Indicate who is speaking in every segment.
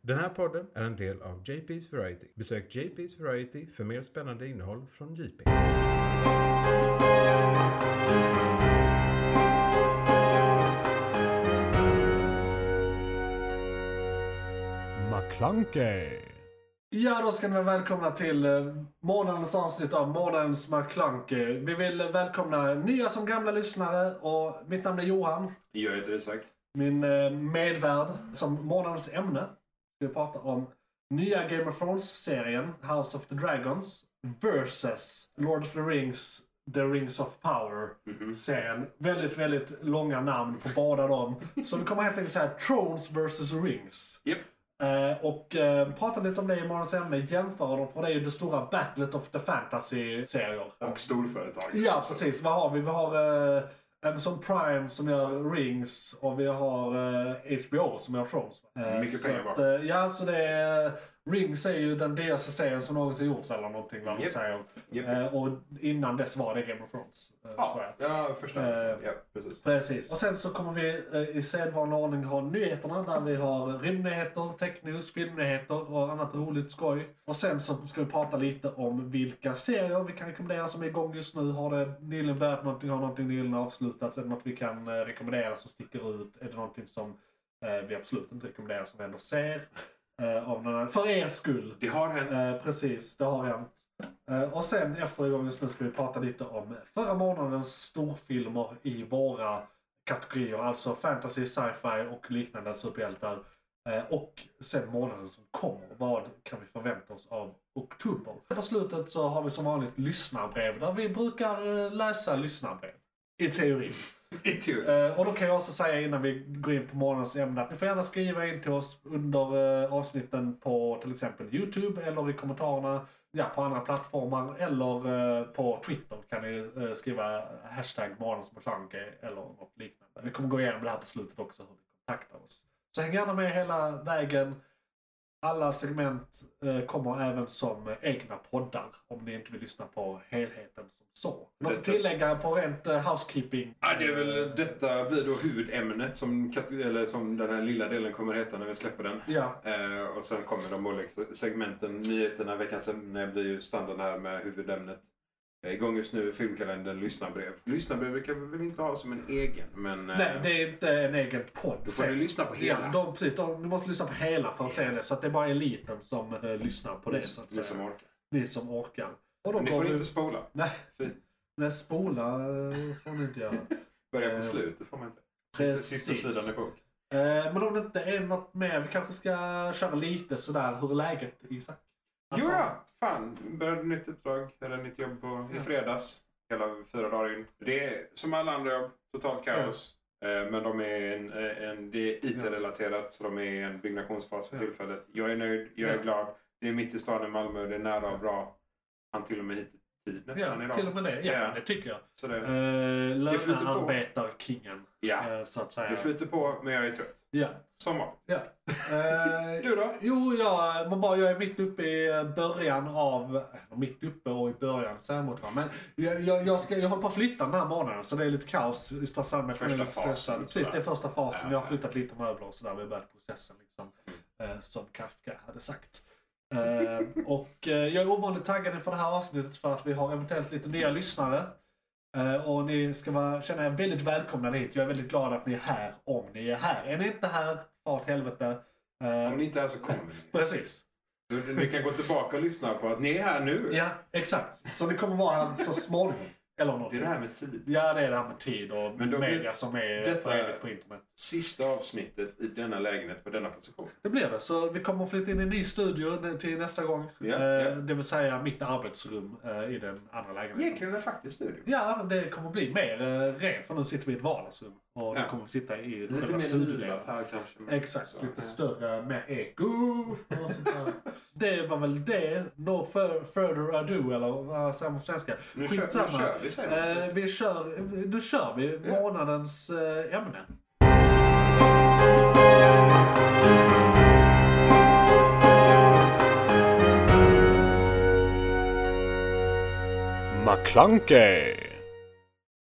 Speaker 1: Den här podden är en del av JP's Variety. Besök JP's Variety för mer spännande innehåll från JP.
Speaker 2: McClunkey.
Speaker 3: Ja, då ska ni vara välkomna till eh, månadens avsnitt av Månadens McKlunky. Vi vill eh, välkomna nya som gamla lyssnare och mitt namn är Johan.
Speaker 4: Jag heter Isak.
Speaker 3: Min eh, medvärd som månadens ämne. Vi prata om nya Game of Thrones-serien House of the Dragons versus Lord of the Rings The Rings of Power-serien. Väldigt, väldigt långa namn på båda dem. Så vi kommer helt enkelt säga Thrones versus Rings.
Speaker 4: Japp.
Speaker 3: Eh, och eh, prata lite om det i morgons ämne, jämföra dem, för det är ju det stora battlet of the fantasy-serier.
Speaker 4: Och storföretag.
Speaker 3: Ja, precis. Vad har vi? Vi har eh, Amazon Prime som gör Rings och vi har eh, HBO som gör Thrones. Eh,
Speaker 4: Mycket
Speaker 3: så
Speaker 4: pengar
Speaker 3: att,
Speaker 4: bara.
Speaker 3: eh, Ja, så det är... Rings är ju den dyraste serien som någonsin gjorts eller någonting vad de
Speaker 4: Japp.
Speaker 3: säger.
Speaker 4: Japp.
Speaker 3: Eh, och innan dess var det Game of Thrones. Eh, tror
Speaker 4: Ja,
Speaker 3: jag.
Speaker 4: jag förstår.
Speaker 3: Eh,
Speaker 4: Ja, precis.
Speaker 3: Precis. Och sen så kommer vi eh, i sedvanlig ordning ha nyheterna där vi har rymdnyheter, technews, filmnyheter och annat roligt skoj. Och sen så ska vi prata lite om vilka serier vi kan rekommendera som är igång just nu. Har det nyligen börjat någonting? Har någonting nyligen avslutats? Är det något vi kan eh, rekommendera som sticker ut? Är det någonting som eh, vi absolut inte rekommenderar som vi ändå ser? Eh, av någon annan. För er skull!
Speaker 4: Det har hänt.
Speaker 3: Eh, precis, det har hänt. Eh, och sen efter igångens nu ska vi prata lite om förra månadens storfilmer i våra kategorier. Alltså fantasy, sci-fi och liknande superhjältar. Eh, och sen månaden som kommer. Vad kan vi förvänta oss av oktober? På slutet så har vi som vanligt lyssnarbrev där vi brukar eh, läsa lyssnarbrev. I teorin.
Speaker 4: I tur.
Speaker 3: Eh, och då kan jag också säga innan vi går in på morgonens ämne att ni får gärna skriva in till oss under eh, avsnitten på till exempel Youtube eller i kommentarerna ja, på andra plattformar eller eh, på Twitter kan ni eh, skriva hashtag morgonsmaclanke eller något liknande. Vi kommer gå igenom det här på slutet också hur ni kontaktar oss. Så häng gärna med hela vägen. Alla segment eh, kommer även som egna poddar om ni inte vill lyssna på helheten som så. Något att
Speaker 4: Detta-
Speaker 3: tillägga på rent eh, housekeeping?
Speaker 4: Ja, det är väl detta blir då huvudämnet som, kat- eller som den här lilla delen kommer heta när vi släpper den.
Speaker 3: Ja,
Speaker 4: Eh, och sen kommer de olika segmenten. Nyheterna, veckans ämne blir ju standard här med huvudämnet. Eh, Igång just nu filmkalendern, lyssnarbrev. Lyssnarbrev brukar vi väl inte ha som en egen, men... eh,
Speaker 3: Nej, det är inte en egen podd.
Speaker 4: Då får ni lyssna på hela.
Speaker 3: Ja, de, precis, de, du måste lyssna på hela för att se det. Så att det är bara eliten som eh, lyssnar på det. Så att
Speaker 4: Ni
Speaker 3: säga.
Speaker 4: som orkar.
Speaker 3: Ni som orkar. Och då
Speaker 4: Ni
Speaker 3: går
Speaker 4: får
Speaker 3: vi-
Speaker 4: inte spola.
Speaker 3: Nej,
Speaker 4: Fy.
Speaker 3: nej, spola eh, får ni inte göra.
Speaker 4: Börja på
Speaker 3: Eh,
Speaker 4: slutet får man inte. Sista, sista
Speaker 3: Precis.
Speaker 4: sidan är bok.
Speaker 3: Eh, men om det inte är något mer, vi kanske ska köra lite sådär, hur är läget Isak?
Speaker 4: Jo då, fan. Började nytt uppdrag, eller nytt jobb på, i
Speaker 3: Ja.
Speaker 4: fredags. Hela fyra dagar in. Det är som alla andra jobb, totalt kaos. Eh, Men de är en, eh, en, det är IT-relaterat så de är i en byggnationsfas för
Speaker 3: Ja.
Speaker 4: tillfället. Jag är nöjd, jag
Speaker 3: Ja.
Speaker 4: är glad. Det är mitt i staden Malmö, det är nära och bra. Han till och med hit i tid nästan
Speaker 3: Ja,
Speaker 4: idag.
Speaker 3: till och med det. Ja,
Speaker 4: Ja.
Speaker 3: det tycker jag.
Speaker 4: Så det,
Speaker 3: Eh,
Speaker 4: flyter på.
Speaker 3: Lönearbetarkingen,
Speaker 4: ja,
Speaker 3: eh, så att
Speaker 4: det
Speaker 3: säga.
Speaker 4: flyter på men jag är trött.
Speaker 3: Ja.
Speaker 4: Som vanligt.
Speaker 3: ja. Eh,
Speaker 4: Du då?
Speaker 3: Jo, jag, man bara, jag är mitt uppe i början av... eller Mitt uppe och i början, särmot va. Men jag, jag, jag, ska, jag håller på att flytta den här månaden så det är lite kaos i Strömsand. men jag är
Speaker 4: Första
Speaker 3: lite
Speaker 4: fasen,
Speaker 3: stressad.
Speaker 4: liksom,
Speaker 3: Precis, det är
Speaker 4: där.
Speaker 3: första fasen.
Speaker 4: Ja,
Speaker 3: Jag har
Speaker 4: ja.
Speaker 3: flyttat lite möbler och sådär. Vi har börjat processen liksom. Eh, som Kafka hade sagt. Eh, och eh, jag är ovanligt taggad inför det här avsnittet för att vi har eventuellt lite nya lyssnare. Eh, och ni ska vara, känna er väldigt välkomna hit. Jag är väldigt glad att ni är här, om ni är här. Är ni inte här, far åt helvete. Eh,
Speaker 4: Om ni inte är här så kommer ni.
Speaker 3: Precis.
Speaker 4: Du- Ni kan gå tillbaka och lyssna på att ni är här nu.
Speaker 3: Ja, exakt. Så vi kommer vara här så småningom. Eller
Speaker 4: Det är
Speaker 3: någonting.
Speaker 4: det här med tid.
Speaker 3: Ja, det är det här med tid och
Speaker 4: Men då blir-
Speaker 3: media som är
Speaker 4: detta-
Speaker 3: för evigt på internet.
Speaker 4: Sista avsnittet i denna lägenhet på denna position.
Speaker 3: Det blir det. Så vi kommer att flytta in i en ny studio nä- till nästa gång.
Speaker 4: Ja,
Speaker 3: Eh,
Speaker 4: ja.
Speaker 3: Det vill säga mitt arbetsrum eh, i den andra lägenheten.
Speaker 4: Egentligen är det faktiskt studio.
Speaker 3: Ja, det kommer bli mer eh, rent för nu sitter vi i ett vardagsrum. Och
Speaker 4: Ja.
Speaker 3: nu kommer vi sitta i
Speaker 4: Lite
Speaker 3: själva
Speaker 4: mer
Speaker 3: studiodelen.
Speaker 4: lurat här kanske. men-
Speaker 3: Exakt,
Speaker 4: så,
Speaker 3: lite
Speaker 4: ja.
Speaker 3: större, mer eko. Och sånt där. det var väl det. No fur- further ado, eller vad säger man på svenska?
Speaker 4: Nu kör, nu kör vi säger man.
Speaker 3: Eh, vi kör, då kör vi
Speaker 4: Ja.
Speaker 3: månadens eh, ämne.
Speaker 2: McClunkey.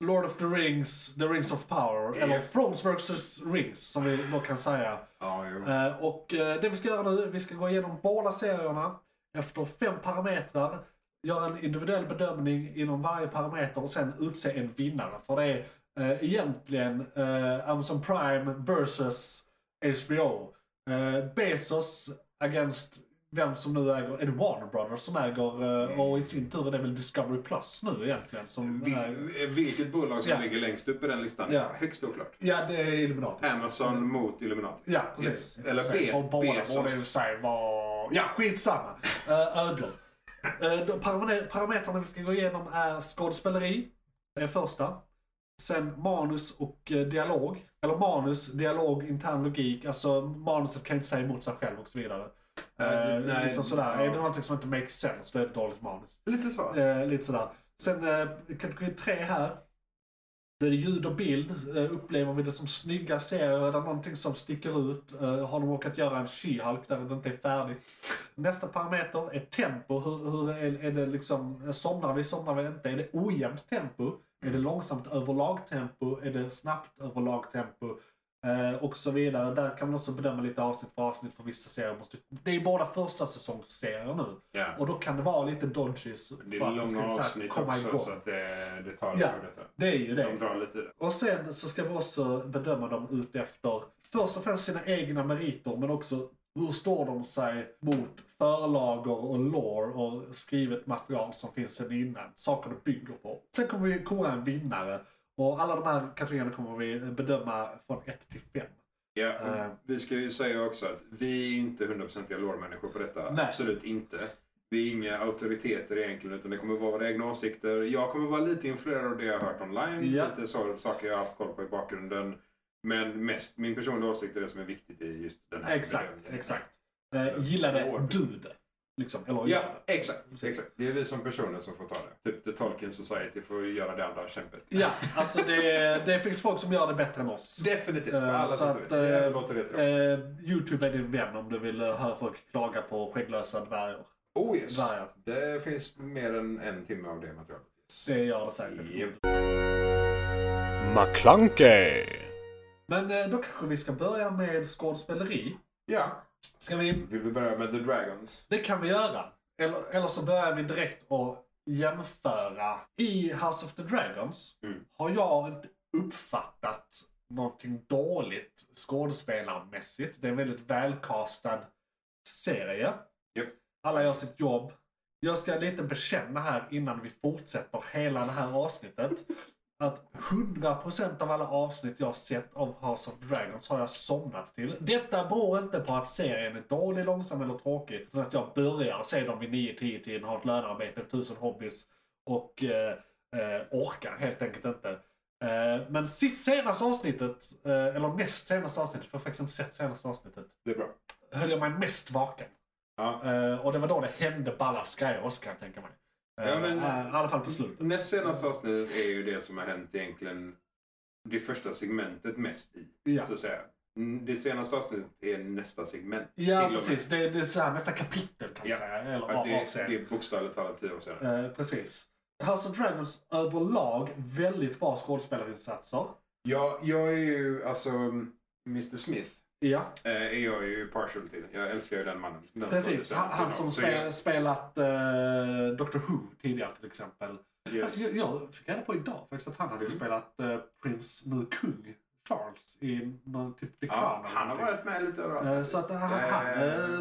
Speaker 3: Lord of the Rings, The Rings of Power,
Speaker 4: Ja.
Speaker 3: eller Thrones vs. Rings som vi då kan säga.
Speaker 4: Ja, jo.
Speaker 3: Eh, Och eh, det vi ska göra nu, vi ska gå igenom båda serierna efter fem parametrar, göra en individuell bedömning inom varje parameter och sen utse en vinnare. För det är eh, egentligen eh, Amazon Prime versus HBO. Eh, Bezos against vem som nu äger, är det Warner Brothers som äger, eh, och i sin tur är det väl Discovery Plus nu egentligen som äger.
Speaker 4: Vil- vilket bolag som
Speaker 3: Ja.
Speaker 4: ligger längst upp i den listan?
Speaker 3: Ja. Mm.
Speaker 4: Högst oklart.
Speaker 3: Ja, det är Illuminati.
Speaker 4: Amazon mot Illuminati.
Speaker 3: Ja, precis.
Speaker 4: Yes. Eller
Speaker 3: Precis.
Speaker 4: Be-
Speaker 3: Och båda
Speaker 4: Bezos.
Speaker 3: borde ju säga var... Ja, skitsamma. Uh, ödlor. Eh, de parame- Parametrarna vi ska gå igenom är skådespeleri, det är första. Sen manus och eh, dialog. Eller manus, dialog, intern logik. Alltså manuset kan ju inte säga emot sig själv och så vidare.
Speaker 4: Nej, det-
Speaker 3: Eh,
Speaker 4: nej,
Speaker 3: liksom sådär.
Speaker 4: ja.
Speaker 3: Är det någonting som inte makes sense, då är det dåligt manus.
Speaker 4: Lite så.
Speaker 3: Eh, lite sådär. Sen eh, kategori tre här. Det är ljud och bild. Eh, upplever vi det som snygga serier? Är det någonting som sticker ut? Eh, har de råkat göra en She-Hulk där det inte är färdigt? Nästa parameter är tempo. Hur, hur är, är det liksom, somnar vi, somnar vi inte? Är det ojämnt tempo? Är det långsamt överlag tempo? Är det snabbt överlag tempo? Eh, och så vidare. Där kan man också bedöma lite avsnitt för avsnitt för vissa serier. Måste, det är ju båda första säsongsserier nu.
Speaker 4: Ja.
Speaker 3: Och då kan det vara lite dodges
Speaker 4: Det
Speaker 3: för
Speaker 4: är
Speaker 3: att det ska
Speaker 4: långa
Speaker 3: så här
Speaker 4: avsnitt
Speaker 3: komma
Speaker 4: också
Speaker 3: igång.
Speaker 4: så att det, det tar
Speaker 3: Ja.
Speaker 4: lite av detta.
Speaker 3: Det är ju
Speaker 4: De
Speaker 3: det.
Speaker 4: drar lite i det.
Speaker 3: Och sen så ska vi också bedöma dem utefter först och främst sina egna meriter men också hur står de sig mot förlagor och lore och skrivet material som finns sedan innan. Saker det bygger på. Sen kommer vi kora en vinnare och alla de här kategorierna kommer vi bedöma från 1 till 5.
Speaker 4: Ja, och
Speaker 3: Eh.
Speaker 4: Vi ska ju säga också att vi är inte hundraprocentiga lårmänniskor på detta.
Speaker 3: Nej.
Speaker 4: Absolut inte. Vi är inga auktoriteter egentligen utan det kommer vara våra egna åsikter. Jag kommer vara lite influerad av det jag har hört online.
Speaker 3: Ja.
Speaker 4: Lite så, saker jag har haft koll på i bakgrunden. Men mest min personliga åsikt är det som är viktigt i just den här
Speaker 3: Exakt,
Speaker 4: bedömningen.
Speaker 3: exakt. Eh, gillade
Speaker 4: Får-
Speaker 3: du det? Liksom, eller gör
Speaker 4: Ja,
Speaker 3: det?
Speaker 4: exakt, exakt. Det är vi som personer som får ta det. Typ The Tolkien Society får göra det andra kämpet.
Speaker 3: Ja, alltså det, det finns folk som gör det bättre än oss.
Speaker 4: Definitivt. På
Speaker 3: Eh,
Speaker 4: alla
Speaker 3: så
Speaker 4: sätt
Speaker 3: att,
Speaker 4: och vis. Det
Speaker 3: eh,
Speaker 4: låter rätt bra.
Speaker 3: Eh, Youtube är din vän om du vill eh, höra folk klaga på skägglösa dvärgar.
Speaker 4: Oh yes.
Speaker 3: varje-
Speaker 4: Det finns mer än en timme av det materialet.
Speaker 3: Det gör det säkert.
Speaker 4: Japp.
Speaker 2: McClunkey.
Speaker 3: Men eh, då kanske vi ska börja med skådespeleri.
Speaker 4: Ja.
Speaker 3: Ska vi?
Speaker 4: Vill vi börja med The Dragons?
Speaker 3: Det kan vi göra. Eller, eller så börjar vi direkt och jämföra. I House of the Dragons
Speaker 4: Mm.
Speaker 3: har jag inte uppfattat någonting dåligt skådespelarmässigt. Det är en väldigt välkastad serie.
Speaker 4: Japp.
Speaker 3: Alla gör sitt jobb. Jag ska lite bekänna här innan vi fortsätter hela det här avsnittet. Att 100% av alla avsnitt jag sett av House of Dragons har jag somnat till. Detta beror inte på att serien är dålig, långsam eller tråkig. Utan att jag börjar se dem vid 9-10 tiden, har ett lönearbete, 1000 hobbys och eh, eh, orkar helt enkelt inte. Eh, men sist senaste avsnittet, eh, eller näst senaste avsnittet, för jag har faktiskt inte sett senaste avsnittet,
Speaker 4: Det är bra.
Speaker 3: höll jag mig mest vaken.
Speaker 4: Ja.
Speaker 3: Eh, och det var då det hände ballast grejer också kan jag tänka mig. Eh,
Speaker 4: Ja, men- mm.
Speaker 3: eh, I alla fall på slutet.
Speaker 4: Näst senaste avsnittet är ju det som har hänt egentligen det första segmentet mest i.
Speaker 3: Ja.
Speaker 4: Så att säga. Mm, Det senaste avsnittet är nästa segment. till
Speaker 3: Ja,
Speaker 4: och med.
Speaker 3: precis. Det, det är så här, nästa kapitel kan man
Speaker 4: Ja.
Speaker 3: säga. Eller
Speaker 4: Ja,
Speaker 3: av- av
Speaker 4: det, det
Speaker 3: serien.
Speaker 4: är bokstavligt talat tio år sedan.
Speaker 3: Eh, precis. House of Dragons överlag väldigt bra skådespelarinsatser.
Speaker 4: Ja, jag är ju alltså Mr Smith.
Speaker 3: Ja,
Speaker 4: eh, Är jag ju partial till. Jag älskar ju den mannen. Den
Speaker 3: precis.
Speaker 4: skådespelaren.
Speaker 3: Han, han som
Speaker 4: Så jag-
Speaker 3: spel, spelat eh, Doctor Who tidigare till exempel.
Speaker 4: Yes.
Speaker 3: Alltså, jag, jag fick reda på idag faktiskt att han hade ju
Speaker 4: Mm.
Speaker 3: spelat eh, prins, nu kung, Charles i någon typ The
Speaker 4: Ja,
Speaker 3: Crown. eller
Speaker 4: han har
Speaker 3: någonting.
Speaker 4: varit med lite överallt.
Speaker 3: Eh, Så att han... han
Speaker 4: Eh,
Speaker 3: eh,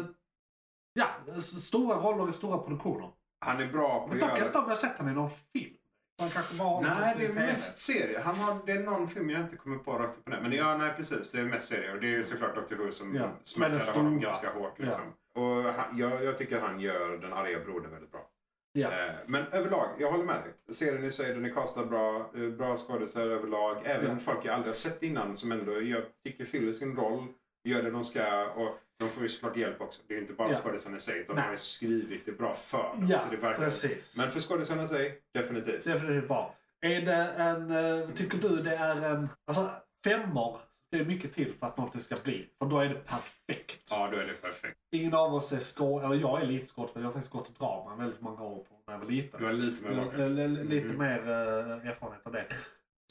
Speaker 3: ja, s- stora roller i stora produktioner.
Speaker 4: han är bra på
Speaker 3: Men
Speaker 4: att
Speaker 3: dock
Speaker 4: göra
Speaker 3: inte om jag sett honom i någon film. Han kanske bara har något
Speaker 4: Nej,
Speaker 3: sånt
Speaker 4: det
Speaker 3: i
Speaker 4: är
Speaker 3: TV.
Speaker 4: mest serier. Han har, det är någon film jag inte kommer på rakt upp och ner. Men ja, nej precis. Det är mest serier. Och det är ju såklart Dr. Who som
Speaker 3: Ja, som är den
Speaker 4: smäller honom
Speaker 3: stora.
Speaker 4: ganska hårt. Liksom. Och han, jag, jag tycker han gör den arga brodern väldigt bra.
Speaker 3: Ja.
Speaker 4: Eh, men överlag, jag håller med dig. Serien i sig, den är castad bra. eh, Bra skådespelare överlag. Även
Speaker 3: Ja.
Speaker 4: folk jag aldrig har sett innan som ändå, jag tycker fyller sin roll. Gör det de ska. Och de får ju såklart hjälp också. Det är ju inte bara
Speaker 3: Ja.
Speaker 4: skådisarna i sig utan
Speaker 3: Nej.
Speaker 4: de har ju skrivit det bra för dem.
Speaker 3: Ja,
Speaker 4: så alltså, det verkar...
Speaker 3: precis.
Speaker 4: Men för skådisarna i sig, definitivt.
Speaker 3: Definitivt bra. Är det en... eh, Tycker du det är en... Alltså, femmor det är mycket till för att någonting ska bli. För då är det perfekt.
Speaker 4: Ja, då är det perfekt.
Speaker 3: Ingen av oss är skå... Eller jag är lite skådespelare. Jag har faktiskt gått drama väldigt många år på när jag var liten.
Speaker 4: Du har lite mer
Speaker 3: L-
Speaker 4: bakgrund.
Speaker 3: l- l- lite
Speaker 4: Mm.
Speaker 3: mer eh, erfarenhet av det.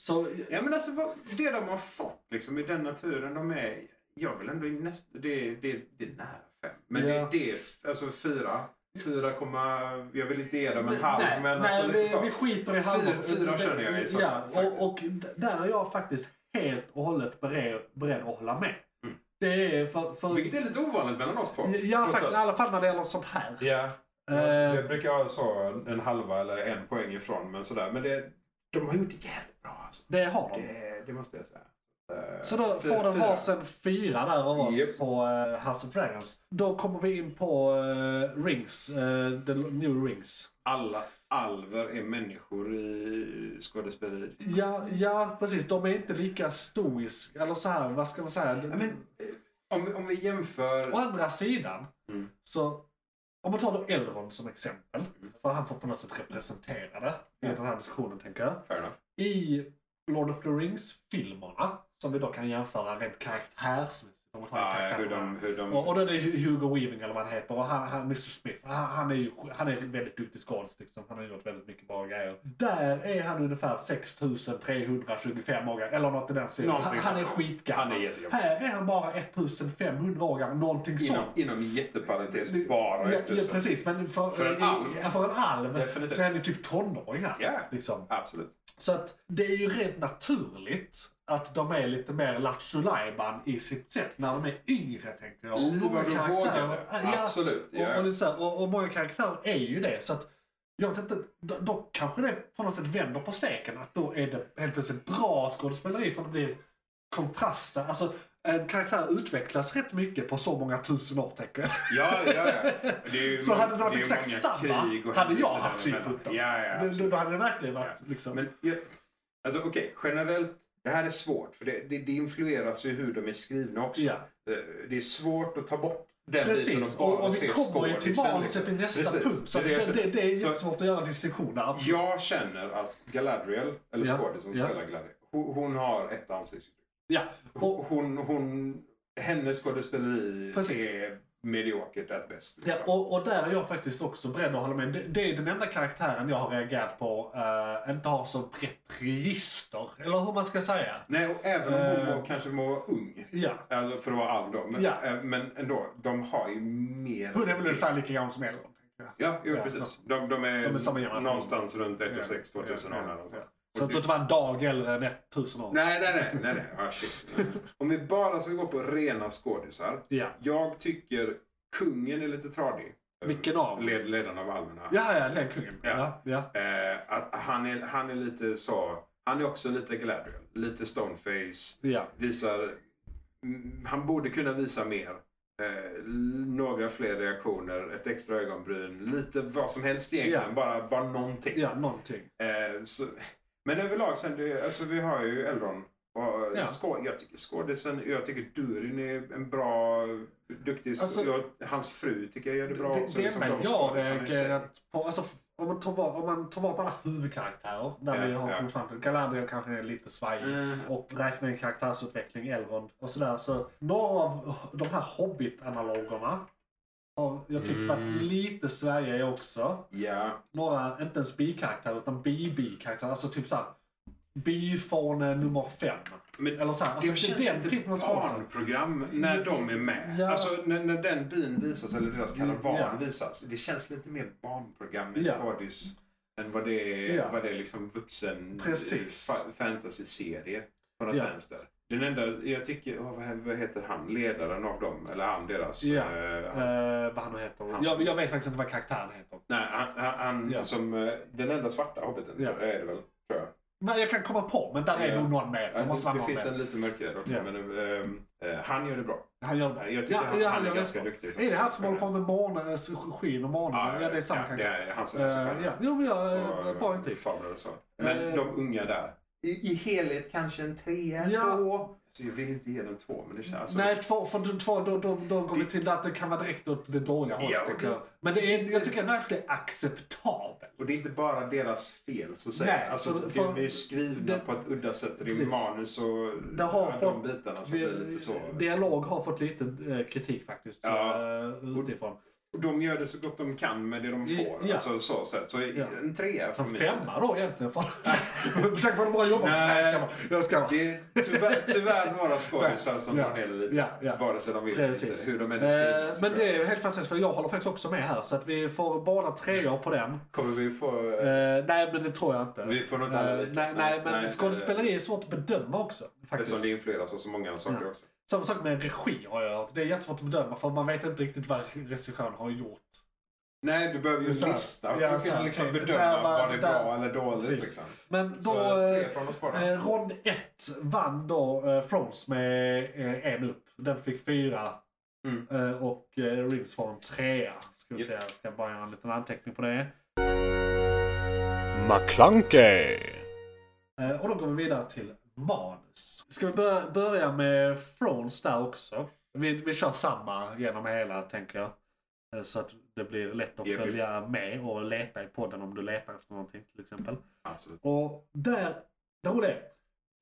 Speaker 3: Så
Speaker 4: Ja men alltså vad, det de har fått liksom i den naturen de är Jag vill ändå näst, det, det, det är nära fem. Men
Speaker 3: Ja.
Speaker 4: det, det är f- alltså fyra. Fyra komma, jag vill inte ge dem en halv
Speaker 3: nej,
Speaker 4: men
Speaker 3: nej,
Speaker 4: alltså lite så.
Speaker 3: vi, vi skiter i halvor.
Speaker 4: Fyra- fyra känner jag i så
Speaker 3: Ja,
Speaker 4: fall, faktiskt.
Speaker 3: och, och d- där är jag faktiskt helt och hållet beredd, beredd att hålla med.
Speaker 4: Mm.
Speaker 3: Det är för... för
Speaker 4: Vilket är lite ovanligt mellan oss två.
Speaker 3: ja,
Speaker 4: trots
Speaker 3: faktiskt. I
Speaker 4: allt.
Speaker 3: alla fall när det gäller sånt här.
Speaker 4: Ja.
Speaker 3: Eh,
Speaker 4: Jag brukar ha så en halva eller en poäng ifrån men sådär. Men det, de har gjort det jävligt bra alltså.
Speaker 3: det har de.
Speaker 4: Det, det måste jag säga. Eh,
Speaker 3: Så då
Speaker 4: fy-
Speaker 3: får den
Speaker 4: fyra.
Speaker 3: varsin fyra där av oss
Speaker 4: Japp.
Speaker 3: på eh, House of Dragons. Då kommer vi in på eh, Rings, eh, The New Rings.
Speaker 4: Alla alver är människor i skådespeleri.
Speaker 3: Ja, ja, precis. De är inte lika stoiska. Eller så här, vad ska man säga?
Speaker 4: Ja, men, eh, om, vi- om vi jämför...
Speaker 3: Å andra sidan,
Speaker 4: Mm.
Speaker 3: så om man tar då Elrond som exempel, för han får på något sätt representera det i
Speaker 4: Ja.
Speaker 3: den här diskussionen tänker jag.
Speaker 4: Fair enough.
Speaker 3: I Lord of the Rings-filmerna, som vi då kan jämföra rent karaktärsmässigt. om man tar
Speaker 4: Ja,
Speaker 3: karaktärerna.
Speaker 4: hur de... Hur de
Speaker 3: Och, och den är Hu- Hugo Weaving eller vad han heter. Och han, han, Mr Smith, han, han är ju han är väldigt duktig skådis. Liksom. Han har gjort väldigt mycket bra grejer. Där är han ungefär 6325 år gammal. Eller något i den stilen. Han,
Speaker 4: Någonting
Speaker 3: han är
Speaker 4: sånt.
Speaker 3: skitgammal.
Speaker 4: Han är jättegammal.
Speaker 3: Här är han bara 1500 år gammal. Någonting sånt.
Speaker 4: inom, inom jätteparentes,
Speaker 3: Du-
Speaker 4: bara
Speaker 3: ja, ja,
Speaker 4: 1000.
Speaker 3: precis, men för,
Speaker 4: För en alv.
Speaker 3: Ja, för en alv
Speaker 4: Definitivt.
Speaker 3: så är han ju typ tonåringar.
Speaker 4: Ja.
Speaker 3: Liksom.
Speaker 4: Absolut.
Speaker 3: Så att det är ju rent naturligt att de är lite mer Lattjo Lajban i sitt sätt när de är yngre, tänker jag. Och
Speaker 4: I
Speaker 3: många
Speaker 4: Mm, vad du
Speaker 3: karaktärer-
Speaker 4: vågade.
Speaker 3: Ja,
Speaker 4: Absolut.
Speaker 3: och, och,
Speaker 4: Ja.
Speaker 3: det är så här, och, och många karaktärer är ju det. Så att, jag vet inte, då, då kanske det på något sätt vänder på steken. Att då är det helt plötsligt bra skådespeleri för det blir kontraster. Alltså, en karaktär utvecklas rätt mycket på så många tusen år, tänker jag.
Speaker 4: ja, ja, ja. Det är ju
Speaker 3: Så
Speaker 4: många-
Speaker 3: hade det varit
Speaker 4: är ju
Speaker 3: exakt
Speaker 4: många
Speaker 3: samma,
Speaker 4: krig och
Speaker 3: hade jag
Speaker 4: händelser
Speaker 3: haft
Speaker 4: däremellan.
Speaker 3: synpunkter.
Speaker 4: Ja, ja.
Speaker 3: Men
Speaker 4: absolut.
Speaker 3: Då, då hade det verkligen varit liksom...
Speaker 4: Men ja, alltså okej, generellt. Det här är svårt för det, det, det influeras ju hur de är skrivna också.
Speaker 3: Ja.
Speaker 4: Eh, Det är svårt att ta bort den biten
Speaker 3: Precis,
Speaker 4: bara
Speaker 3: och, och vi
Speaker 4: se
Speaker 3: kommer ju till
Speaker 4: skådisen,
Speaker 3: manuset i
Speaker 4: liksom.
Speaker 3: nästa
Speaker 4: Precis.
Speaker 3: punkt. Så det,
Speaker 4: är jag
Speaker 3: det, det,
Speaker 4: känner.
Speaker 3: är
Speaker 4: Så-
Speaker 3: jättesvårt att göra distinktioner.
Speaker 4: Jag känner att Galadriel, eller
Speaker 3: Ja,
Speaker 4: skådisen som
Speaker 3: ja.
Speaker 4: spelar Galadriel, hon, hon har ett ansiktsuttryck.
Speaker 3: Ja,
Speaker 4: Hon, hon, hon, hennes skådespeleri
Speaker 3: Precis.
Speaker 4: är mediokert at liksom. bäst.
Speaker 3: Ja, och, och där är jag faktiskt också beredd att hålla med. Det, det är den enda karaktären jag har reagerat på eh, inte har så brett register. Eller hur man ska säga.
Speaker 4: Nej, och även om hon
Speaker 3: Eh.
Speaker 4: må, kanske må vara ung,
Speaker 3: Ja.
Speaker 4: alltså för att vara alv då, men,
Speaker 3: Ja.
Speaker 4: eh, men ändå, de har ju mer...
Speaker 3: Hon är väl ungefär lika gammal som Elrond. tänker jag.
Speaker 4: Ja, typ jo,
Speaker 3: Ja,
Speaker 4: precis.
Speaker 3: något-
Speaker 4: De, de, är
Speaker 3: de är samma generation.
Speaker 4: någonstans runt 1
Speaker 3: Ja,
Speaker 4: 2000
Speaker 3: ja,
Speaker 4: år
Speaker 3: ja,
Speaker 4: någonstans.
Speaker 3: ja. Så att det inte var en dag äldre än 1000 år.
Speaker 4: Nej, nej, nej. nej, nej. Ah, shit. Om vi bara ska gå på rena skådisar.
Speaker 3: Ja.
Speaker 4: Jag tycker kungen är lite tradig.
Speaker 3: Vilken av? Ja,
Speaker 4: Led, ledaren av alverna.
Speaker 3: ja, den kungen.
Speaker 4: Ja.
Speaker 3: Ja, ja.
Speaker 4: Eh, att han, är, han är lite så... Han är också lite Galadriel. Lite stoneface.
Speaker 3: ja.
Speaker 4: Visar... mm, Han borde kunna visa mer. Eh, l- några fler reaktioner, ett extra ögonbryn. Lite vad som helst egentligen.
Speaker 3: Ja.
Speaker 4: Bara, bara någonting.
Speaker 3: ja någonting.
Speaker 4: Eh, så, men överlag, sen, det, alltså, vi har ju Elrond. Och
Speaker 3: Ja.
Speaker 4: skå, jag tycker skådisen, jag tycker Durin är en bra, duktig skå-
Speaker 3: Alltså-
Speaker 4: jag- Hans fru tycker jag gör det bra
Speaker 3: Det,
Speaker 4: också.
Speaker 3: det
Speaker 4: liksom,
Speaker 3: enda
Speaker 4: de
Speaker 3: jag
Speaker 4: skådisarna i sig.
Speaker 3: reagerat på, alltså, f- om, man tar bort, om man tar bort alla huvudkaraktärer, där
Speaker 4: Ja,
Speaker 3: vi har
Speaker 4: ja.
Speaker 3: kommit fram till Galadriel kanske är lite svajig.
Speaker 4: Mm.
Speaker 3: och räkna in karaktärsutveckling, Elrond och sådär. Så några av de här Hobbit-analogerna har jag tyckt varit
Speaker 4: Mm.
Speaker 3: lite Sverige också.
Speaker 4: Ja,
Speaker 3: Några, inte ens bikaraktärer, utan bi-bikaraktärer. Alltså typ såhär, byfåne nummer fem.
Speaker 4: men
Speaker 3: Eller såhär, alltså den
Speaker 4: lite
Speaker 3: typen av skådisar.
Speaker 4: typ barnprogram när de är med.
Speaker 3: Ja.
Speaker 4: Alltså när, när den byn visas, eller deras karavan
Speaker 3: Ja.
Speaker 4: visas. Det känns lite mer barnprogram med
Speaker 3: Ja.
Speaker 4: skådis än vad det är,
Speaker 3: Ja.
Speaker 4: vad det är liksom vuxen
Speaker 3: Precis.
Speaker 4: fa- fantasy-serie på något
Speaker 3: Ja.
Speaker 4: vänster. Den enda, jag tycker, åh, vad, vad heter han, ledaren av dem? Eller han, deras?
Speaker 3: Ja.
Speaker 4: eh, hans,
Speaker 3: Eh, vad han nu heter.
Speaker 4: Hans-
Speaker 3: Jag, jag vet faktiskt inte vad karaktären heter.
Speaker 4: Nej, han, han, han
Speaker 3: Ja.
Speaker 4: som, eh, den enda svarta hobbiten
Speaker 3: Ja.
Speaker 4: är det väl, tror jag.
Speaker 3: Men jag kan komma på, men där är
Speaker 4: Ja.
Speaker 3: nog någon mer.
Speaker 4: Ja,
Speaker 3: Det måste vara
Speaker 4: det
Speaker 3: någon
Speaker 4: finns
Speaker 3: mer.
Speaker 4: en lite mörkare också,
Speaker 3: Ja.
Speaker 4: men eh, eh, han gör det bra.
Speaker 3: Han gör det bra.
Speaker 4: Jag tycker
Speaker 3: Ja,
Speaker 4: han,
Speaker 3: ja,
Speaker 4: han
Speaker 3: gör
Speaker 4: är
Speaker 3: det
Speaker 4: ganska
Speaker 3: bra.
Speaker 4: duktig.
Speaker 3: Är det han som håller på med månens sken och månen? Ja, det är samma
Speaker 4: Ja, det
Speaker 3: karaktär.
Speaker 4: är han som läser
Speaker 3: Eh, Ja, jo, men jag...
Speaker 4: och, eh,
Speaker 3: Bra intryck.
Speaker 4: Fabler och så. Men
Speaker 3: Eh,
Speaker 4: de unga där. I, I helhet kanske en trea,
Speaker 3: Ja.
Speaker 4: två. Så alltså, jag vill inte ge den två, men det känns... Alltså,
Speaker 3: Nej, två, för då- två, då, då, då går vi till att det kan vara direkt åt det dåliga hållet.
Speaker 4: Ja, och
Speaker 3: tycker
Speaker 4: det-
Speaker 3: jag. Men det är, jag tycker ändå att det är acceptabelt.
Speaker 4: Och det är inte bara deras fel, så att säga.
Speaker 3: Nej,
Speaker 4: alltså,
Speaker 3: för-
Speaker 4: de
Speaker 3: för-
Speaker 4: är ju skrivna
Speaker 3: det-
Speaker 4: på ett udda sätt. Det är
Speaker 3: Precis.
Speaker 4: manus och
Speaker 3: Det har
Speaker 4: ja,
Speaker 3: fått-
Speaker 4: de bitarna som
Speaker 3: Vi,
Speaker 4: blir lite så.
Speaker 3: dialog har fått lite eh, kritik faktiskt
Speaker 4: Ja.
Speaker 3: eh, utifrån.
Speaker 4: Och de gör det så gott de kan med det de
Speaker 3: I-
Speaker 4: får.
Speaker 3: ja.
Speaker 4: Alltså så sätt. Så
Speaker 3: Ja.
Speaker 4: en trea från
Speaker 3: En
Speaker 4: min sida.
Speaker 3: femma då egentligen. För... Med tanke på att de bara jobbar.
Speaker 4: Nej.
Speaker 3: jag ska vara. Jag ska vara.
Speaker 4: Det är tyvärr, tyvärr några skådisar som
Speaker 3: Ja.
Speaker 4: drar ner det lite.
Speaker 3: Ja, ja.
Speaker 4: Vare sig de vill eller
Speaker 3: Eh, Precis.
Speaker 4: inte. Hur de än är
Speaker 3: Eh,
Speaker 4: skrivna.
Speaker 3: men det är ju helt fantastiskt för jag håller faktiskt också med här. Så att vi får båda treor på den.
Speaker 4: Kommer vi få...
Speaker 3: Eh, nej, men det tror jag inte.
Speaker 4: Vi får nog inte
Speaker 3: Eh,
Speaker 4: alla
Speaker 3: nej,
Speaker 4: lika.
Speaker 3: nej,
Speaker 4: Nej,
Speaker 3: men
Speaker 4: nej,
Speaker 3: skådespeleri är svårt att bedöma också.
Speaker 4: Eftersom det
Speaker 3: Faktiskt.
Speaker 4: influeras av så många saker också.
Speaker 3: Samma sak med regi har jag hört. Det är jättesvårt att bedöma för man vet inte riktigt vad regissören har gjort.
Speaker 4: Nej, du behöver ju
Speaker 3: Så här.
Speaker 4: en lista
Speaker 3: Ja,
Speaker 4: för att
Speaker 3: så här,
Speaker 4: kunna liksom
Speaker 3: okej, det
Speaker 4: bedöma
Speaker 3: där var-
Speaker 4: vad det
Speaker 3: det
Speaker 4: är
Speaker 3: där-
Speaker 4: bra eller dåligt.
Speaker 3: Precis.
Speaker 4: Liksom.
Speaker 3: Men då...
Speaker 4: Så tre
Speaker 3: eh,
Speaker 4: från oss bara.
Speaker 3: Eh, rond 1 vann då eh, Thrones med eh, en upp. Den fick fyra.
Speaker 4: Mm.
Speaker 3: Eh, och eh, Rings får en trea. Ska vi
Speaker 4: Japp.
Speaker 3: se, jag ska bara göra en liten anteckning på det.
Speaker 2: McClunkey.
Speaker 3: Eh, och då går vi vidare till manus. Ska vi börja, börja med Thrones där också? Vi, vi kör samma genom hela tänker jag. Eh, Så att det blir lätt att
Speaker 4: Japp, japp.
Speaker 3: följa med och leta i podden om du letar efter någonting till exempel.
Speaker 4: Absolut.
Speaker 3: Och där, det roliga är,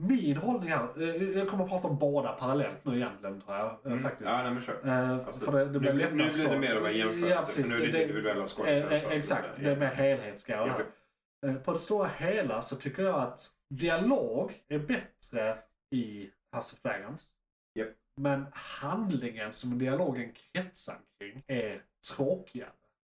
Speaker 3: min hållning här, eh, jag kommer att prata om båda parallellt nu egentligen tror jag eh,
Speaker 4: Mm.
Speaker 3: faktiskt.
Speaker 4: Ja, nej, men kör.
Speaker 3: Eh,
Speaker 4: Absolut.
Speaker 3: för det, det blir
Speaker 4: nu,
Speaker 3: lättast
Speaker 4: nu blir
Speaker 3: då.
Speaker 4: det mer av en jämförelse,
Speaker 3: Ja, precis.
Speaker 4: för nu är det, typ individuella skådespelare.
Speaker 3: eh,
Speaker 4: så
Speaker 3: eh,
Speaker 4: att säga.
Speaker 3: Exakt, det är mer helhetsgrejer
Speaker 4: Ja.
Speaker 3: här. Eh, På det stora hela så tycker jag att dialog är bättre i House of Dragons.
Speaker 4: Japp.
Speaker 3: Men handlingen som dialogen kretsar kring är tråkigare.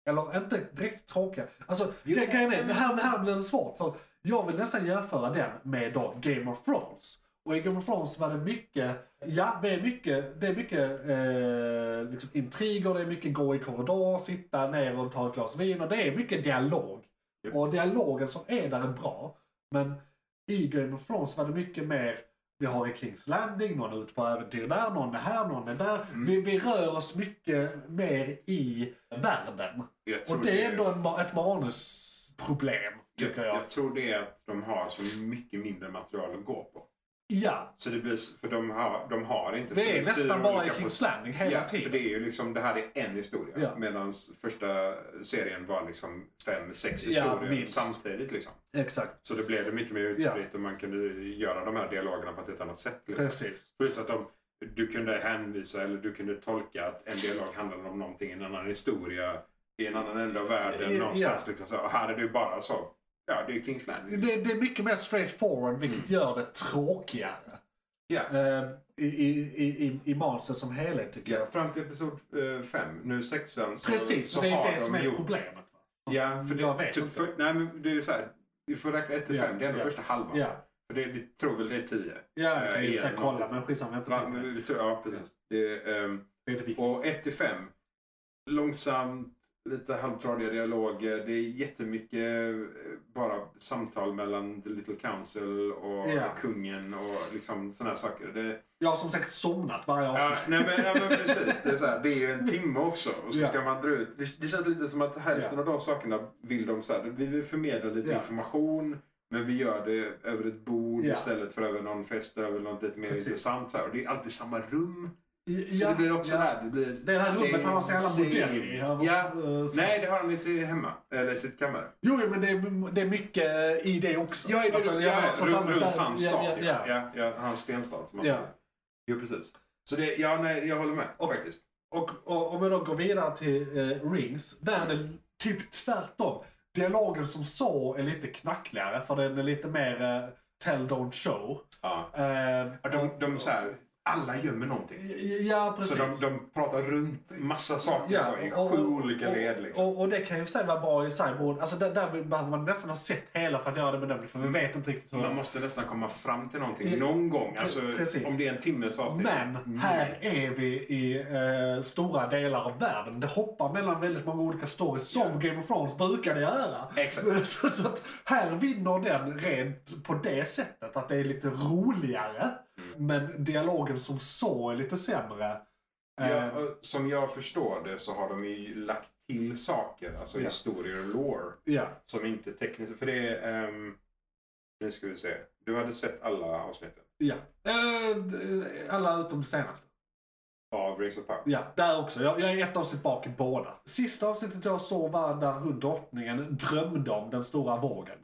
Speaker 3: Eller inte direkt tråkigare. Alltså,
Speaker 4: Jo.
Speaker 3: det, grejen är, det här, det här blir svårt. För jag vill nästan jämföra den med då Game of Thrones. Och i Game of Thrones var det mycket, ja det är mycket, det är mycket eh, liksom intriger, det är mycket gå i korridor, sitta ner och ta ett glas vin och det är mycket dialog.
Speaker 4: Japp.
Speaker 3: Och dialogen som är där är bra. Men i Game of Thrones var det mycket mer, vi har i Kings Landing, någon är ute på äventyr där, någon är här, någon är där.
Speaker 4: Mm.
Speaker 3: Vi, vi rör oss mycket mer i världen.
Speaker 4: Jag tror
Speaker 3: Och det är ändå en, ma- ett manusproblem, tycker
Speaker 4: jag,
Speaker 3: jag.
Speaker 4: jag tror det är att de har så mycket mindre material att gå på.
Speaker 3: Ja,
Speaker 4: Så det blir, s- för de har, de har inte...
Speaker 3: det
Speaker 4: fyra-
Speaker 3: är nästan
Speaker 4: fyra
Speaker 3: bara i
Speaker 4: olika
Speaker 3: Kings
Speaker 4: pos-
Speaker 3: Landing hela
Speaker 4: ja, för
Speaker 3: tiden.
Speaker 4: det är ju liksom, det här är en historia.
Speaker 3: Ja.
Speaker 4: Medan första serien var liksom fem, sex
Speaker 3: Ja,
Speaker 4: historier
Speaker 3: minst.
Speaker 4: samtidigt. Liksom.
Speaker 3: Exakt,
Speaker 4: Så det blev det mycket mer utspritt och man kunde göra de här dialogerna på ett helt annat sätt. Liksom.
Speaker 3: precis.
Speaker 4: Plus att de, du kunde hänvisa eller du kunde tolka att en dialog handlade om någonting i en annan historia i en annan ände av världen
Speaker 3: Ja.
Speaker 4: någonstans. Liksom. Så, och här är det ju bara så. Ja, det är ju Kings Landing.
Speaker 3: Det, det är mycket mer straightforward, vilket
Speaker 4: Mm.
Speaker 3: gör det tråkigare.
Speaker 4: Ja.
Speaker 3: Eh, i, i, i, i, I manuset som helhet, tycker
Speaker 4: Ja,
Speaker 3: jag.
Speaker 4: fram till episod 5, nu sexan, så,
Speaker 3: Precis,
Speaker 4: så
Speaker 3: det
Speaker 4: har
Speaker 3: är
Speaker 4: de
Speaker 3: det som är
Speaker 4: gjort...
Speaker 3: problemet. va?
Speaker 4: Ja, för
Speaker 3: Jag
Speaker 4: det,
Speaker 3: vet
Speaker 4: typ,
Speaker 3: inte.
Speaker 4: för, nej, men det är ju så här. Vi får räkna 1 till 5,
Speaker 3: Ja,
Speaker 4: det är ändå
Speaker 3: ja.
Speaker 4: första halvan.
Speaker 3: Ja,
Speaker 4: För det, vi tror väl det är 10.
Speaker 3: ja jag kan
Speaker 4: Eh,
Speaker 3: ju
Speaker 4: igen,
Speaker 3: säkert kolla,
Speaker 4: någonting.
Speaker 3: men skitsamma. Jag har
Speaker 4: Va?
Speaker 3: inte
Speaker 4: Men
Speaker 3: tänkt på det.
Speaker 4: vi tror- Ja, precis. Det, ehm,
Speaker 3: Det är det viktiga.
Speaker 4: och 1 till 5, långsamt, lite halvtradiga dialoger. Det är jättemycket eh, bara samtal mellan The Little Council och
Speaker 3: Ja.
Speaker 4: kungen och liksom sådana här saker. Det,
Speaker 3: Jag har som sagt somnat varje
Speaker 4: Ja,
Speaker 3: avsnitt.
Speaker 4: nej, men, ja, men precis. Det är, så här, det är ju en timme också. Och så
Speaker 3: Ja.
Speaker 4: ska man dra ut. Det, det känns lite som att hälften
Speaker 3: Ja.
Speaker 4: av de sakerna vill de så här. Vi vill förmedla lite
Speaker 3: Ja.
Speaker 4: information. Men vi gör det över ett bord
Speaker 3: Ja.
Speaker 4: istället för över någon fest över något lite mer
Speaker 3: Precis.
Speaker 4: intressant. Så här. Och det är alltid samma rum. Så
Speaker 3: Ja,
Speaker 4: det blir också
Speaker 3: ja.
Speaker 4: där. Det, blir
Speaker 3: Det här rummet han har så jävla
Speaker 4: same,
Speaker 3: modell
Speaker 4: same.
Speaker 3: i. Han var-
Speaker 4: Ja.
Speaker 3: eh, så-
Speaker 4: Nej, det har han i sitt hemma. Eller i sitt kammare.
Speaker 3: Jo, jo, men det är, det är mycket i det också.
Speaker 4: Ja, i det,
Speaker 3: Alltså,
Speaker 4: ja,
Speaker 3: jag
Speaker 4: ja,
Speaker 3: menar, så
Speaker 4: runt,
Speaker 3: samma
Speaker 4: runt
Speaker 3: där-
Speaker 4: hans
Speaker 3: ja,
Speaker 4: stad.
Speaker 3: ja,
Speaker 4: Ja,
Speaker 3: ja.
Speaker 4: ja. Ja, hans stenstad. Som han
Speaker 3: Ja.
Speaker 4: Jo, precis. Så det, ja, nej, jag håller med
Speaker 3: Och-
Speaker 4: faktiskt.
Speaker 3: Och, och om jag då går vidare till eh, Rings, där är
Speaker 4: Mm.
Speaker 3: det typ tvärtom. Dialogen som så är lite knackligare för den är lite mer eh, tell don't show.
Speaker 4: Ja.
Speaker 3: Eh,
Speaker 4: Ja, de, de så här, alla gömmer någonting.
Speaker 3: ja,
Speaker 4: Så
Speaker 3: precis.
Speaker 4: de, de pratar runt massa saker
Speaker 3: Ja,
Speaker 4: så, i
Speaker 3: och-
Speaker 4: sju
Speaker 3: och-
Speaker 4: olika led. Liksom.
Speaker 3: Och, och det kan ju för sig vara bra i Cyborg. Alltså där, där behöver man nästan ha sett hela för att göra det bedömning för vi vet inte riktigt hur
Speaker 4: Mm. man måste nästan komma fram till någonting
Speaker 3: Ja,
Speaker 4: någon gång.
Speaker 3: pre-
Speaker 4: Alltså,
Speaker 3: precis.
Speaker 4: om det är en timmes avsnitt. Mm. så-
Speaker 3: Men här är vi i eh, stora delar av världen. Det hoppar mellan väldigt många olika stories som Game of Thrones brukade göra.
Speaker 4: Exakt.
Speaker 3: Så, så att här vinner den rent på det sättet att det är lite roligare.
Speaker 4: Mm.
Speaker 3: Men dialogen som så är lite sämre. Eh,
Speaker 4: Ja, och som jag förstår det så har de ju lagt till saker, alltså
Speaker 3: Ja.
Speaker 4: historier och lore,
Speaker 3: ja.
Speaker 4: som inte tekniskt... För det är... ehm, nu ska vi se. Du hade sett alla avsnitten
Speaker 3: ja. Eh, d- alla utom det senaste.
Speaker 4: av Rings of Power?
Speaker 3: Ja, där också. Jag, jag är ett avsnitt bak i båda. Sista avsnittet jag såg var där hon drottningen drömde om den stora vågen.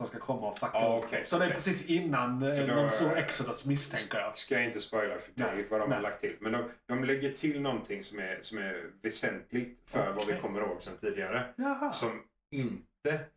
Speaker 3: som ska komma och fucka
Speaker 4: Ja,
Speaker 3: upp.
Speaker 4: okej,
Speaker 3: Så det är
Speaker 4: okej.
Speaker 3: precis innan
Speaker 4: För
Speaker 3: eh,
Speaker 4: då-
Speaker 3: någon stor Exodus misstänker jag.
Speaker 4: Ska jag inte spoila för dig
Speaker 3: Nej,
Speaker 4: vad de
Speaker 3: nej.
Speaker 4: har lagt till. Men de, de lägger till någonting som är, som är väsentligt för vad vi
Speaker 3: Okej.
Speaker 4: kommer ihåg sen tidigare.
Speaker 3: Jaha,
Speaker 4: Som inte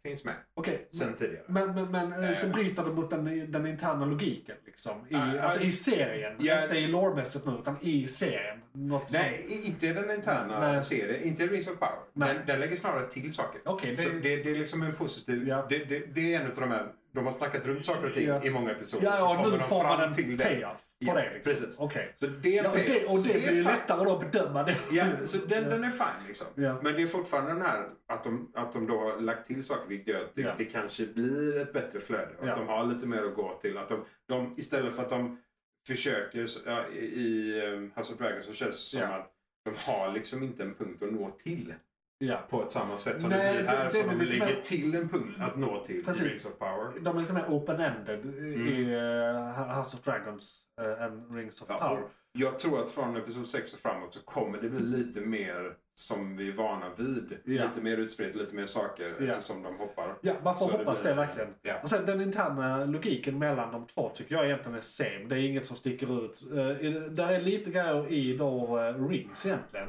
Speaker 4: finns med
Speaker 3: okej.
Speaker 4: sen tidigare.
Speaker 3: Men, men, men eh, så
Speaker 4: Eh.
Speaker 3: bryter det mot den, den interna logiken liksom. I,
Speaker 4: Ah,
Speaker 3: alltså
Speaker 4: ah,
Speaker 3: i serien.
Speaker 4: ja.
Speaker 3: Inte i lårmässigt nu, utan i serien. Något
Speaker 4: Nej, i- inte den interna
Speaker 3: Nej.
Speaker 4: serien. Inte Rings of Power.
Speaker 3: Nej.
Speaker 4: Den, den lägger snarare till saker.
Speaker 3: Okej, det-
Speaker 4: det... Så det, det är liksom en positiv...
Speaker 3: Ja.
Speaker 4: Det, det, det är en av de här... De har snackat runt saker och ting
Speaker 3: Ja.
Speaker 4: i många
Speaker 3: som...
Speaker 4: episoder. så liksom
Speaker 3: Ja, och
Speaker 4: kommer
Speaker 3: nu
Speaker 4: de
Speaker 3: får
Speaker 4: fram
Speaker 3: man en
Speaker 4: till det.
Speaker 3: payoff på
Speaker 4: Ja,
Speaker 3: det. Liksom.
Speaker 4: precis.
Speaker 3: Okej.
Speaker 4: Så det är
Speaker 3: Ja, och det, och
Speaker 4: så
Speaker 3: det blir ju
Speaker 4: fan-
Speaker 3: lättare då att bedöma det.
Speaker 4: Ja, så den, den är fine liksom.
Speaker 3: Ja.
Speaker 4: Men det är fortfarande den här att de, att de då har lagt till saker vilket gör att det,
Speaker 3: Ja.
Speaker 4: det kanske blir ett bättre flöde. och
Speaker 3: Ja.
Speaker 4: Att de har lite mer att gå till. Att de, de, istället för att de försöker så- ja, i- i eh, House of Dragons så känns det som
Speaker 3: Ja.
Speaker 4: att de har liksom inte en punkt att nå till
Speaker 3: Ja.
Speaker 4: på ett samma sätt som
Speaker 3: Nej,
Speaker 4: det blir här.
Speaker 3: det- det
Speaker 4: så
Speaker 3: är
Speaker 4: de
Speaker 3: lite
Speaker 4: lägger
Speaker 3: mer-
Speaker 4: till en punkt att nå till
Speaker 3: Precis.
Speaker 4: i Rings of Power.
Speaker 3: De är lite mer open-ended i eh, House of Dragons eh, än Rings of
Speaker 4: Mm. Ja,
Speaker 3: Power.
Speaker 4: och jag tror att från episod 6 och framåt så kommer det bli lite mer som vi är vana vid.
Speaker 3: Ja.
Speaker 4: Lite mer utspritt, lite mer saker
Speaker 3: Ja.
Speaker 4: eftersom de hoppar.
Speaker 3: Ja, man får
Speaker 4: Så det
Speaker 3: hoppas det,
Speaker 4: blir-
Speaker 3: verkligen.
Speaker 4: Ja.
Speaker 3: Och sen den interna logiken mellan de två tycker jag egentligen är same. Det är inget som sticker ut. Eh, i- där är lite grejer i då eh, Rings egentligen.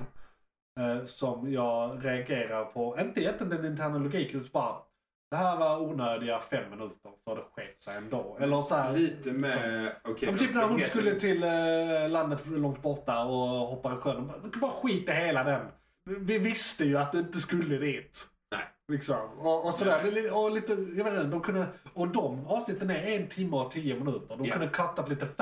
Speaker 3: eh, som jag reagerar på. Inte egentligen den interna logiken utan bara det här var onödiga fem minuter för det sket sig ändå. Eller så här,
Speaker 4: Lite
Speaker 3: liksom.
Speaker 4: med... Okej,
Speaker 3: Ja, men
Speaker 4: de-
Speaker 3: typ när
Speaker 4: de
Speaker 3: hon
Speaker 4: heter-
Speaker 3: skulle till eh, landet långt borta och hoppa i sjön. Man kan bara skita i hela den. Vi visste ju att du inte skulle dit.
Speaker 4: Nej.
Speaker 3: Liksom. Och, och sådär. Det är li- Och, lite, jag vet inte, de kunde, och de avsnitten är en timme och tio minuter. De
Speaker 4: Ja.
Speaker 3: kunde cuttat lite fett.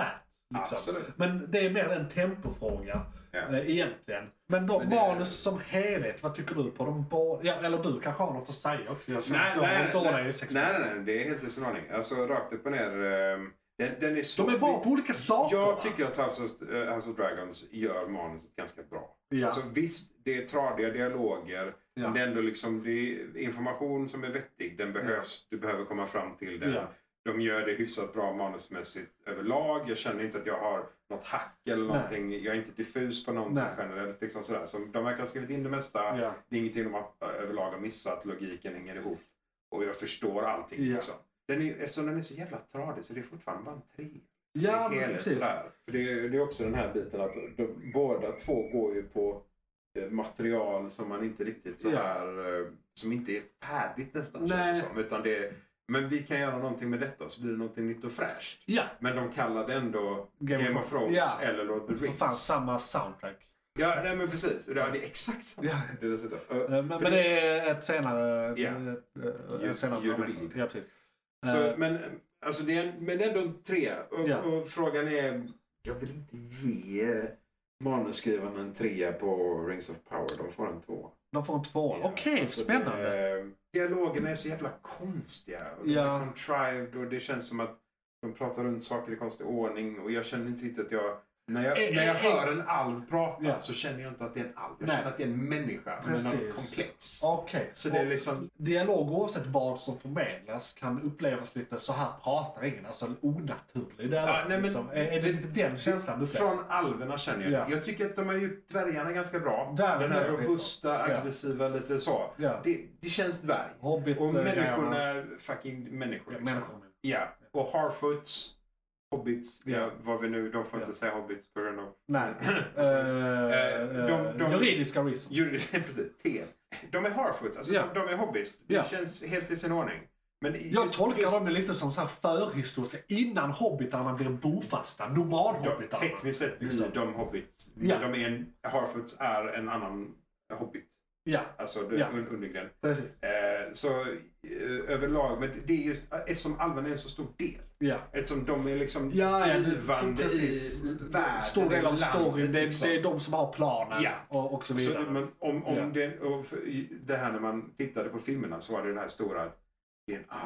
Speaker 3: Liksom.
Speaker 4: Absolut.
Speaker 3: Men det är mer en tempofråga
Speaker 4: Ja.
Speaker 3: eh, egentligen. Men de
Speaker 4: Men det-
Speaker 3: manus som helhet, vad tycker du på dem båda? Ja, eller du kanske har något att säga också? Jag känner
Speaker 4: Nej,
Speaker 3: att jag har
Speaker 4: nej,
Speaker 3: hållit
Speaker 4: nej,
Speaker 3: av dig i
Speaker 4: nej,
Speaker 3: sex
Speaker 4: nej,
Speaker 3: minuter.
Speaker 4: nej, det är helt i sin ordning. Alltså rakt upp och ner. ehm, Den, den är svår.
Speaker 3: De är bra på olika saker. va?
Speaker 4: Jag tycker att House of, eh, House of Dragons gör manuset ganska bra.
Speaker 3: ja.
Speaker 4: Alltså, visst, det är tradiga dialoger.
Speaker 3: Ja.
Speaker 4: Men det är ändå liksom det är information som är vettig. Den behövs. Du behöver komma fram till den.
Speaker 3: Ja.
Speaker 4: De gör det hyfsat bra manusmässigt överlag. Jag känner inte att jag har något hack eller
Speaker 3: Nej.
Speaker 4: någonting. Jag är inte diffus på någonting
Speaker 3: Nej.
Speaker 4: generellt. Liksom sådär. Så de verkar ha skrivit in det mesta.
Speaker 3: Ja.
Speaker 4: Det är ingenting de har, eh, överlag har missat. Logiken hänger ihop. Och jag förstår allting.
Speaker 3: Ja.
Speaker 4: Liksom. Den är, eftersom den är så jävla tradig så det är fortfarande bara en tre.
Speaker 3: Ja,
Speaker 4: det är
Speaker 3: men
Speaker 4: helhet
Speaker 3: precis.
Speaker 4: sådär. För det, är, det är också den här biten att de, båda två går ju på eh, material som man inte riktigt så
Speaker 3: Ja.
Speaker 4: här, eh, som inte är färdigt nästan
Speaker 3: Nej.
Speaker 4: känns det som. Utan det är, men vi kan göra någonting med detta så blir det någonting nytt och fräscht.
Speaker 3: Ja,
Speaker 4: Men de kallar det ändå
Speaker 3: Game
Speaker 4: Game,
Speaker 3: of
Speaker 4: of Thrones
Speaker 3: Ja.
Speaker 4: eller Lord of the
Speaker 3: för
Speaker 4: Rings.
Speaker 3: fan samma soundtrack.
Speaker 4: Ja, nej men precis. Ja, det är exakt samma.
Speaker 3: Ja.
Speaker 4: Det är dessutom.
Speaker 3: Eh, Men, men det är ett senare... eh,
Speaker 4: Ja.
Speaker 3: Yeah.
Speaker 4: Ljud-
Speaker 3: senare
Speaker 4: ljud och
Speaker 3: moment.
Speaker 4: bild.
Speaker 3: Ja, precis.
Speaker 4: Så,
Speaker 3: Eh,
Speaker 4: men, alltså det är, men det är ändå en tre. Och,
Speaker 3: Ja.
Speaker 4: och frågan är... Jag vill inte ge manusskrivarna en trea på Rings of Power. De får en två.
Speaker 3: de får en tvåa. Okej, spännande.
Speaker 4: alltså Det, dialogerna är så jävla konstiga. Och
Speaker 3: Ja.
Speaker 4: De är contrived och det känns som att de pratar runt saker i konstig ordning. Och jag känner inte riktigt att jag... När jag,
Speaker 3: Eh,
Speaker 4: när jag
Speaker 3: eh,
Speaker 4: hör en alv prata
Speaker 3: Ja.
Speaker 4: så känner jag inte att det är en alv. Jag
Speaker 3: Nej.
Speaker 4: känner att det är en människa. Men den är
Speaker 3: Precis.
Speaker 4: komplex.
Speaker 3: Okej.
Speaker 4: Så det är
Speaker 3: Och
Speaker 4: liksom-
Speaker 3: Dialog oavsett vad som förmedlas kan upplevas lite så här pratar ingen. Alltså onaturlig dialog.
Speaker 4: Ja, nej, men-
Speaker 3: liksom. är, är det lite den känslan du upplever?
Speaker 4: Från alverna känner jag.
Speaker 3: Ja.
Speaker 4: Jag tycker att de har gjort dvärgarna ganska bra.
Speaker 3: Där
Speaker 4: Den
Speaker 3: är
Speaker 4: här
Speaker 3: det skitbra.
Speaker 4: robusta,
Speaker 3: Ja.
Speaker 4: aggressiva, lite så.
Speaker 3: Ja.
Speaker 4: Det, det känns dvärg.
Speaker 3: Hobbit...
Speaker 4: Och
Speaker 3: eh,
Speaker 4: människorna,
Speaker 3: grejerna.
Speaker 4: är fucking människor.
Speaker 3: Ja,
Speaker 4: liksom.
Speaker 3: människorna.
Speaker 4: Ja. Och harfoots, hobbits, ja.
Speaker 3: Ja.
Speaker 4: vad vi nu, de får
Speaker 3: Ja.
Speaker 4: inte säga hobbits på grund av...
Speaker 3: Nej. Eh, eh,
Speaker 4: de- de-
Speaker 3: juridiska reasons.
Speaker 4: Jo, precis. Te. De är harfoots, alltså
Speaker 3: Ja.
Speaker 4: de, de är hobbits. Det
Speaker 3: Ja.
Speaker 4: känns helt i sin ordning. Men
Speaker 3: Jag
Speaker 4: just-
Speaker 3: tolkar
Speaker 4: just-
Speaker 3: dem lite som så här förhistoriska, innan hobbitarna blir bofasta,
Speaker 4: de,
Speaker 3: nomadhobbitarna.
Speaker 4: Tekniskt sett blir
Speaker 3: liksom.
Speaker 4: de hobbits.
Speaker 3: Ja.
Speaker 4: De är en, harfoots är en annan hobbit.
Speaker 3: Ja,
Speaker 4: Alltså det-
Speaker 3: Ja.
Speaker 4: un, undergren.
Speaker 3: precis.
Speaker 4: Eh, så eh, överlag, men det är just eh, eftersom alverna är en så stor del.
Speaker 3: Ja.
Speaker 4: Eftersom de är liksom
Speaker 3: Ja, ja,
Speaker 4: drivande
Speaker 3: precis.
Speaker 4: i världen.
Speaker 3: Stor del av
Speaker 4: landet,
Speaker 3: storyn, det, är-
Speaker 4: liksom.
Speaker 3: det är de som har planen
Speaker 4: Ja.
Speaker 3: och, och så
Speaker 4: så,
Speaker 3: vidare.
Speaker 4: men om, om
Speaker 3: Ja.
Speaker 4: det, och för- i- det här när man tittade på filmerna så var det den här stora att det är en alv.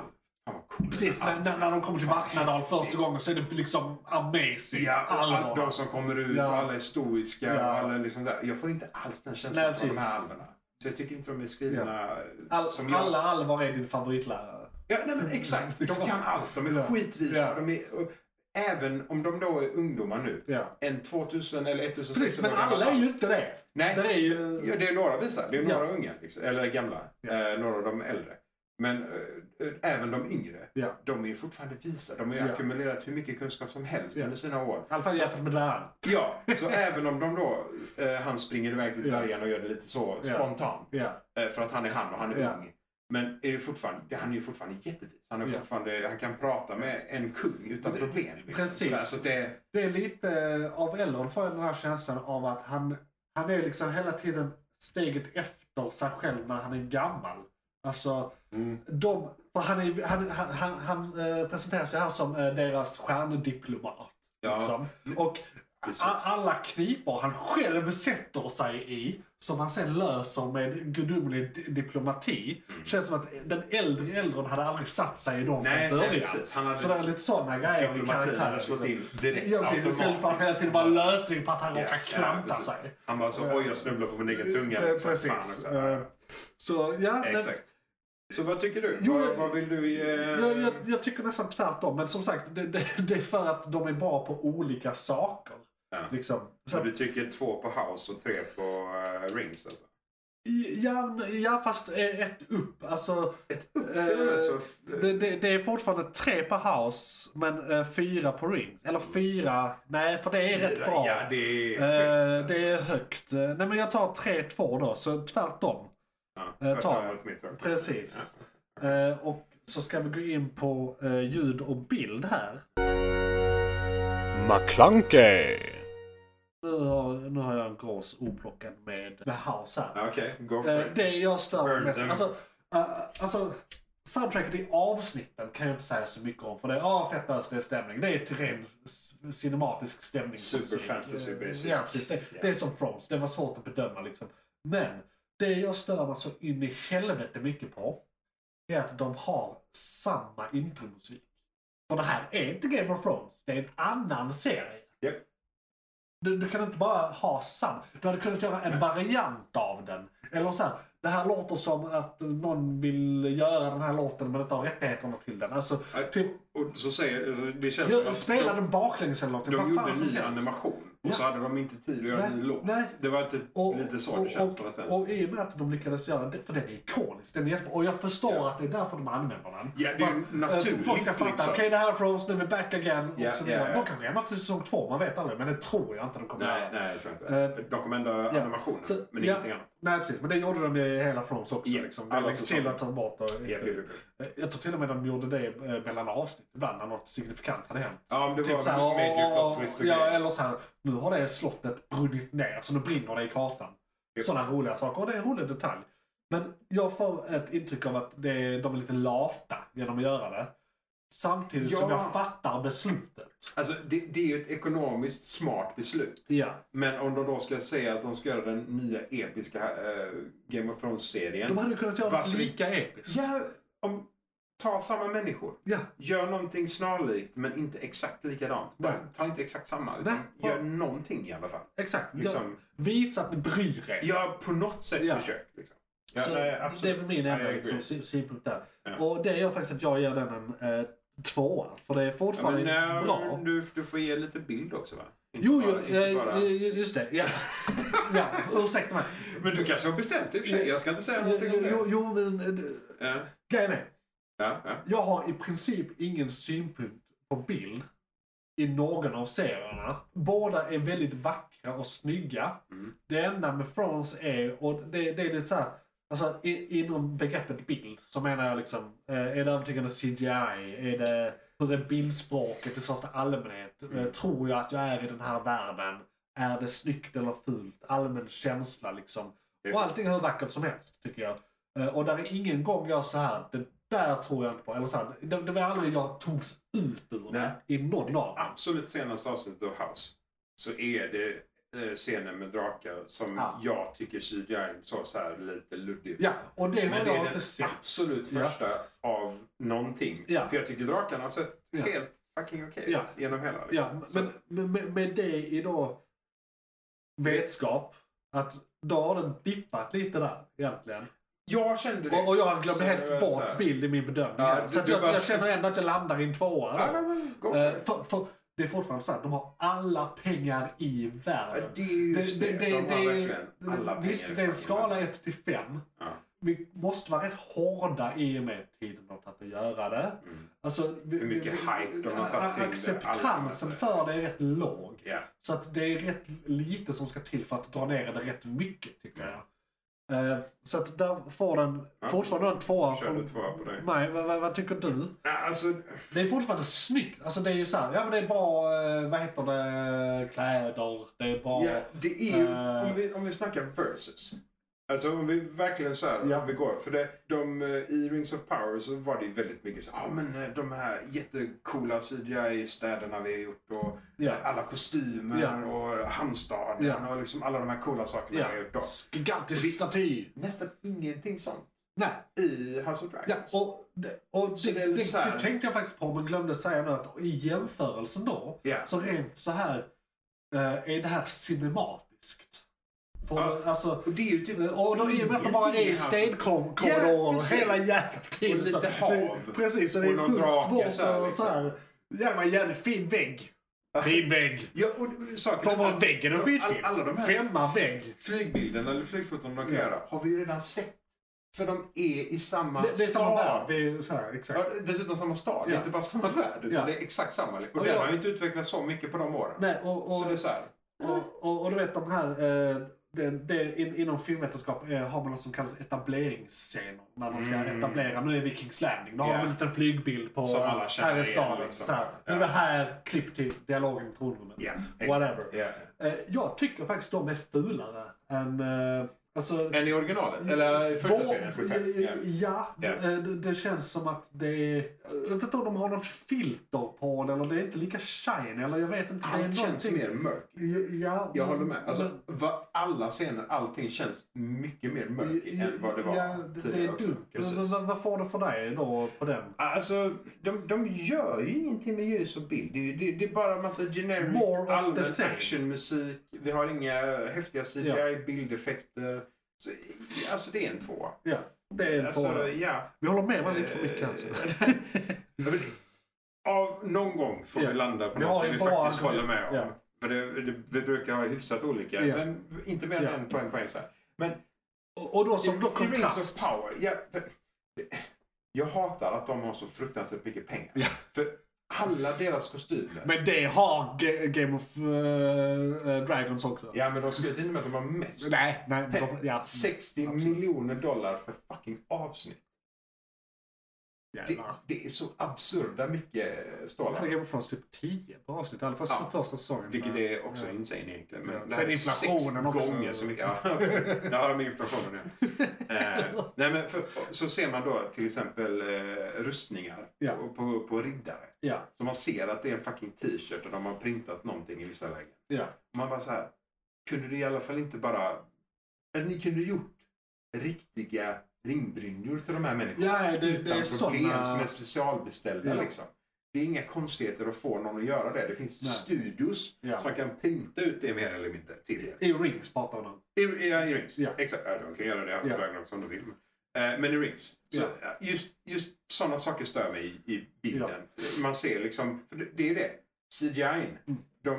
Speaker 4: Fan vad cool
Speaker 3: precis,
Speaker 4: den
Speaker 3: när,
Speaker 4: alven
Speaker 3: när, när de kommer till
Speaker 4: Fan,
Speaker 3: Vattenadal
Speaker 4: häftigt.
Speaker 3: första gången så är det liksom amazing.
Speaker 4: Ja, och alla
Speaker 3: Allvar.
Speaker 4: de som kommer ut
Speaker 3: Ja.
Speaker 4: och alla är stoiska.
Speaker 3: Ja.
Speaker 4: Och alla är liksom där. Jag får inte alls den känslan
Speaker 3: Nej,
Speaker 4: från de här
Speaker 3: precis.
Speaker 4: alverna. Så jag tycker inte de är skrivna
Speaker 3: All,
Speaker 4: som jag.
Speaker 3: alla Alvar är din favoritlärare.
Speaker 4: Ja, nej, men exakt. De
Speaker 3: Liksom.
Speaker 4: kan allt. De är
Speaker 3: Ja.
Speaker 4: skitvisa.
Speaker 3: Ja.
Speaker 4: De är, och, även om de då är ungdomar nu.
Speaker 3: Ja.
Speaker 4: En 2000 eller 1600
Speaker 3: Precis, men alla är ju inte det.
Speaker 4: Nej,
Speaker 3: Det är ju...
Speaker 4: ja, det är några visa. Det är några
Speaker 3: Ja.
Speaker 4: unga. Liksom, eller gamla.
Speaker 3: Ja.
Speaker 4: Eh, några av dem är äldre. Men eh, eh, även de yngre,
Speaker 3: Ja.
Speaker 4: de är ju fortfarande visa. De har ju
Speaker 3: Ja.
Speaker 4: ackumulerat hur mycket kunskap som helst
Speaker 3: Ja.
Speaker 4: under sina år.
Speaker 3: I alla fall jämfört med dvärgen.
Speaker 4: Ja, så även om de då, eh, han springer iväg till
Speaker 3: Ja.
Speaker 4: dvärgen och gör det lite så spontant.
Speaker 3: Ja.
Speaker 4: Eh, för att han är han och han är
Speaker 3: Ja.
Speaker 4: ung. Men är det fortfarande, ja, han är ju fortfarande jättevis. Han, är
Speaker 3: Ja.
Speaker 4: fortfarande, han kan prata med en kung utan
Speaker 3: Det-
Speaker 4: problem. liksom.
Speaker 3: precis.
Speaker 4: Sådär, Så det,
Speaker 3: Det är lite eh, av Elrond får jag den här känslan av att han, han är liksom hela tiden steget efter sig själv när han är gammal. Alltså, de, för han, är, han, han, han, han eh, presenteras ju här som eh, deras stjärndiplomat.
Speaker 4: ja, Mm.
Speaker 3: Liksom. Och
Speaker 4: precis.
Speaker 3: a- alla knipor han själv sätter sig i, som han sen löser med gudomlig di- diplomati.
Speaker 4: Mm.
Speaker 3: Känns som att den äldre Elrond hade aldrig satt sig i dem
Speaker 4: nej,
Speaker 3: från
Speaker 4: nej,
Speaker 3: början.
Speaker 4: precis. Han hade
Speaker 3: Så det är lite sådana grejer i
Speaker 4: diplomatin
Speaker 3: karaktären.
Speaker 4: hade slått
Speaker 3: liksom.
Speaker 4: in direkt.
Speaker 3: Ja, precis. Istället för att hela tiden vara en lösning på att han
Speaker 4: Ja,
Speaker 3: råkar
Speaker 4: ja,
Speaker 3: klanta
Speaker 4: precis.
Speaker 3: sig.
Speaker 4: Han bara så, oj jag snubblar på min egen tunga.
Speaker 3: Eh,
Speaker 4: liksom. Fan
Speaker 3: Precis.
Speaker 4: också.
Speaker 3: Eh, Så ja, men,
Speaker 4: Exakt. Så vad tycker du?
Speaker 3: Jo,
Speaker 4: vad,
Speaker 3: jag-
Speaker 4: vad vill du eh, ge?
Speaker 3: jag, jag, jag tycker nästan tvärtom. Men som sagt, det, det, det är för att de är bra på olika saker.
Speaker 4: Ja.
Speaker 3: Liksom. Så
Speaker 4: Så
Speaker 3: att,
Speaker 4: du tycker två på House och tre på eh, Rings alltså?
Speaker 3: ja, ja, fast eh, ett upp. Alltså, eh,
Speaker 4: alltså, f-
Speaker 3: det, det, det är fortfarande tre på House, men eh, fyra på Rings. Eller fyra, nej för det är rätt bra.
Speaker 4: Ja, det är...
Speaker 3: Eh,
Speaker 4: högt,
Speaker 3: det är högt. Eh, Nej men jag tar 3-2 då, så tvärtom.
Speaker 4: alltså.
Speaker 3: eh,
Speaker 4: Ja,
Speaker 3: tar-
Speaker 4: tvärtom mot mitt, tror jag.
Speaker 3: Precis.
Speaker 4: Ja.
Speaker 3: Eh, och så ska vi gå in på eh, ljud och bild här.
Speaker 2: McClunkey,
Speaker 3: Nu har, nu har jag en grås oplockad med The House här.
Speaker 4: Ja, Okej, go for
Speaker 3: Eh,
Speaker 4: it.
Speaker 3: det jag stör mig
Speaker 4: Burn
Speaker 3: mest
Speaker 4: them.
Speaker 3: alltså, eh, alltså soundtracket i avsnitten kan jag inte säga så mycket om. För det är ah, fett nice, det är stämning. Det är till ren s- cinematisk stämning.
Speaker 4: Super fantasy, basically.
Speaker 3: Ja, precis. Det, det är som Thrones. Det var svårt att bedöma liksom. Men det jag stör mig så in i helvete mycket på är att de har samma intromusik. För det här är inte Game of Thrones. Det är en annan serie.
Speaker 4: Japp.
Speaker 3: Du, du kan inte bara ha samma. Du hade kunnat göra en variant av den. Eller så här, det här låter som att någon vill göra den här låten men inte har rättigheterna till den. Alltså,
Speaker 4: Ja,
Speaker 3: typ,
Speaker 4: Eh, Och så säger... alltså, Det känns
Speaker 3: jag,
Speaker 4: som att
Speaker 3: spela den baklänges eller något.
Speaker 4: de, de
Speaker 3: Vad fan
Speaker 4: gjorde en
Speaker 3: som
Speaker 4: ny
Speaker 3: helst.
Speaker 4: animation och
Speaker 3: Ja.
Speaker 4: så hade de inte tid att göra en
Speaker 3: Nej,
Speaker 4: ny låt.
Speaker 3: nej.
Speaker 4: Det var typ
Speaker 3: Och,
Speaker 4: lite så
Speaker 3: och,
Speaker 4: det känns
Speaker 3: och,
Speaker 4: på något vänster.
Speaker 3: och i och med att de lyckades göra det, för den är ikonisk, den är jättebra. Och jag förstår
Speaker 4: Ja.
Speaker 3: att det är därför de använder den.
Speaker 4: Ja, det är ju
Speaker 3: För att, eh,
Speaker 4: naturligt,
Speaker 3: Folk ska fatta,
Speaker 4: liksom.
Speaker 3: okej det här är Thrones, nu är vi back again.
Speaker 4: Ja,
Speaker 3: och så
Speaker 4: ja,
Speaker 3: vidare.
Speaker 4: ja.
Speaker 3: De kan lämna till säsong två, man vet aldrig. Men det tror jag inte de kommer
Speaker 4: Nej,
Speaker 3: göra.
Speaker 4: nej, jag tror inte.
Speaker 3: Eh,
Speaker 4: de kommer ändra
Speaker 3: ja.
Speaker 4: animationen,
Speaker 3: Så-
Speaker 4: men
Speaker 3: ja.
Speaker 4: ingenting annat.
Speaker 3: Nej precis, men det gjorde de ju i hela Thrones också.
Speaker 4: Ja,
Speaker 3: Liksom. Det
Speaker 4: alla
Speaker 3: läggs till
Speaker 4: säsonger.
Speaker 3: att ta bort. Och,
Speaker 4: Ja, det- det- det.
Speaker 3: Jag tror till och med de gjorde det eh, mellan avsnitt ibland när något signifikant hade hänt.
Speaker 4: Ja, men det var
Speaker 3: såhär,
Speaker 4: major
Speaker 3: "Åh",
Speaker 4: plot twist och
Speaker 3: ja,
Speaker 4: grejer.
Speaker 3: eller så här, nu har det slottet brunnit ner så nu brinner det i kartan.
Speaker 4: Ja.
Speaker 3: Sådana roliga saker. Och det är en rolig detalj. Men jag får ett intryck av att det är, de är lite lata genom att göra det. Samtidigt
Speaker 4: Ja.
Speaker 3: som jag fattar beslutet.
Speaker 4: Alltså, det, det är ju ett ekonomiskt smart beslut.
Speaker 3: Ja.
Speaker 4: Men om de då ska säga att de ska göra den nya episka eh, Game of Thrones-serien.
Speaker 3: De hade ju kunnat göra
Speaker 4: Varför
Speaker 3: något lika episkt.
Speaker 4: Ja, om, ta samma människor.
Speaker 3: Ja.
Speaker 4: Gör någonting snarlikt men inte exakt likadant. Bara,
Speaker 3: Nej.
Speaker 4: ta inte exakt samma. Utan
Speaker 3: Nej.
Speaker 4: gör någonting i alla fall.
Speaker 3: Exakt.
Speaker 4: Liksom,
Speaker 3: Ja, visa att ni bryr er.
Speaker 4: ja, på något sätt
Speaker 3: Ja.
Speaker 4: försök. Liksom. Ja,
Speaker 3: så
Speaker 4: nej,
Speaker 3: det är
Speaker 4: absolut.
Speaker 3: väl min
Speaker 4: Ja,
Speaker 3: enda
Speaker 4: jag
Speaker 3: liksom,
Speaker 4: agree.
Speaker 3: sy- synpunkt där.
Speaker 4: Ja.
Speaker 3: Och det gör faktiskt att jag ger den en eh, tvåa. För det är
Speaker 4: Ja,
Speaker 3: fortfarande
Speaker 4: men, nej,
Speaker 3: bra.
Speaker 4: Du, du får ge lite bild också va? Inte
Speaker 3: Jo,
Speaker 4: bara-
Speaker 3: jo,
Speaker 4: inte
Speaker 3: eh,
Speaker 4: bara-
Speaker 3: ju- ju- just det. Ja. ja, ursäkta mig.
Speaker 4: Men du kanske har bestämt dig i och för sig. Jag ska inte säga någonting om
Speaker 3: Jo,
Speaker 4: det.
Speaker 3: eh, jo, jo men eh,
Speaker 4: Ja,
Speaker 3: grejen är.
Speaker 4: ja, ja.
Speaker 3: Jag har i princip ingen synpunkt på bild i någon av serierna. Båda är väldigt vackra och snygga.
Speaker 4: Mm.
Speaker 3: Det enda med Thrones är, och det, det är lite såhär, alltså i, inom begreppet bild så menar jag liksom, eh, är det övertygande CGI? Är det, hur är bildspråket i största allmänhet?
Speaker 4: Mm.
Speaker 3: Eh, Tror jag att jag är i den här världen? Är det snyggt eller fult? Allmän känsla liksom.
Speaker 4: Ja.
Speaker 3: Och allting är hur vackert som helst tycker jag. Eh, Och där är ingen gång jag så här, det där tror jag inte på. Eller så här, det, det var aldrig jag togs ut ur det i någon av dem.
Speaker 4: absolut senaste avsnittet av House så är det eh, scenen med drakar som
Speaker 3: Ja.
Speaker 4: jag tycker CGI så, så här lite luddigt.
Speaker 3: Ja, och det har
Speaker 4: Men det
Speaker 3: jag
Speaker 4: är
Speaker 3: inte
Speaker 4: den
Speaker 3: sett.
Speaker 4: absolut
Speaker 3: Ja.
Speaker 4: första av någonting.
Speaker 3: Ja.
Speaker 4: För jag tycker drakarna har sett
Speaker 3: Ja.
Speaker 4: helt fucking okej
Speaker 3: Ja.
Speaker 4: ut genom hela. liksom.
Speaker 3: Ja,
Speaker 4: Så-
Speaker 3: men men- med, med det i då vetskap att då har den dippat lite där egentligen.
Speaker 4: jag kände det.
Speaker 3: Och, och jag glömde
Speaker 4: Så det var
Speaker 3: helt
Speaker 4: så
Speaker 3: bort
Speaker 4: här-
Speaker 3: bild i min bedömning.
Speaker 4: Ja,
Speaker 3: här.
Speaker 4: du-
Speaker 3: så att
Speaker 4: du
Speaker 3: jag,
Speaker 4: bara-
Speaker 3: jag känner ändå att jag landar i en tvåa.
Speaker 4: Ja,
Speaker 3: då.
Speaker 4: nej, men go for
Speaker 3: Eh,
Speaker 4: it.
Speaker 3: för, för, det är fortfarande så här, de har alla pengar i
Speaker 4: Ja,
Speaker 3: världen.
Speaker 4: det är just det.
Speaker 3: det,
Speaker 4: De har
Speaker 3: det,
Speaker 4: verkligen alla pengar
Speaker 3: visst,
Speaker 4: i
Speaker 3: det är en
Speaker 4: fucking
Speaker 3: skala
Speaker 4: världen.
Speaker 3: 1 till 5.
Speaker 4: Ja.
Speaker 3: vi måste vara rätt hårda i och med tiden de har tagit att göra det.
Speaker 4: Mm.
Speaker 3: Alltså, vi-
Speaker 4: Hur mycket
Speaker 3: vi-
Speaker 4: hype de har tagit till det, allt
Speaker 3: Acceptansen
Speaker 4: det här.
Speaker 3: för det är rätt låg.
Speaker 4: Ja.
Speaker 3: Så att det är rätt lite som ska till för att dra ner det rätt mycket tycker jag. Eh, Så att där får den
Speaker 4: Ja.
Speaker 3: fortfarande en tvåa.
Speaker 4: Kör
Speaker 3: från
Speaker 4: du tvåa på det?
Speaker 3: mig. vad, vad, vad tycker du?
Speaker 4: Ja, Alltså,
Speaker 3: Det är fortfarande snyggt. Alltså det är ju så här, ja men det är bra, eh, vad heter det, kläder, det är bra.
Speaker 4: ja, det är ju,
Speaker 3: Eh.
Speaker 4: om, vi, om vi snackar versus. Alltså om vi verkligen så här,
Speaker 3: Ja.
Speaker 4: om vi går. För det, de, eh, i Rings of Power så var det ju väldigt mycket så ja ah, men eh, de här jättecoola CGI-städerna vi har gjort och
Speaker 3: Ja.
Speaker 4: alla kostymer
Speaker 3: Ja.
Speaker 4: och handstaden
Speaker 3: Ja.
Speaker 4: och liksom alla de här coola sakerna
Speaker 3: Ja.
Speaker 4: vi har gjort då.
Speaker 3: Gigantisk staty.
Speaker 4: Nästan ingenting sånt
Speaker 3: Nej.
Speaker 4: i House of
Speaker 3: Ja,
Speaker 4: Dragons.
Speaker 3: och det, och
Speaker 4: Så
Speaker 3: det,
Speaker 4: det är
Speaker 3: det,
Speaker 4: lite så här-
Speaker 3: det tänkte jag faktiskt på men glömde säga nu att i jämförelsen då
Speaker 4: Ja.
Speaker 3: Så rent så här eh, är det här cinematiskt. För,
Speaker 4: Ja.
Speaker 3: Alltså,
Speaker 4: Och det är ju typ
Speaker 3: och då i och med att det bara
Speaker 4: ingenting i
Speaker 3: är
Speaker 4: House of- Ja,
Speaker 3: stenkorridorer
Speaker 4: precis.
Speaker 3: hela jävla tiden.
Speaker 4: Och lite
Speaker 3: så, det-
Speaker 4: hav.
Speaker 3: Precis, så det
Speaker 4: Och
Speaker 3: är
Speaker 4: någon
Speaker 3: sjukt
Speaker 4: drake
Speaker 3: svårt att
Speaker 4: så här,
Speaker 3: så
Speaker 4: liksom.
Speaker 3: här. Jävla jävligt fin vägg. Fin vägg.
Speaker 4: Ja, och saken
Speaker 3: Vad var väggen en skitfilm?
Speaker 4: Alla de här
Speaker 3: Femma vägg.
Speaker 4: flygbilderna eller flygfoton de kan
Speaker 3: Ja.
Speaker 4: göra har vi ju redan sett. För de är i samma
Speaker 3: Det, det är samma
Speaker 4: stad.
Speaker 3: värld. Det är så här, exakt.
Speaker 4: Ja, dessutom samma stad, det är
Speaker 3: Ja.
Speaker 4: inte bara samma värld. Utan
Speaker 3: Ja.
Speaker 4: det är exakt samma. Och,
Speaker 3: Och
Speaker 4: den
Speaker 3: jag-
Speaker 4: har ju inte utvecklats så mycket på de åren.
Speaker 3: Nej, och, och,
Speaker 4: så det är så här.
Speaker 3: Och, och, och du vet de här, eh, det, det, in, inom filmvetenskap eh, har man något som kallas etableringsscener. När de ska
Speaker 4: Mm.
Speaker 3: etablera, nu är vi Kings Landing, då har
Speaker 4: Ja.
Speaker 3: man en liten flygbild på
Speaker 4: Som alla känner
Speaker 3: här är
Speaker 4: igen,
Speaker 3: staden.
Speaker 4: liksom.
Speaker 3: Så här, Nu
Speaker 4: Ja.
Speaker 3: är vi här, klipp till dialogen i tronrummet.
Speaker 4: Ja,
Speaker 3: Whatever.
Speaker 4: Ja.
Speaker 3: Eh, jag tycker faktiskt de är fulare än... Eh, alltså,
Speaker 4: Än i originalet? Eller i första
Speaker 3: Vår-
Speaker 4: serien, ska vi säga. Ja.
Speaker 3: Ja,
Speaker 4: Ja.
Speaker 3: Det, eh, det- det känns som att det är... Jag vet inte om de har något filter på det, eller det är inte lika shiny, eller jag vet inte. det är
Speaker 4: Allt känns
Speaker 3: någonting- Mm.
Speaker 4: mer mörkt.
Speaker 3: Ja,
Speaker 4: Jag
Speaker 3: men-
Speaker 4: håller med. Alltså,
Speaker 3: men-
Speaker 4: va, alla scener, allting känns mycket mer mörkt än vad det var
Speaker 3: ja, det, det
Speaker 4: tidigare
Speaker 3: är
Speaker 4: också.
Speaker 3: dumt.
Speaker 4: Precis.
Speaker 3: Men vad- Vad får det för dig då på den?
Speaker 4: Alltså, de, de gör ju ingenting med ljus och bild. Det, är ju- det, det är bara massa generic
Speaker 3: More of the
Speaker 4: allmän
Speaker 3: same.
Speaker 4: actionmusik. Vi har inga häftiga CGI-bildeffekter. Så, alltså, det är en tvåa.
Speaker 3: Ja, det är en
Speaker 4: Alltså,
Speaker 3: alltså,
Speaker 4: ja.
Speaker 3: Vi håller med varandra lite för mycket kanske.
Speaker 4: Eh, jag vet- Av någon gång får
Speaker 3: Ja.
Speaker 4: vi landa på
Speaker 3: Vi har
Speaker 4: något
Speaker 3: ju
Speaker 4: vi
Speaker 3: bara-
Speaker 4: faktiskt håller med om.
Speaker 3: Ja.
Speaker 4: För det, det, vi brukar ha hyfsat olika,
Speaker 3: Ja.
Speaker 4: men inte mer än
Speaker 3: Ja.
Speaker 4: en poäng, poäng så här. Men
Speaker 3: Och och då som då
Speaker 4: i- i Rings
Speaker 3: kontrast.
Speaker 4: of Power. Jag, jag hatar att de har så fruktansvärt mycket pengar.
Speaker 3: Ja.
Speaker 4: För alla deras kostymer.
Speaker 3: Men det har Ga- Game of eh, eh, Dragons också.
Speaker 4: Ja, men de skryter inte med att de har mest.
Speaker 3: Nej, nej. men de- Ja. mm,
Speaker 4: 60
Speaker 3: Absolut.
Speaker 4: miljoner dollar per fucking avsnitt. Det,
Speaker 3: Jävlar.
Speaker 4: det är så absurda mycket
Speaker 3: Jag hade
Speaker 4: stålar.
Speaker 3: Game of Thrones typ 10 på avsnitt, i alla fall
Speaker 4: Ja.
Speaker 3: för första säsongen.
Speaker 4: Vilket är också
Speaker 3: Ja.
Speaker 4: insane egentligen. Men
Speaker 3: Ja.
Speaker 4: det här
Speaker 3: Sen
Speaker 4: är sex
Speaker 3: inflationen också.
Speaker 4: gånger så mycket. Ja, där har de inflationen nu. Eh, nej, men för, så ser man då till exempel eh, rustningar
Speaker 3: Ja.
Speaker 4: på, på, på riddare.
Speaker 3: Ja,
Speaker 4: Så man ser att det är en fucking t-shirt och de har printat någonting i vissa lägen.
Speaker 3: ja.
Speaker 4: Man bara så här. Kunde du i alla fall inte bara... Att ni kunde gjort riktiga ringbrynjor till de här människorna.
Speaker 3: Ja, det, det är
Speaker 4: utan problem
Speaker 3: sådana...
Speaker 4: som är specialbeställda
Speaker 3: Ja.
Speaker 4: liksom. Det är inga konstigheter att få någon att göra det. Det finns
Speaker 3: Nej.
Speaker 4: studios
Speaker 3: Ja.
Speaker 4: som kan pinta ut det mer eller mindre till er.
Speaker 3: I Rings pratar man om.
Speaker 4: I, i, i Rings.
Speaker 3: Ja.
Speaker 4: Exakt. Ja, de kan göra det i
Speaker 3: Ja.
Speaker 4: House of också om de vill. Men, eh, men i Rings. Så,
Speaker 3: Ja.
Speaker 4: eh, just, just sådana saker stör mig i, i bilden. Man ser liksom, för det, det är det. CGI. n.
Speaker 3: Mm.
Speaker 4: De,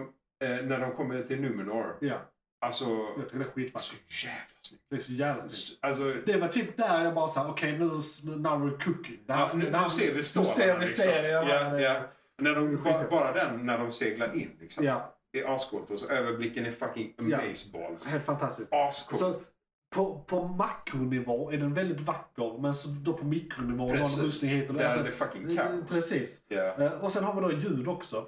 Speaker 4: eh, när de kommer till Numenor.
Speaker 3: Ja,
Speaker 4: Alltså,
Speaker 3: jag tycker det är skitvackert.
Speaker 4: så jävla snyggt.
Speaker 3: Det är så jävla snyggt.
Speaker 4: S- Alltså,
Speaker 3: Det var typ där jag bara såhär, okej nu, now we're cooking. Det
Speaker 4: alltså, nu,
Speaker 3: det
Speaker 4: nu ser vi
Speaker 3: Nu
Speaker 4: stålarna.
Speaker 3: ser vi
Speaker 4: liksom.
Speaker 3: serien.
Speaker 4: Ja, ja. När
Speaker 3: Det är
Speaker 4: de, bara,
Speaker 3: skithäftigt.
Speaker 4: bara den när de seglar in. Liksom.
Speaker 3: Ja,
Speaker 4: Det är ascoolt. Och så överblicken är fucking
Speaker 3: Ja.
Speaker 4: amazeballs.
Speaker 3: helt fantastiskt.
Speaker 4: Ascoolt.
Speaker 3: Så att på, på makronivå är den väldigt vacker, men så då på mikronivå har den
Speaker 4: Precis.
Speaker 3: rustning hit och alltså-
Speaker 4: Där är det fucking kaos.
Speaker 3: Precis.
Speaker 4: Ja.
Speaker 3: Eh, Och sen har vi då ljud också.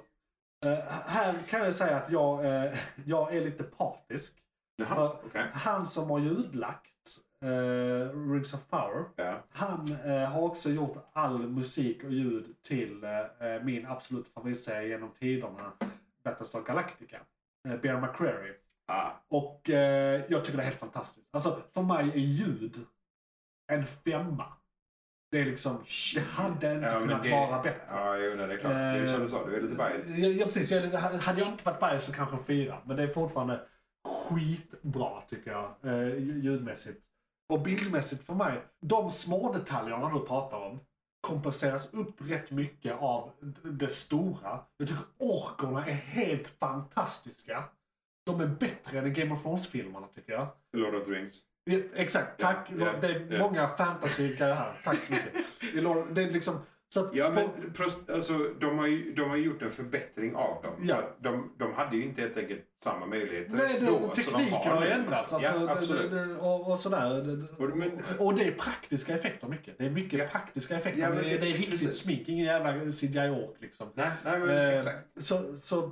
Speaker 3: Eh, Här kan jag säga att jag, eh, jag är lite partisk.
Speaker 4: Jaha,
Speaker 3: För
Speaker 4: okej.
Speaker 3: han som har ljudlagt eh, Rings of Power,
Speaker 4: Ja.
Speaker 3: Han eh, har också gjort all musik och ljud till eh, min absoluta favoritserie genom tiderna, Battlestar Galactica. Eh, Bear McCreary.
Speaker 4: Ah.
Speaker 3: Och eh, jag tycker det är helt fantastiskt. Alltså, för mig är ljud en femma. Det är liksom, det hade inte
Speaker 4: Ja, men
Speaker 3: kunnat
Speaker 4: det-
Speaker 3: vara bättre. Eh,
Speaker 4: Ja, jo, nej, det är klart. Det är ju som du sa, du är lite biased.
Speaker 3: Ja, ja precis. Jag, hade jag inte varit bias så kanske en fyra. Men det är fortfarande skitbra tycker jag. Eh, ljudmässigt. Och bildmässigt för mig. De små detaljerna du pratar om kompenseras upp rätt mycket av d- det stora. Jag tycker orkorna är helt fantastiska. De är bättre än i Game of Thrones-filmerna tycker jag.
Speaker 4: Lord of the Rings.
Speaker 3: Ja, Exakt, tack.
Speaker 4: Ja, ja,
Speaker 3: det är
Speaker 4: ja.
Speaker 3: många fantasykar här. Tack så mycket. I Lord- Det är liksom... Så att
Speaker 4: Ja,
Speaker 3: på-
Speaker 4: men prost, alltså, de, har ju, de har gjort en förbättring av dem.
Speaker 3: Ja.
Speaker 4: För De, de hade ju inte helt enkelt samma möjligheter
Speaker 3: Nej, det,
Speaker 4: då som de
Speaker 3: tekniken har ju
Speaker 4: nu.
Speaker 3: ändrats. Alltså,
Speaker 4: ja,
Speaker 3: det, det,
Speaker 4: absolut.
Speaker 3: det, och, och sådär. Det- det-
Speaker 4: Och det- men-
Speaker 3: och det är praktiska effekter mycket. Det är mycket
Speaker 4: Ja.
Speaker 3: praktiska effekter.
Speaker 4: Ja,
Speaker 3: men
Speaker 4: men
Speaker 3: det, det är
Speaker 4: det-
Speaker 3: riktigt
Speaker 4: precis.
Speaker 3: smink, ingen jävla CGI-åk liksom.
Speaker 4: Nej, nej, men
Speaker 3: Eh,
Speaker 4: exakt.
Speaker 3: Så, så,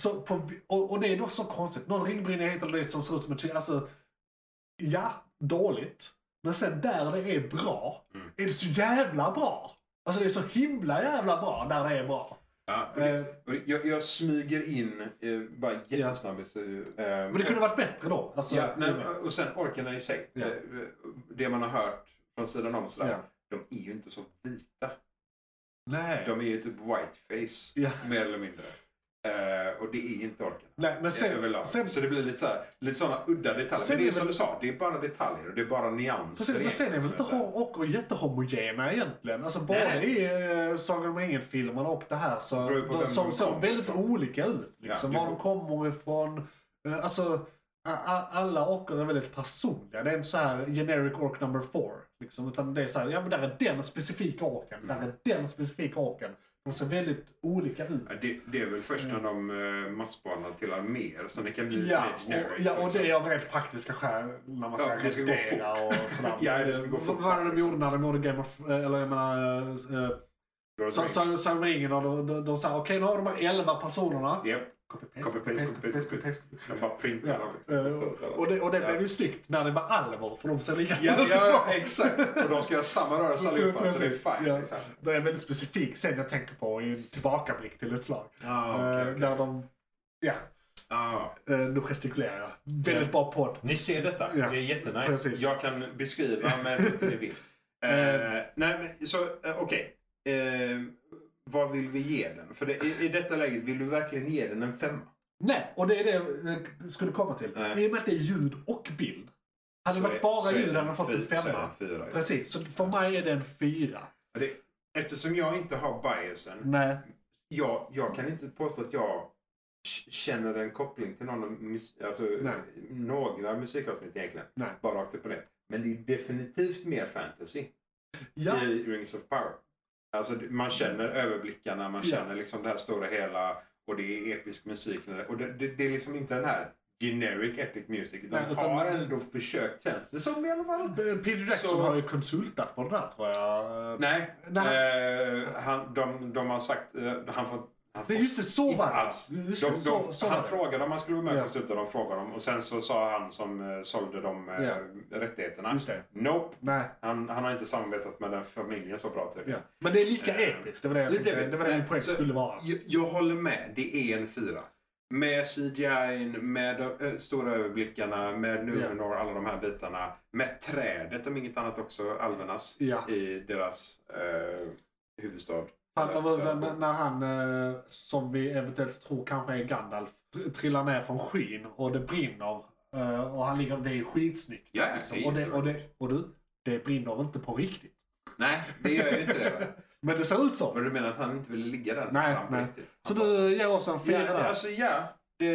Speaker 3: så på, och, och det är då så konstigt. Någon ringbrynja eller det som ser ut som ett chi- alltså, Ja, dåligt. Men sen där det är bra,
Speaker 4: Mm.
Speaker 3: är det så jävla bra. Alltså det är så himla jävla bra där det är bra.
Speaker 4: Ja, och det,
Speaker 3: Eh,
Speaker 4: och det- jag, jag smyger in eh, bara jättesnabbt. eh,
Speaker 3: men det kunde varit bättre då. Alltså,
Speaker 4: ja, nej, och sen orkarna i sig.
Speaker 3: Ja.
Speaker 4: Eh, Det man har hört från sidan om sådär.
Speaker 3: Ja.
Speaker 4: De är ju inte så vita.
Speaker 3: nej.
Speaker 4: De är ju typ whiteface,
Speaker 3: Ja.
Speaker 4: mer eller mindre. Eh, och det är inte orkarna.
Speaker 3: nej, men sen,
Speaker 4: överlag.
Speaker 3: sen,
Speaker 4: så det blir lite, så här, lite sådana udda detaljer.
Speaker 3: Sen
Speaker 4: men
Speaker 3: är
Speaker 4: det är som
Speaker 3: väl-
Speaker 4: du sa, det är bara detaljer och det är bara nyanser.
Speaker 3: Precis, men sen är väl
Speaker 4: egentligen,
Speaker 3: inte
Speaker 4: så här.
Speaker 3: ho- och jättehomogena egentligen. Alltså både
Speaker 4: Nej.
Speaker 3: i eh, Sagan om ringen-filmerna och det här så
Speaker 4: Beror ju på
Speaker 3: de
Speaker 4: vem
Speaker 3: såg
Speaker 4: de
Speaker 3: så
Speaker 4: kommer
Speaker 3: väldigt
Speaker 4: ifrån.
Speaker 3: olika ut. Liksom,
Speaker 4: Ja,
Speaker 3: var
Speaker 4: jo.
Speaker 3: de kommer ifrån. Eh, Alltså, a- a- alla orker är väldigt personliga. Det är inte så här generic ork number four. Liksom, utan det är så här, ja men där är den specifika orken. Där är den specifika orken. De ser väldigt olika ut.
Speaker 4: Ja, det, det är väl först när de uh, massbanar till arméer som det kan bli
Speaker 3: Mm. Ja,
Speaker 4: mer generic,
Speaker 3: och, ja, och
Speaker 4: liksom.
Speaker 3: det är av rent praktiska skäl när man ska
Speaker 4: Ja, det ska gå
Speaker 3: redigera och sådär. Eh,
Speaker 4: Ja, det ska gå fort.
Speaker 3: Vad var det de
Speaker 4: Liksom.
Speaker 3: gjorde när de gjorde Game of... Eller jag menar... eh,
Speaker 4: Lord of the
Speaker 3: Sa-
Speaker 4: Rings.
Speaker 3: sa- Sa de ringen och de, de, de sa okej nu har de här 11 personerna.
Speaker 4: Japp,
Speaker 3: Copy-paste,
Speaker 4: Copy-paste, copy-paste,
Speaker 3: copy-paste,
Speaker 4: de
Speaker 3: copy-paste.
Speaker 4: bara printar
Speaker 3: Ja,
Speaker 4: dem.
Speaker 3: eh,
Speaker 4: liksom.
Speaker 3: och- och det, och det
Speaker 4: Ja.
Speaker 3: blev ju snyggt när det var allvar för de ser likadana
Speaker 4: Ja, ja,
Speaker 3: ut.
Speaker 4: exakt. Och de ska göra samma rörelse allihopa, så det är
Speaker 3: Precis,
Speaker 4: fine.
Speaker 3: ja.
Speaker 4: Liksom.
Speaker 3: Det är en väldigt specifik scen jag tänker på i en tillbakablick till ett slag.
Speaker 4: Ah,
Speaker 3: Eh,
Speaker 4: okej, okej.
Speaker 3: Där de... Ja,
Speaker 4: Ah.
Speaker 3: eh, nu gestikulerar jag. Väldigt
Speaker 4: Ja.
Speaker 3: bra podd.
Speaker 4: Ni ser detta.
Speaker 3: Ja,
Speaker 4: Det är jättenice.
Speaker 3: precis.
Speaker 4: Jag kan beskriva men inte ni vill. Eh, nej, men så eh, okej. Eh, vad vill vi ge den? För det, i, i detta läget, vill du verkligen ge den en femma?
Speaker 3: Nej, och det är det jag skulle komma till.
Speaker 4: Nej.
Speaker 3: I och med att det är ljud och bild. Hade det
Speaker 4: Så
Speaker 3: varit
Speaker 4: är-
Speaker 3: bara
Speaker 4: så är
Speaker 3: ljud
Speaker 4: den
Speaker 3: hade man fått en
Speaker 4: fy- så är
Speaker 3: femma.
Speaker 4: den fyra, just.
Speaker 3: Precis, så för mig är det en fyra.
Speaker 4: Det, eftersom jag inte har biasen.
Speaker 3: Nej.
Speaker 4: Jag, jag kan inte påstå att jag k- känner en koppling till någon, av mus- alltså,
Speaker 3: Nej.
Speaker 4: några musikavsnitt egentligen.
Speaker 3: Nej.
Speaker 4: Bara rakt upp och ner. Men det är definitivt mer fantasy.
Speaker 3: Ja,
Speaker 4: i Rings of Power. Alltså, man känner överblickarna, man
Speaker 3: Ja.
Speaker 4: känner liksom det här stora hela och det är episk musik. när det- Och det, det, det är liksom inte den här generic epic music. utan
Speaker 3: Nej,
Speaker 4: De
Speaker 3: utan
Speaker 4: har
Speaker 3: man-
Speaker 4: ändå försökt känns det som i alla fall.
Speaker 3: B- Peter Jackson
Speaker 4: Så-
Speaker 3: har ju konsultat på det där tror jag.
Speaker 4: Nej,
Speaker 3: Nej.
Speaker 4: Eh, han, de, de har sagt... Eh, han får, han
Speaker 3: Det
Speaker 4: får
Speaker 3: är just det, så
Speaker 4: inte
Speaker 3: var det.
Speaker 4: alls.
Speaker 3: Just
Speaker 4: De,
Speaker 3: det, så-
Speaker 4: de,
Speaker 3: så var
Speaker 4: han
Speaker 3: det.
Speaker 4: frågade om han skulle vara med
Speaker 3: Ja.
Speaker 4: och konsulta, de frågade om. Och sen så sa han som eh, sålde de eh,
Speaker 3: Ja.
Speaker 4: rättigheterna.
Speaker 3: Just det.
Speaker 4: Nope,
Speaker 3: Nej.
Speaker 4: han, han har inte samarbetat med den familjen så bra tydligen.
Speaker 3: Ja. Men det är lika
Speaker 4: Eh,
Speaker 3: episkt, det var det jag
Speaker 4: lite
Speaker 3: tänkte.
Speaker 4: episkt.
Speaker 3: Det var det min
Speaker 4: Nej,
Speaker 3: poäng
Speaker 4: så-
Speaker 3: skulle vara.
Speaker 4: Jag, jag håller med. Det är en fyra. Med CGI, med de eh, stora överblickarna, med Numenor, alla de här bitarna. Med trädet om inget annat också, alvernas,
Speaker 3: Ja.
Speaker 4: i deras eh, huvudstad.
Speaker 3: Fan, vad-
Speaker 4: Ja.
Speaker 3: när, när han, eh, som vi eventuellt tror kanske är Gandalf, tr- trillar ner från skyn och det brinner. eh, Och han ligger, det är skitsnyggt.
Speaker 4: Ja, det är
Speaker 3: liksom. och, det, och, det, och du, det brinner inte på riktigt.
Speaker 4: Nej, det gör ju inte det. va?
Speaker 3: Men det ser ut så.
Speaker 4: Men du menar att han inte ville ligga där?
Speaker 3: Nej,
Speaker 4: Han
Speaker 3: nej.
Speaker 4: riktigt.
Speaker 3: Så
Speaker 4: Han bara-
Speaker 3: du ger oss en fyra
Speaker 4: Ja,
Speaker 3: där.
Speaker 4: alltså ja. Det,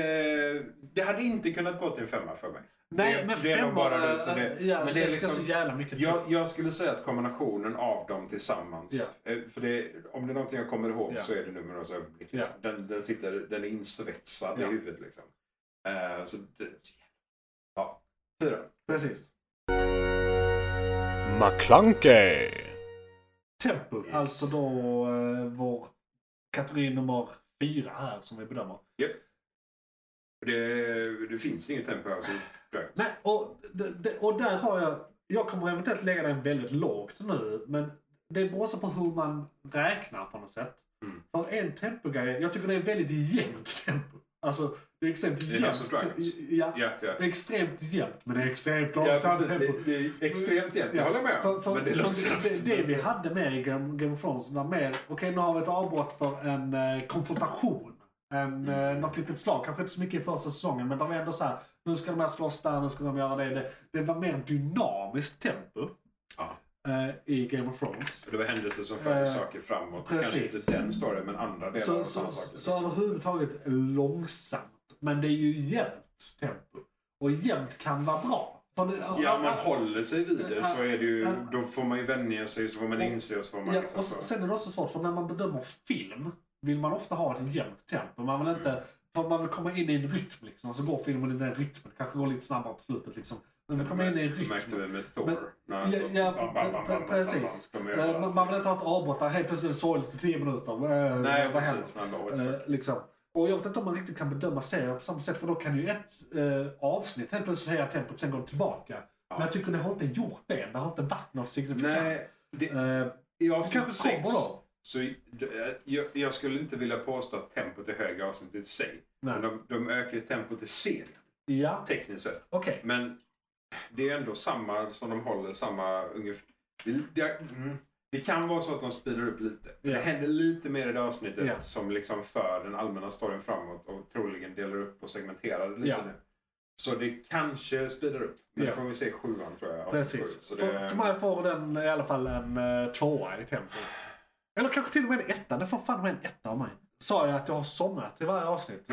Speaker 4: det hade inte kunnat gå till en femma för mig.
Speaker 3: Nej,
Speaker 4: det-
Speaker 3: men
Speaker 4: det är nog
Speaker 3: femmor,
Speaker 4: bara det, så det-
Speaker 3: eh, ja,
Speaker 4: men
Speaker 3: så
Speaker 4: det
Speaker 3: det,
Speaker 4: är
Speaker 3: ska
Speaker 4: liksom-
Speaker 3: så jävla mycket till.
Speaker 4: Jag, jag skulle säga att kombinationen av dem tillsammans.
Speaker 3: Ja.
Speaker 4: eh, För det, om det är någonting jag kommer ihåg
Speaker 3: Ja.
Speaker 4: så är det Numeros ögonblick.
Speaker 3: Ja.
Speaker 4: Liksom. Den, den, sitter, den är insvetsad
Speaker 3: Ja.
Speaker 4: i huvudet. Liksom. Eh, så det, så jävla- ja. Fyra.
Speaker 3: Precis.
Speaker 2: McClunkey,
Speaker 3: Tempo,
Speaker 4: Yes.
Speaker 3: alltså då eh, vår kategori nummer fyra här som vi bedömer.
Speaker 4: Det, det finns inget tempo alltså. här. Så,
Speaker 3: Nej, och, d- d- och där har jag... Jag kommer eventuellt lägga den väldigt lågt nu, men det beror också på hur man räknar på något sätt.
Speaker 4: Mm.
Speaker 3: För en tempogrej, jag tycker det är väldigt jämnt tempo. Alltså, det är extremt
Speaker 4: Det är House of
Speaker 3: jämnt.
Speaker 4: Dragons.
Speaker 3: Ja,
Speaker 4: ja, ja.
Speaker 3: det är extremt jämnt, men det är extremt
Speaker 4: Ja,
Speaker 3: långsamt
Speaker 4: precis.
Speaker 3: tempo.
Speaker 4: det, det är extremt jämnt, det
Speaker 3: Ja,
Speaker 4: håller jag med om.
Speaker 3: För, för
Speaker 4: Men det är långsamt.
Speaker 3: Det, det vi hade med i Game, Game of Thrones var mer, okej nu har vi ett avbrott för en eh, konfrontation.
Speaker 4: Mm.
Speaker 3: En, eh, något litet slag, kanske inte så mycket i första säsongen men det var ändå så här, nu ska de här slåss där, nu ska de göra det. Det, det var mer dynamiskt tempo
Speaker 4: Ja.
Speaker 3: eh, i Game of Thrones.
Speaker 4: För det var händelser som förde
Speaker 3: Eh,
Speaker 4: saker framåt. Kanske
Speaker 3: precis.
Speaker 4: inte den storyn, men andra delar
Speaker 3: Så,
Speaker 4: av
Speaker 3: så,
Speaker 4: samma
Speaker 3: så,
Speaker 4: saker.
Speaker 3: så
Speaker 4: liksom.
Speaker 3: överhuvudtaget långsamt. Men det är ju jämnt tempo. Och jämnt kan vara bra. För det-
Speaker 4: Ja, om man håller sig vid det så är det ju,
Speaker 3: Ja.
Speaker 4: då får man ju vänja sig, så får man inse och så får man
Speaker 3: Ja,
Speaker 4: liksom...
Speaker 3: och s- sen är det också svårt, för när man bedömer film vill man ofta ha ett jämnt tempo. Man
Speaker 4: Mm.
Speaker 3: vill inte, för man vill komma in i en rytm liksom, så går filmen i den rytmen. Kanske går lite snabbare på slutet liksom. Men man kommer in i en rytm.
Speaker 4: Märkte vi med
Speaker 3: Men-
Speaker 4: Thor. när
Speaker 3: Ja,
Speaker 4: han så-
Speaker 3: ja
Speaker 4: bam, bam, bam,
Speaker 3: pre-
Speaker 4: bam,
Speaker 3: pre- precis.
Speaker 4: bam, bam, de gör
Speaker 3: Eh,
Speaker 4: det.
Speaker 3: Man, man vill inte ha ett avbrott där helt plötsligt är det sorgligt i tio minuter. Eh,
Speaker 4: Nej,
Speaker 3: vad händer?
Speaker 4: precis. Man bara, what the fuck.
Speaker 3: Eh, liksom. Och jag vet inte om man riktigt kan bedöma serier på samma sätt, för då kan ju ett eh, avsnitt helt plötsligt höja tempot, sen går det tillbaka.
Speaker 4: Ja.
Speaker 3: Men jag tycker det har inte gjort det än. Det har inte varit något signifikant.
Speaker 4: Nej, det,
Speaker 3: Eh,
Speaker 4: i
Speaker 3: det kanske
Speaker 4: avsnitt
Speaker 3: kommer
Speaker 4: sex
Speaker 3: då.
Speaker 4: så eh, jag, jag skulle inte vilja påstå att tempot är högre i avsnittet i sig. Men
Speaker 3: Nej.
Speaker 4: de, de ökar ju tempot i serien,
Speaker 3: Ja,
Speaker 4: tekniskt sett.
Speaker 3: okej.
Speaker 4: Men det är ändå samma som de håller, samma ungefär. Det, det, mm. det kan vara så att de speedar upp lite. För
Speaker 3: Ja.
Speaker 4: Det händer lite mer i det avsnittet
Speaker 3: Ja.
Speaker 4: som liksom för den allmänna storyn framåt och troligen delar upp och segmenterar det lite
Speaker 3: Ja.
Speaker 4: nu. Så det kanske speedar upp. Men
Speaker 3: Ja.
Speaker 4: det får vi se i sjuan tror jag. avsnitt sju.
Speaker 3: Precis.
Speaker 4: Så
Speaker 3: För,
Speaker 4: det,
Speaker 3: för mig får den i alla fall en eh, tvåa i tempo. Eller kanske till och med en etta. Den får fan med en etta av mig. Sa jag att jag har somnat i varje avsnitt?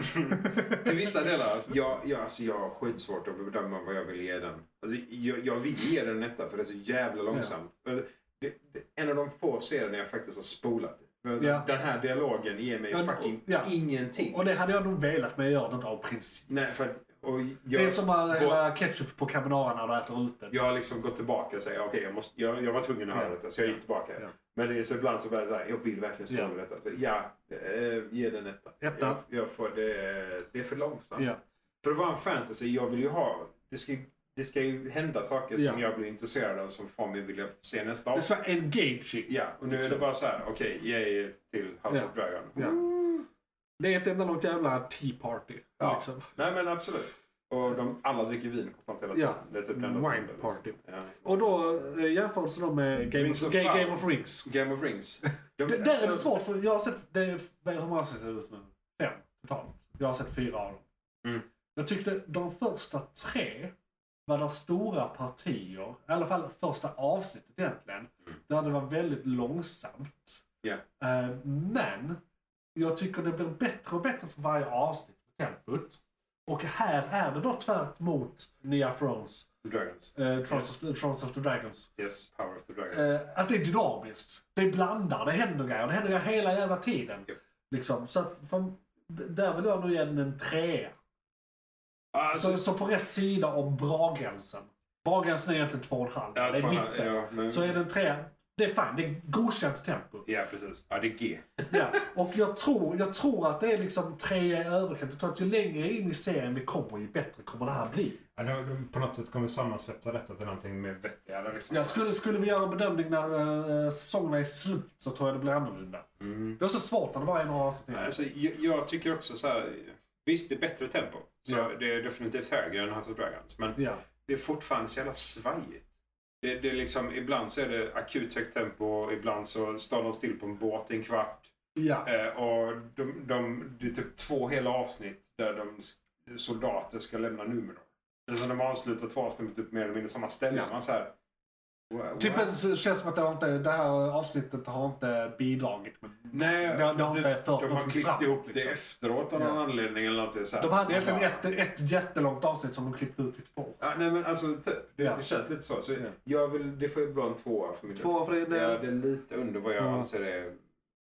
Speaker 4: till vissa delar. Alltså, jag, jag, alltså, jag har skitsvårt att bedöma vad jag vill ge den. Alltså, jag, jag vill ge den en etta för det är så jävla långsamt. Alltså, det, det, en av de få serierna jag faktiskt har spolat. Men alltså,
Speaker 3: Ja.
Speaker 4: Den här dialogen ger mig
Speaker 3: Ja, och-
Speaker 4: fucking
Speaker 3: ja.
Speaker 4: ingenting.
Speaker 3: Och det hade jag nog velat, men jag gör det inte av princip.
Speaker 4: Nej, för, att- och jag,
Speaker 3: det är som att
Speaker 4: gå-
Speaker 3: hälla ketchup på carbonara när du äter ute.
Speaker 4: jag har liksom gått tillbaka och säger okej, jag, måste- jag, jag var tvungen att höra
Speaker 3: Ja.
Speaker 4: detta så jag gick tillbaka.
Speaker 3: Ja.
Speaker 4: Men det är så ibland så bara så här, jag vill verkligen spola
Speaker 3: Ja.
Speaker 4: detta. Så, ja, eh, ge den etta.
Speaker 3: Etta.
Speaker 4: Jag, jag får, det, det är för långsamt.
Speaker 3: Ja.
Speaker 4: För att vara en fantasy, jag vill ju ha... Det ska, det ska ju hända saker som
Speaker 3: Ja.
Speaker 4: jag blir intresserad av som får mig vilja se nästa
Speaker 3: Det
Speaker 4: avsnitt.
Speaker 3: ska vara engaging.
Speaker 4: Ja, och nu är det
Speaker 3: Exakt.
Speaker 4: bara så här, okej, ge till House
Speaker 3: Ja.
Speaker 4: of Dragon.
Speaker 3: Ja. Det är ett enda långt jävla tea party.
Speaker 4: Ja.
Speaker 3: Liksom.
Speaker 4: Nej men absolut. Och de, alla dricker vin konstant hela tiden.
Speaker 3: Ja.
Speaker 4: Det är typ det enda som
Speaker 3: Wine
Speaker 4: händer,
Speaker 3: party.
Speaker 4: Ja.
Speaker 3: Och då eh, jämfördes de med Game
Speaker 4: Mm, Rings
Speaker 3: of,
Speaker 4: of
Speaker 3: Ga-
Speaker 4: Power.
Speaker 3: Game of Rings.
Speaker 4: Game of Rings. De,
Speaker 3: Det, där är det
Speaker 4: alltså-
Speaker 3: svårt, för jag har sett... Det är, hur många avsnitt är det ute nu? Fem totalt. Jag har sett fyra av dem.
Speaker 4: Mm.
Speaker 3: Jag tyckte de första tre var där stora partier, i alla fall första avsnittet egentligen, där det var väldigt långsamt.
Speaker 4: Mm. Ja.
Speaker 3: Eh, men jag tycker det blir bättre och bättre för varje avsnitt, tempot. Och här är det då tvärt mot Nya Thrones,
Speaker 4: Dragons.
Speaker 3: eh, Thrones, of, Thrones of the Dragons.
Speaker 4: Yes, Power of the Dragons.
Speaker 3: Eh, att det är dynamiskt. Det blandar, det händer grejer. Det händer grejer hela jävla tiden.
Speaker 4: Japp.
Speaker 3: Liksom. Så att för, d- där vill jag nog ge den en trea.
Speaker 4: alltså,
Speaker 3: så, så på rätt sida om bra-gränsen. Bra-gränsen är egentligen två och en halv.
Speaker 4: ja,
Speaker 3: det är
Speaker 4: fan,
Speaker 3: mitten.
Speaker 4: ja, men,
Speaker 3: Så är den trea. Det är fine, det är godkänt tempo.
Speaker 4: ja, precis. Ja, det är G.
Speaker 3: Ja. Och jag tror, jag tror att det är liksom trea i överkant. Jag tror att ju längre in i serien vi kommer, ju bättre kommer det här bli.
Speaker 4: Ja, de, de på något sätt kommer sammansvetsa detta till någonting mer vettigare. Liksom.
Speaker 3: Jag skulle, skulle vi göra en bedömning när eh, säsongerna är slut så tror jag det blir annorlunda.
Speaker 4: Mm.
Speaker 3: Det är så svårt när det bara är några avsnitt.
Speaker 4: Alltså, jag, jag tycker också så här. Visst, det är bättre tempo. Så
Speaker 3: Ja.
Speaker 4: Det är definitivt högre än House of Dragons. Men
Speaker 3: Ja.
Speaker 4: det är fortfarande så jävla svajigt. Det, det är liksom, ibland så är det akut högt tempo. Ibland så står de still på en båt i en kvart.
Speaker 3: Ja.
Speaker 4: Eh, och de, de, det är typ två hela avsnitt där de s- soldater ska lämna Numenor. Alltså, de avslutar två avsnitt med typ mer eller mindre samma ställe.
Speaker 3: Ja.
Speaker 4: Man så här, "Wha-
Speaker 3: Typ
Speaker 4: what?"
Speaker 3: en, så känns som att det, har inte, det här avsnittet har inte bidragit. Men
Speaker 4: Nej,
Speaker 3: det, har- det har
Speaker 4: de,
Speaker 3: inte fört
Speaker 4: de har
Speaker 3: någonting
Speaker 4: klippt
Speaker 3: fram.
Speaker 4: ihop det
Speaker 3: liksom.
Speaker 4: efteråt av någon
Speaker 3: Ja.
Speaker 4: anledning. Eller någonting, så här.
Speaker 3: De hade
Speaker 4: Man
Speaker 3: egentligen
Speaker 4: bara-
Speaker 3: ett, ett jättelångt avsnitt som de klippte ut i två.
Speaker 4: Ja, nej, men alltså, typ, det,
Speaker 3: Ja.
Speaker 4: det känns lite så. så
Speaker 3: Ja.
Speaker 4: jag vill, det får ju bli en tvåa för min
Speaker 3: Tvåa för din del.
Speaker 4: Ja, det är lite under vad jag
Speaker 3: Ja.
Speaker 4: anser är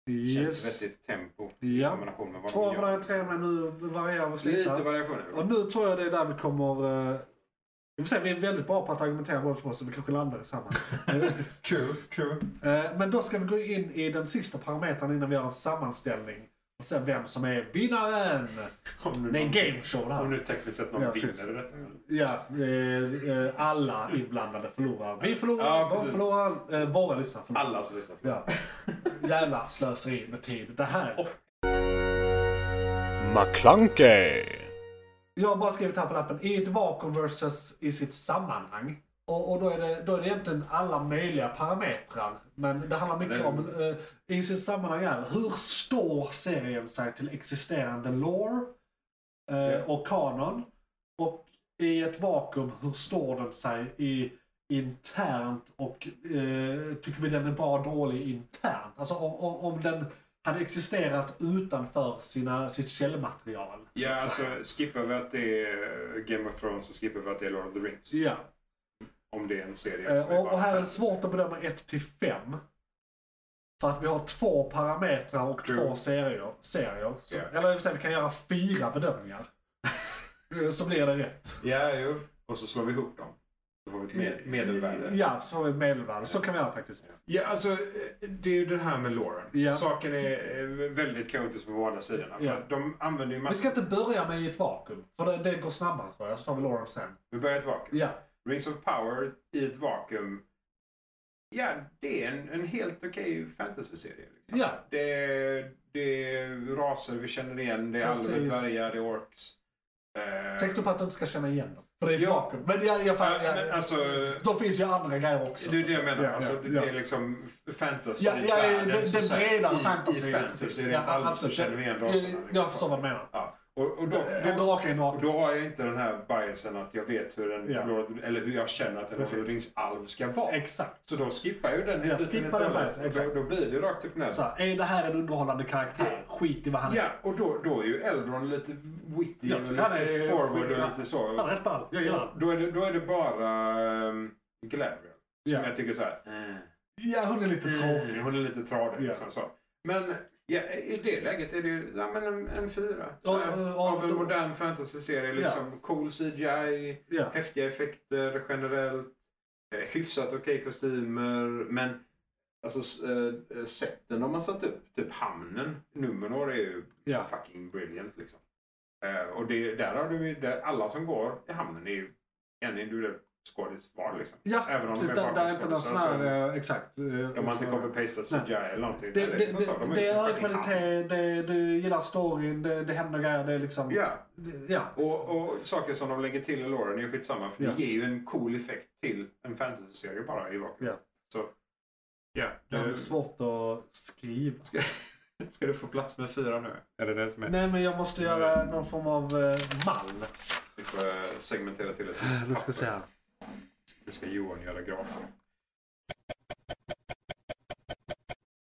Speaker 4: känns
Speaker 3: Yes.
Speaker 4: vettigt tempo. i
Speaker 3: Ja.
Speaker 4: kombination med vad
Speaker 3: Två
Speaker 4: de
Speaker 3: för
Speaker 4: gör.
Speaker 3: dig, tre men nu varierar vi och
Speaker 4: Lite
Speaker 3: slitar.
Speaker 4: variationer.
Speaker 3: Och nu tror jag det är där vi kommer... eh, Vi får se, vi är väldigt bra på att argumentera båda två så vi kanske landar i samma.
Speaker 4: True, true.
Speaker 3: Eh, men då ska vi gå in i den sista parametern innan vi gör en sammanställning. Och se vem som är vinnaren!
Speaker 4: Om nu,
Speaker 3: Det är en gameshow det här.
Speaker 4: om nu tekniskt sett någon
Speaker 3: Ja, precis.
Speaker 4: vinner detta.
Speaker 3: Ja, eh, eh, alla inblandade förlorar. Vi förlorar,
Speaker 4: Ja,
Speaker 3: de
Speaker 4: precis.
Speaker 3: förlorar, eh, våra lyssnare förlorar.
Speaker 4: Alla som lyssnar.
Speaker 3: Ja. Jävla slöseri med tid. Det här.
Speaker 2: McClunkey.
Speaker 3: Jag har bara skrivit här på lappen, i ett vakuum versus i sitt sammanhang. Och, och då, är det, då är det egentligen alla möjliga parametrar. Men det handlar mycket
Speaker 4: Men-
Speaker 3: om, eh, i sitt sammanhang är, hur står serien sig till existerande lore eh,
Speaker 4: Ja.
Speaker 3: och kanon? Och i ett vakuum, hur står den sig i internt och eh, tycker vi den är bra dålig internt? Alltså om, om, om den hade existerat utanför sina, sitt källmaterial. så
Speaker 4: Ja,
Speaker 3: att säga.
Speaker 4: alltså skippar vi att det är Game of Thrones så skippar vi att det är Lord of the Rings.
Speaker 3: Ja,
Speaker 4: Om det är en serie.
Speaker 3: Eh,
Speaker 4: som är
Speaker 3: Och,
Speaker 4: bara
Speaker 3: och här är det
Speaker 4: standard.
Speaker 3: svårt att bedöma 1 till 5. För att vi har två parametrar och
Speaker 4: True.
Speaker 3: två serier. serier så,
Speaker 4: Ja.
Speaker 3: Eller i och för sig, vi kan göra fyra bedömningar. Eh, så blir det rätt.
Speaker 4: Ja, jo. Och så slår vi ihop dem. Då får vi ett med, medelvärde.
Speaker 3: Ja, så har vi ett medelvärde. Så kan vi göra faktiskt.
Speaker 4: Ja, alltså eh, det är ju det här med Lauren.
Speaker 3: Ja.
Speaker 4: Saken är eh, väldigt kaotisk på båda sidorna. För
Speaker 3: Ja.
Speaker 4: att De använder ju
Speaker 3: Vi
Speaker 4: massor...
Speaker 3: ska inte börja med i ett vakuum. För det, det går snabbare tror jag. Så tar vi Lauren sen.
Speaker 4: Vi börjar i ett vakuum.
Speaker 3: Ja,
Speaker 4: Rings of Power i ett vakuum. Ja, det är en, en helt okej fantasyserie. Liksom.
Speaker 3: ja.
Speaker 4: Det, är- det är raser vi känner igen. Det är
Speaker 3: Precis.
Speaker 4: alver, dvärgar, det är orks. Eh,
Speaker 3: Tänk då på att du inte ska känna igen dem. För det är ett
Speaker 4: Ja.
Speaker 3: vakuum. Men jag, jag,
Speaker 4: ja,
Speaker 3: jag, jag,
Speaker 4: men alltså,
Speaker 3: då finns ju andra grejer också.
Speaker 4: det är det jag menar.
Speaker 3: Ja,
Speaker 4: alltså,
Speaker 3: ja,
Speaker 4: det
Speaker 3: ja.
Speaker 4: är liksom fantasy
Speaker 3: Ja, ja,
Speaker 4: världen,
Speaker 3: den-
Speaker 4: så
Speaker 3: den
Speaker 4: att säga.
Speaker 3: breda
Speaker 4: I-
Speaker 3: fantasy.
Speaker 4: I fantasy
Speaker 3: Ja,
Speaker 4: rent allmänt så
Speaker 3: absolut.
Speaker 4: känner vi igen
Speaker 3: Jag,
Speaker 4: raserna. liksom.
Speaker 3: jag förstår vad du menar.
Speaker 4: Ja. Och, och då,
Speaker 3: En
Speaker 4: då,
Speaker 3: drake är en
Speaker 4: och
Speaker 3: drake.
Speaker 4: då har jag inte den här biasen att jag vet hur en
Speaker 3: Ja.
Speaker 4: Lord, eller hur jag känner att en Lord
Speaker 3: Precis.
Speaker 4: of the Rings alv ska vara.
Speaker 3: Exakt.
Speaker 4: Så då skippar jag ju den.
Speaker 3: Ja,
Speaker 4: biten
Speaker 3: skippa
Speaker 4: helt och
Speaker 3: den
Speaker 4: hållet.
Speaker 3: biasen,
Speaker 4: Och
Speaker 3: exakt.
Speaker 4: Då, då blir det ju rakt upp och ner.
Speaker 3: Så här, är det här en underhållande karaktär? Skit i vad han är.
Speaker 4: Ja, och då, då är ju Eldron lite witty
Speaker 3: Jag
Speaker 4: och
Speaker 3: tycker han
Speaker 4: lite
Speaker 3: är-
Speaker 4: forward
Speaker 3: ja.
Speaker 4: och lite så.
Speaker 3: Han är rätt ball. Jag gillar honom.
Speaker 4: Då är det, då är det bara um, Galadriel. Som
Speaker 3: Ja.
Speaker 4: jag tycker så här. eh,
Speaker 3: Ja, hon är lite tråkig.
Speaker 4: Hon är lite tradig.
Speaker 3: Ja.
Speaker 4: Liksom, så. Men ja, i det läget är det ju ja, men en, en fyra.
Speaker 3: Ja,
Speaker 4: Så här,
Speaker 3: ja, ja,
Speaker 4: av en
Speaker 3: då-
Speaker 4: modern fantasyserie. Liksom, Cool CGI,
Speaker 3: Ja.
Speaker 4: häftiga effekter generellt. eh, Hyfsat okej kostymer. Men alltså, s- eh, sätten de har satt upp, typ hamnen, Numenor är ju
Speaker 3: Ja.
Speaker 4: fucking brilliant. Liksom. Eh, och det, där har du ju, där, alla som går i hamnen är ju en individuell skådis var. Liksom.
Speaker 3: Ja,
Speaker 4: Även om
Speaker 3: precis.
Speaker 4: de är
Speaker 3: Där, där är inte
Speaker 4: bakgrundsskådisar
Speaker 3: någon sån här...
Speaker 4: så-
Speaker 3: eh, Exakt. eh,
Speaker 4: Om man inte
Speaker 3: så-
Speaker 4: kommer pasta CGI eller någonting.
Speaker 3: Det,
Speaker 4: är
Speaker 3: det,
Speaker 4: liksom
Speaker 3: det,
Speaker 4: så, de
Speaker 3: det,
Speaker 4: är ju
Speaker 3: är hög
Speaker 4: fucking
Speaker 3: kvalitet, det, du gillar storyn, det, det händer grejer. Det är liksom...
Speaker 4: hand. Ja,
Speaker 3: det- ja.
Speaker 4: och, och saker som de lägger till i låren är ju skitsamma för
Speaker 3: Ja.
Speaker 4: det ger ju en cool effekt till en fantasyserie bara i vakuum.
Speaker 3: Ja.
Speaker 4: Så, ja.
Speaker 3: Det är
Speaker 4: Du,
Speaker 3: svårt att skriva.
Speaker 4: ska, ska du få plats med fyra nu? Är det det som är?
Speaker 3: Nej, men jag måste göra någon form av eh, mall.
Speaker 4: Vi får eh, segmentera till ett
Speaker 3: Eh,
Speaker 4: papper.
Speaker 3: här.
Speaker 4: Nu ska Johan göra grafer.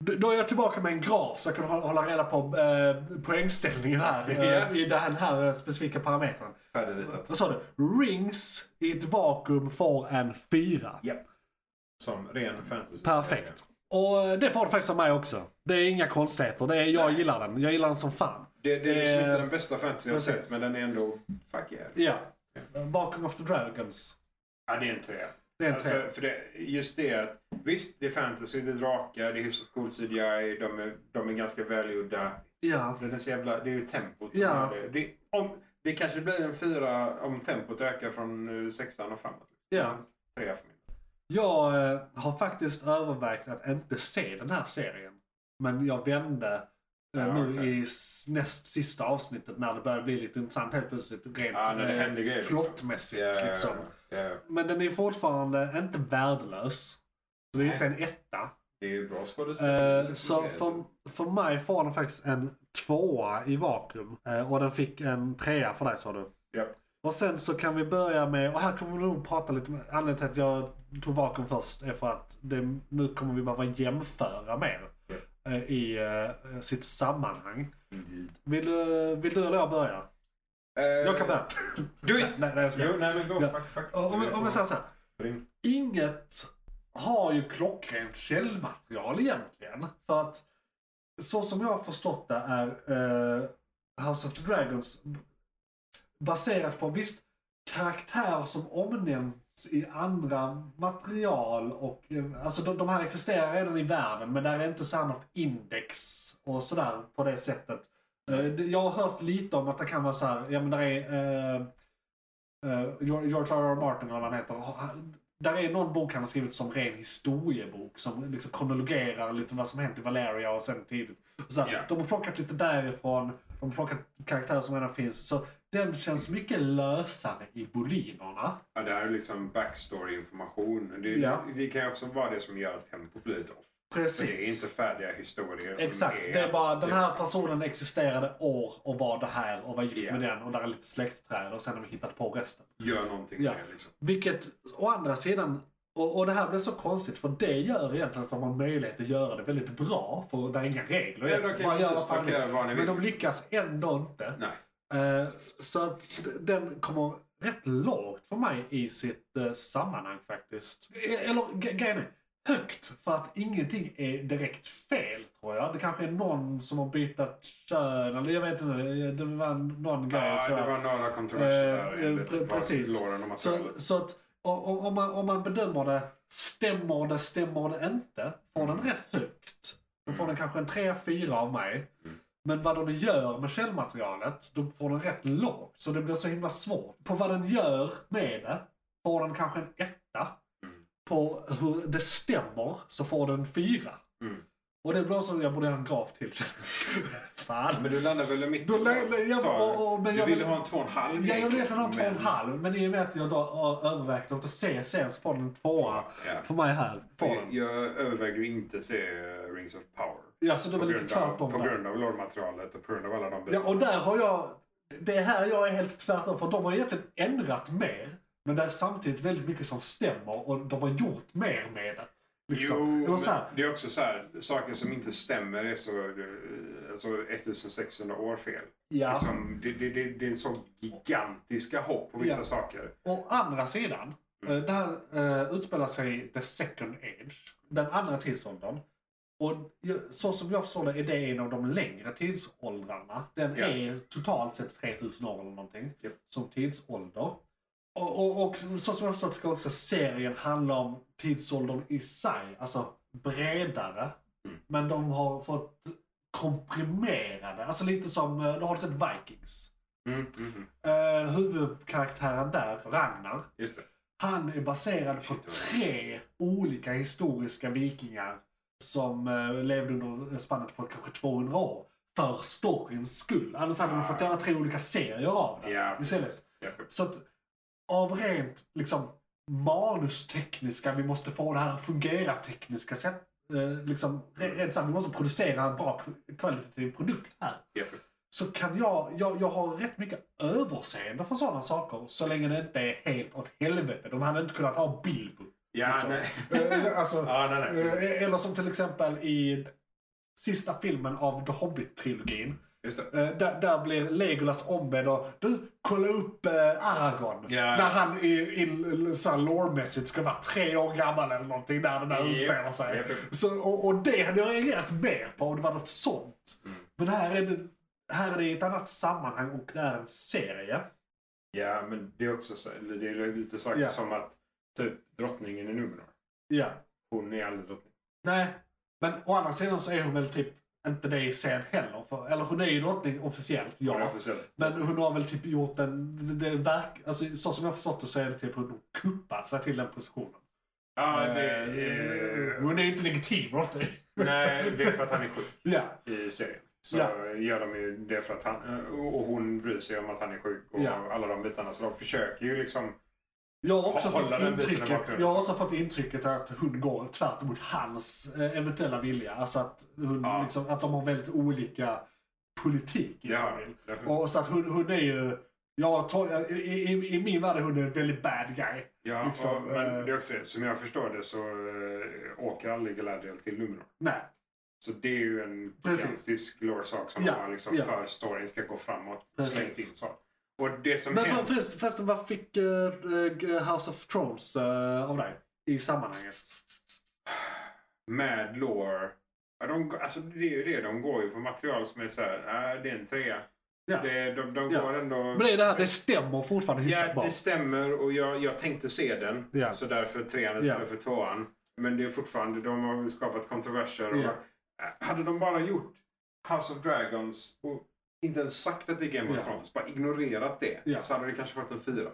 Speaker 3: D- Då är jag tillbaka med en graf så jag kan hå- hålla reda på eh, poängställningen här eh,
Speaker 4: Ja.
Speaker 3: i den här eh, specifika parametern.
Speaker 4: Färdigritat.
Speaker 3: Vad sa du? Rings i ett vakuum får en fyra.
Speaker 4: Ja. Som ren fantasy.
Speaker 3: Perfekt. Och eh, det får du faktiskt av mig också. Det är inga konstigheter. Det är, jag gillar den. Jag gillar den som fan.
Speaker 4: Det, det är liksom
Speaker 3: Eh,
Speaker 4: inte den bästa fantasy jag har
Speaker 3: precis.
Speaker 4: sett men den är ändå fuck yeah.
Speaker 3: Ja. Vacuum of the Dragons.
Speaker 4: Ja, det är en trea.
Speaker 3: Det är en
Speaker 4: Alltså,
Speaker 3: tre.
Speaker 4: för det, just det att visst, det är fantasy, det är drakar, det är hyfsat cool CGI, de är, de är ganska välgjorda.
Speaker 3: Ja.
Speaker 4: Det är, så jävla, det är ju tempot som
Speaker 3: Ja.
Speaker 4: gör det. Det, om, det kanske blir en fyra om tempot ökar från eh, sexan och framåt.
Speaker 3: ja.
Speaker 4: Trea för mig.
Speaker 3: Jag eh, har faktiskt övervägt att inte se den här serien. Men jag vände eh,
Speaker 4: Ja,
Speaker 3: nu
Speaker 4: okej.
Speaker 3: i s- näst sista avsnittet när det började bli lite intressant helt plötsligt. Rent
Speaker 4: Ja, när det
Speaker 3: eh,
Speaker 4: händer grejer, liksom.
Speaker 3: plottmässigt liksom.
Speaker 4: Ja, ja, ja.
Speaker 3: Men den är fortfarande inte värdelös. Så det är inte en etta.
Speaker 4: Det är ju bra skådespelare.
Speaker 3: Eh, så för, för mig får den faktiskt en tvåa i vakuum. Eh, och den fick en trea för dig sa du.
Speaker 4: Ja.
Speaker 3: Och sen så kan vi börja med, och här kommer vi nog prata lite, med- anledningen till att jag tog vakuum först är för att det, nu kommer vi behöva jämföra mer eh, i eh, sitt sammanhang. Vill, du- vill du eller jag börja?
Speaker 4: Mm-hmm. Eh,
Speaker 3: Jag kan börja.
Speaker 4: Do it!
Speaker 3: nej, nej, jag ska.
Speaker 4: Jo, nej men go.
Speaker 3: Ja.
Speaker 4: Fuck, fuck.
Speaker 3: Om, om, om jag säger så här.
Speaker 4: Ring.
Speaker 3: Inget har ju klockrent källmaterial egentligen. För att så som jag har förstått det är eh, House of the Dragons baserat på visst karaktärer som omnämns i andra material och eh, alltså de, de här existerar redan i världen men där är inte så här något index och sådär på det sättet. Eh, det- jag har hört lite om att det kan vara så här, ja men där är eh, eh, George R. R. Martin eller vad han heter. har- han- Där är någon bok han har skrivit som ren historiebok som liksom kronologerar lite vad som hänt i Valeria och sen tidigt. Och så här,
Speaker 4: Ja.
Speaker 3: De har plockat lite därifrån, de har plockat karaktärer som redan finns. Så den känns mycket lösare i bolinerna.
Speaker 4: Ja, det här är liksom backstory-information. Det,
Speaker 3: Ja.
Speaker 4: det kan ju också vara det som gör att tempot blir lite off. För
Speaker 3: Precis.
Speaker 4: det är inte färdiga historier som
Speaker 3: Exakt,
Speaker 4: är...
Speaker 3: det är bara den här
Speaker 4: liksom.
Speaker 3: personen existerade år och var det här och var gift
Speaker 4: Ja.
Speaker 3: med den och där är lite släktträd och sen har vi hittat på resten.
Speaker 4: Gör någonting
Speaker 3: Ja.
Speaker 4: med det, liksom.
Speaker 3: Vilket å andra sidan, och, och det här blir så konstigt för det gör egentligen att de har möjlighet att göra det väldigt bra för det är inga regler.
Speaker 4: Ja, då
Speaker 3: egentligen. Bara
Speaker 4: kan
Speaker 3: gör
Speaker 4: jag
Speaker 3: vad fan
Speaker 4: stöka
Speaker 3: ni-
Speaker 4: göra vad ni
Speaker 3: Men
Speaker 4: vill.
Speaker 3: de lyckas ändå inte.
Speaker 4: Nej.
Speaker 3: Eh, Så att d- den kommer rätt lågt för mig i sitt eh, sammanhang faktiskt. E- Eller ge- grejen är, högt för att ingenting är direkt fel tror jag. Det kanske är någon som har bytt kön eller jag vet inte. Det var någon grej.
Speaker 4: Ja,
Speaker 3: sådär.
Speaker 4: det var några kontroverser
Speaker 3: Eh,
Speaker 4: där.
Speaker 3: eh,
Speaker 4: enligt
Speaker 3: pre-
Speaker 4: vad
Speaker 3: precis.
Speaker 4: Lauren och Matteo-
Speaker 3: Så, så att o- o- om man, om man bedömer det, stämmer det, stämmer det inte? Får den rätt högt, då får den kanske en 3-4 av mig.
Speaker 4: Mm.
Speaker 3: Men vad de gör med källmaterialet, då får den rätt lågt. Så det blir så himla svårt. På vad den gör med det, får den kanske en etta.
Speaker 4: Mm.
Speaker 3: På hur det stämmer, så får den fyra.
Speaker 4: Mm.
Speaker 3: Och det blir så, jag borde ha en graf till. Fan.
Speaker 4: Men du landar väl i mitten?
Speaker 3: Då lä- lä- jag-
Speaker 4: Tar-
Speaker 3: och- och- men
Speaker 4: du
Speaker 3: jag-
Speaker 4: ville ha en två och en halv
Speaker 3: Ja, jag vill egentligen ha två och en
Speaker 4: men-
Speaker 3: halv, men i och med att jag då ö- övervägde att se sen så får den en tvåa
Speaker 4: Ja.
Speaker 3: för mig här. Får
Speaker 4: Jag,
Speaker 3: den.
Speaker 4: jag övervägde ju inte se eh, Rings of Power.
Speaker 3: Ja, så det var
Speaker 4: På
Speaker 3: lite
Speaker 4: grund av-
Speaker 3: tvärtom
Speaker 4: På
Speaker 3: där.
Speaker 4: grund av lårmaterialet och på grund av alla de
Speaker 3: Ja, och där har jag... Det är här jag är helt tvärtom, för de har egentligen ändrat mer. Men det är samtidigt väldigt mycket som stämmer och de har gjort mer med det. Liksom.
Speaker 4: Jo,
Speaker 3: det var
Speaker 4: men
Speaker 3: så här,
Speaker 4: det är också så här, saker som inte stämmer är så, eh, alltså 1600 år fel.
Speaker 3: ja.
Speaker 4: Liksom, det, det, det, det är så gigantiska hopp på vissa
Speaker 3: Ja.
Speaker 4: saker.
Speaker 3: Å andra sidan,
Speaker 4: Mm.
Speaker 3: eh, det här eh, utspelar sig i The Second Age, den andra tidsåldern. Och ju- så som jag förstår det är det en av de längre tidsåldrarna. Den
Speaker 4: Ja.
Speaker 3: är totalt sett 3000 år eller någonting
Speaker 4: Japp.
Speaker 3: som tidsålder. Och, och, och så som jag förstår det ska också serien handla om tidsåldern i sig, alltså bredare.
Speaker 4: Mm.
Speaker 3: Men de har fått komprimerade, alltså lite som, eh, då har du sett Vikings.
Speaker 4: Mm, mm, mm.
Speaker 3: Eh, huvudkaraktären där, Ragnar,
Speaker 4: Just det.
Speaker 3: han är baserad på
Speaker 4: Shit, vad-
Speaker 3: tre olika historiska vikingar som eh, levde under spannet på kanske 200 år. För storyns skull. Annars hade man
Speaker 4: Ja.
Speaker 3: fått göra tre olika serier av det
Speaker 4: Ah. Ja,
Speaker 3: istället.
Speaker 4: precis. Ja.
Speaker 3: Så att av rent liksom, manustekniska, vi måste få det här att fungera tekniska sätt. Eh, liksom, re- rent så här, vi måste producera en bra kv- kvalitativ produkt här
Speaker 4: Ja.
Speaker 3: så kan jag, jag, jag har rätt mycket överseende för sådana saker så länge det inte är helt åt helvete. De hade inte kunnat ha Bilbo.
Speaker 4: Ja,
Speaker 3: Liksom.
Speaker 4: nej.
Speaker 3: Eh, alltså,
Speaker 4: Ja, nej, nej. precis.
Speaker 3: eh, eller som till exempel i sista filmen av The Hobbit-trilogin.
Speaker 4: Just det.
Speaker 3: Eh, Där, där blir Legolas ombedd och du, kolla upp eh, Aragorn.
Speaker 4: Ja.
Speaker 3: När han i, i så här lore-mässigt ska vara tre år gammal eller någonting när det där
Speaker 4: Japp,
Speaker 3: utspelar sig.
Speaker 4: japp, japp.
Speaker 3: Så, och, och det hade jag reagerat mer på om det var något sånt.
Speaker 4: Mm.
Speaker 3: Men här är, det, här är det i ett annat sammanhang och det är en serie.
Speaker 4: Ja, men det är också så, eller det är lite saker
Speaker 3: Ja.
Speaker 4: som att typ drottningen i Numenor.
Speaker 3: Ja.
Speaker 4: Hon är aldrig drottning.
Speaker 3: Nej, men å andra sidan så är hon väl typ inte det i serien heller. För, eller hon är ju drottning officiellt, ja.
Speaker 4: Hon är officiellt.
Speaker 3: Men hon har väl typ gjort en... Det det verk, alltså, så som jag förstått det så är det typ hon har kuppat sig till den positionen.
Speaker 4: Ja, det
Speaker 3: Eh,
Speaker 4: är...
Speaker 3: hon är ju inte legitim, eller inte?
Speaker 4: Nej, det är för att han är sjuk.
Speaker 3: Ja,
Speaker 4: i serien. Så
Speaker 3: Ja.
Speaker 4: gör de ju det för att han, eh, och hon bryr sig om att han är sjuk och
Speaker 3: Ja.
Speaker 4: alla de bitarna. Så de försöker ju liksom...
Speaker 3: jag har också
Speaker 4: Hålla
Speaker 3: fått
Speaker 4: den biten i
Speaker 3: intrycket,
Speaker 4: bakgrunden.
Speaker 3: jag har också fått intrycket att hon går tvärt emot hans eh, eventuella vilja. Alltså att, hon,
Speaker 4: Ja.
Speaker 3: liksom, att de har väldigt olika politik. i
Speaker 4: Ja,
Speaker 3: familjen.
Speaker 4: därför-
Speaker 3: Och så att hon, hon är ju... Jag tar, i, i, I min värld är hon en väldigt bad guy.
Speaker 4: ja
Speaker 3: liksom,
Speaker 4: och, men
Speaker 3: eh,
Speaker 4: det är också det. Som jag förstår det så eh, åker aldrig Galadriel till Luminor.
Speaker 3: Nej.
Speaker 4: Så det är ju en
Speaker 3: Precis.
Speaker 4: gigantisk lore-sak som
Speaker 3: Ja,
Speaker 4: de har liksom
Speaker 3: ja.
Speaker 4: för storyn ska gå framåt.
Speaker 3: Precis.
Speaker 4: Slängt in så. Och det som
Speaker 3: Men
Speaker 4: händer...
Speaker 3: vad- förresten, förresten, vad fick eh, eh, House of Thrones eh, av dig i sammanhanget?
Speaker 4: Med lore... Ja, de, alltså det är ju det, de går ju på material som är så här, äh, det är en trea.
Speaker 3: Ja.
Speaker 4: Det, de de
Speaker 3: Ja.
Speaker 4: går ändå...
Speaker 3: Men det, är det, här, det stämmer fortfarande hyfsat
Speaker 4: Ja,
Speaker 3: bra.
Speaker 4: det stämmer och jag, jag tänkte se den.
Speaker 3: Ja.
Speaker 4: Så därför trean istället för tvåan. Men det är fortfarande, de har skapat kontroverser. Och, Eh,
Speaker 3: Ja.
Speaker 4: Hade de bara gjort House of Dragons och inte ens sagt att det är Game of
Speaker 3: Ja.
Speaker 4: Thrones, bara ignorerat det,
Speaker 3: Ja.
Speaker 4: så hade det kanske fått en fyra.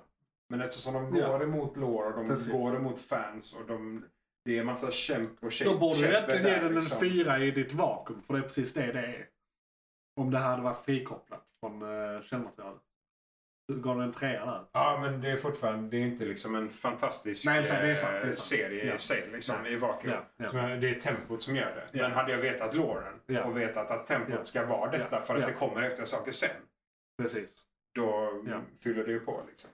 Speaker 4: Men eftersom de går
Speaker 3: Ja.
Speaker 4: emot lore och de
Speaker 3: Precis.
Speaker 4: går emot fans och de, det är en massa kämp och kämp.
Speaker 3: Då borde du
Speaker 4: kämpe
Speaker 3: egentligen ge
Speaker 4: Typ
Speaker 3: den
Speaker 4: där,
Speaker 3: en
Speaker 4: liksom.
Speaker 3: fyra i ditt vakuum, för det är precis det det är. Om det här hade varit frikopplat från uh, källmaterialet. Du gav den en trea där.
Speaker 4: Ja, men det är fortfarande det är inte liksom en fantastisk
Speaker 3: Nej, det är sant, det är sant,
Speaker 4: eh,
Speaker 3: det är sant.
Speaker 4: serie
Speaker 3: Ja.
Speaker 4: i sig. Liksom,
Speaker 3: Ja.
Speaker 4: I vakuum.
Speaker 3: Ja, ja.
Speaker 4: Som är- det är tempot som gör det.
Speaker 3: Ja.
Speaker 4: Men hade jag vetat låren
Speaker 3: Ja.
Speaker 4: och vetat att tempot
Speaker 3: Ja.
Speaker 4: ska vara detta
Speaker 3: Ja.
Speaker 4: för att
Speaker 3: Ja.
Speaker 4: det kommer efter saker sen.
Speaker 3: Precis.
Speaker 4: Då
Speaker 3: Ja.
Speaker 4: fyller det ju på liksom.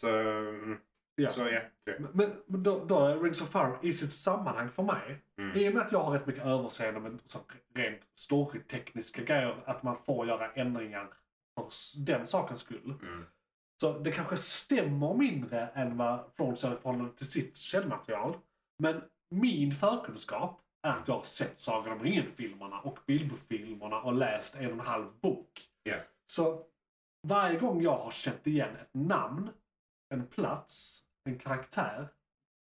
Speaker 4: Så, mm,
Speaker 3: Ja.
Speaker 4: så ja. det-
Speaker 3: Men- Men men då, då är Rings of Power i sitt sammanhang för mig,
Speaker 4: Mm.
Speaker 3: i och med att jag har rätt mycket överseende med så rent storytekniska grejer, att man får göra ändringar för s- den sakens skull.
Speaker 4: Mm.
Speaker 3: Så det kanske stämmer mindre än vad Florence gör i förhållande till sitt källmaterial. Men min förkunskap är att jag har sett Sagan om ringen-filmerna och Bilbo-filmerna och läst en och en halv bok.
Speaker 4: Ja.
Speaker 3: Så varje gång jag har känt igen ett namn, en plats, en karaktär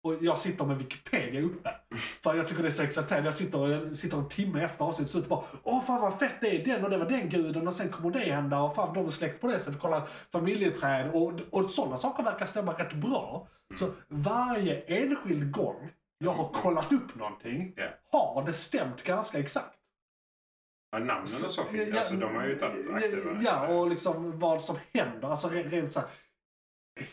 Speaker 3: och jag sitter med Wikipedia uppe. För jag tycker det är så exalterande. Jag sitter, jag sitter en timme efter avsnittet och bara Åh fan vad fett det är den och det var den guden och sen kommer det hända och fan de är släkt på det sättet. Kolla familjeträd och, och sådana saker verkar stämma rätt bra. Så varje enskild gång jag har kollat upp någonting
Speaker 4: Ja.
Speaker 3: har det stämt ganska exakt.
Speaker 4: Ja, namnen och så finns
Speaker 3: Ja,
Speaker 4: alltså, de har ju varit aktiva.
Speaker 3: Ja, och liksom vad som händer. Alltså re- rent så här,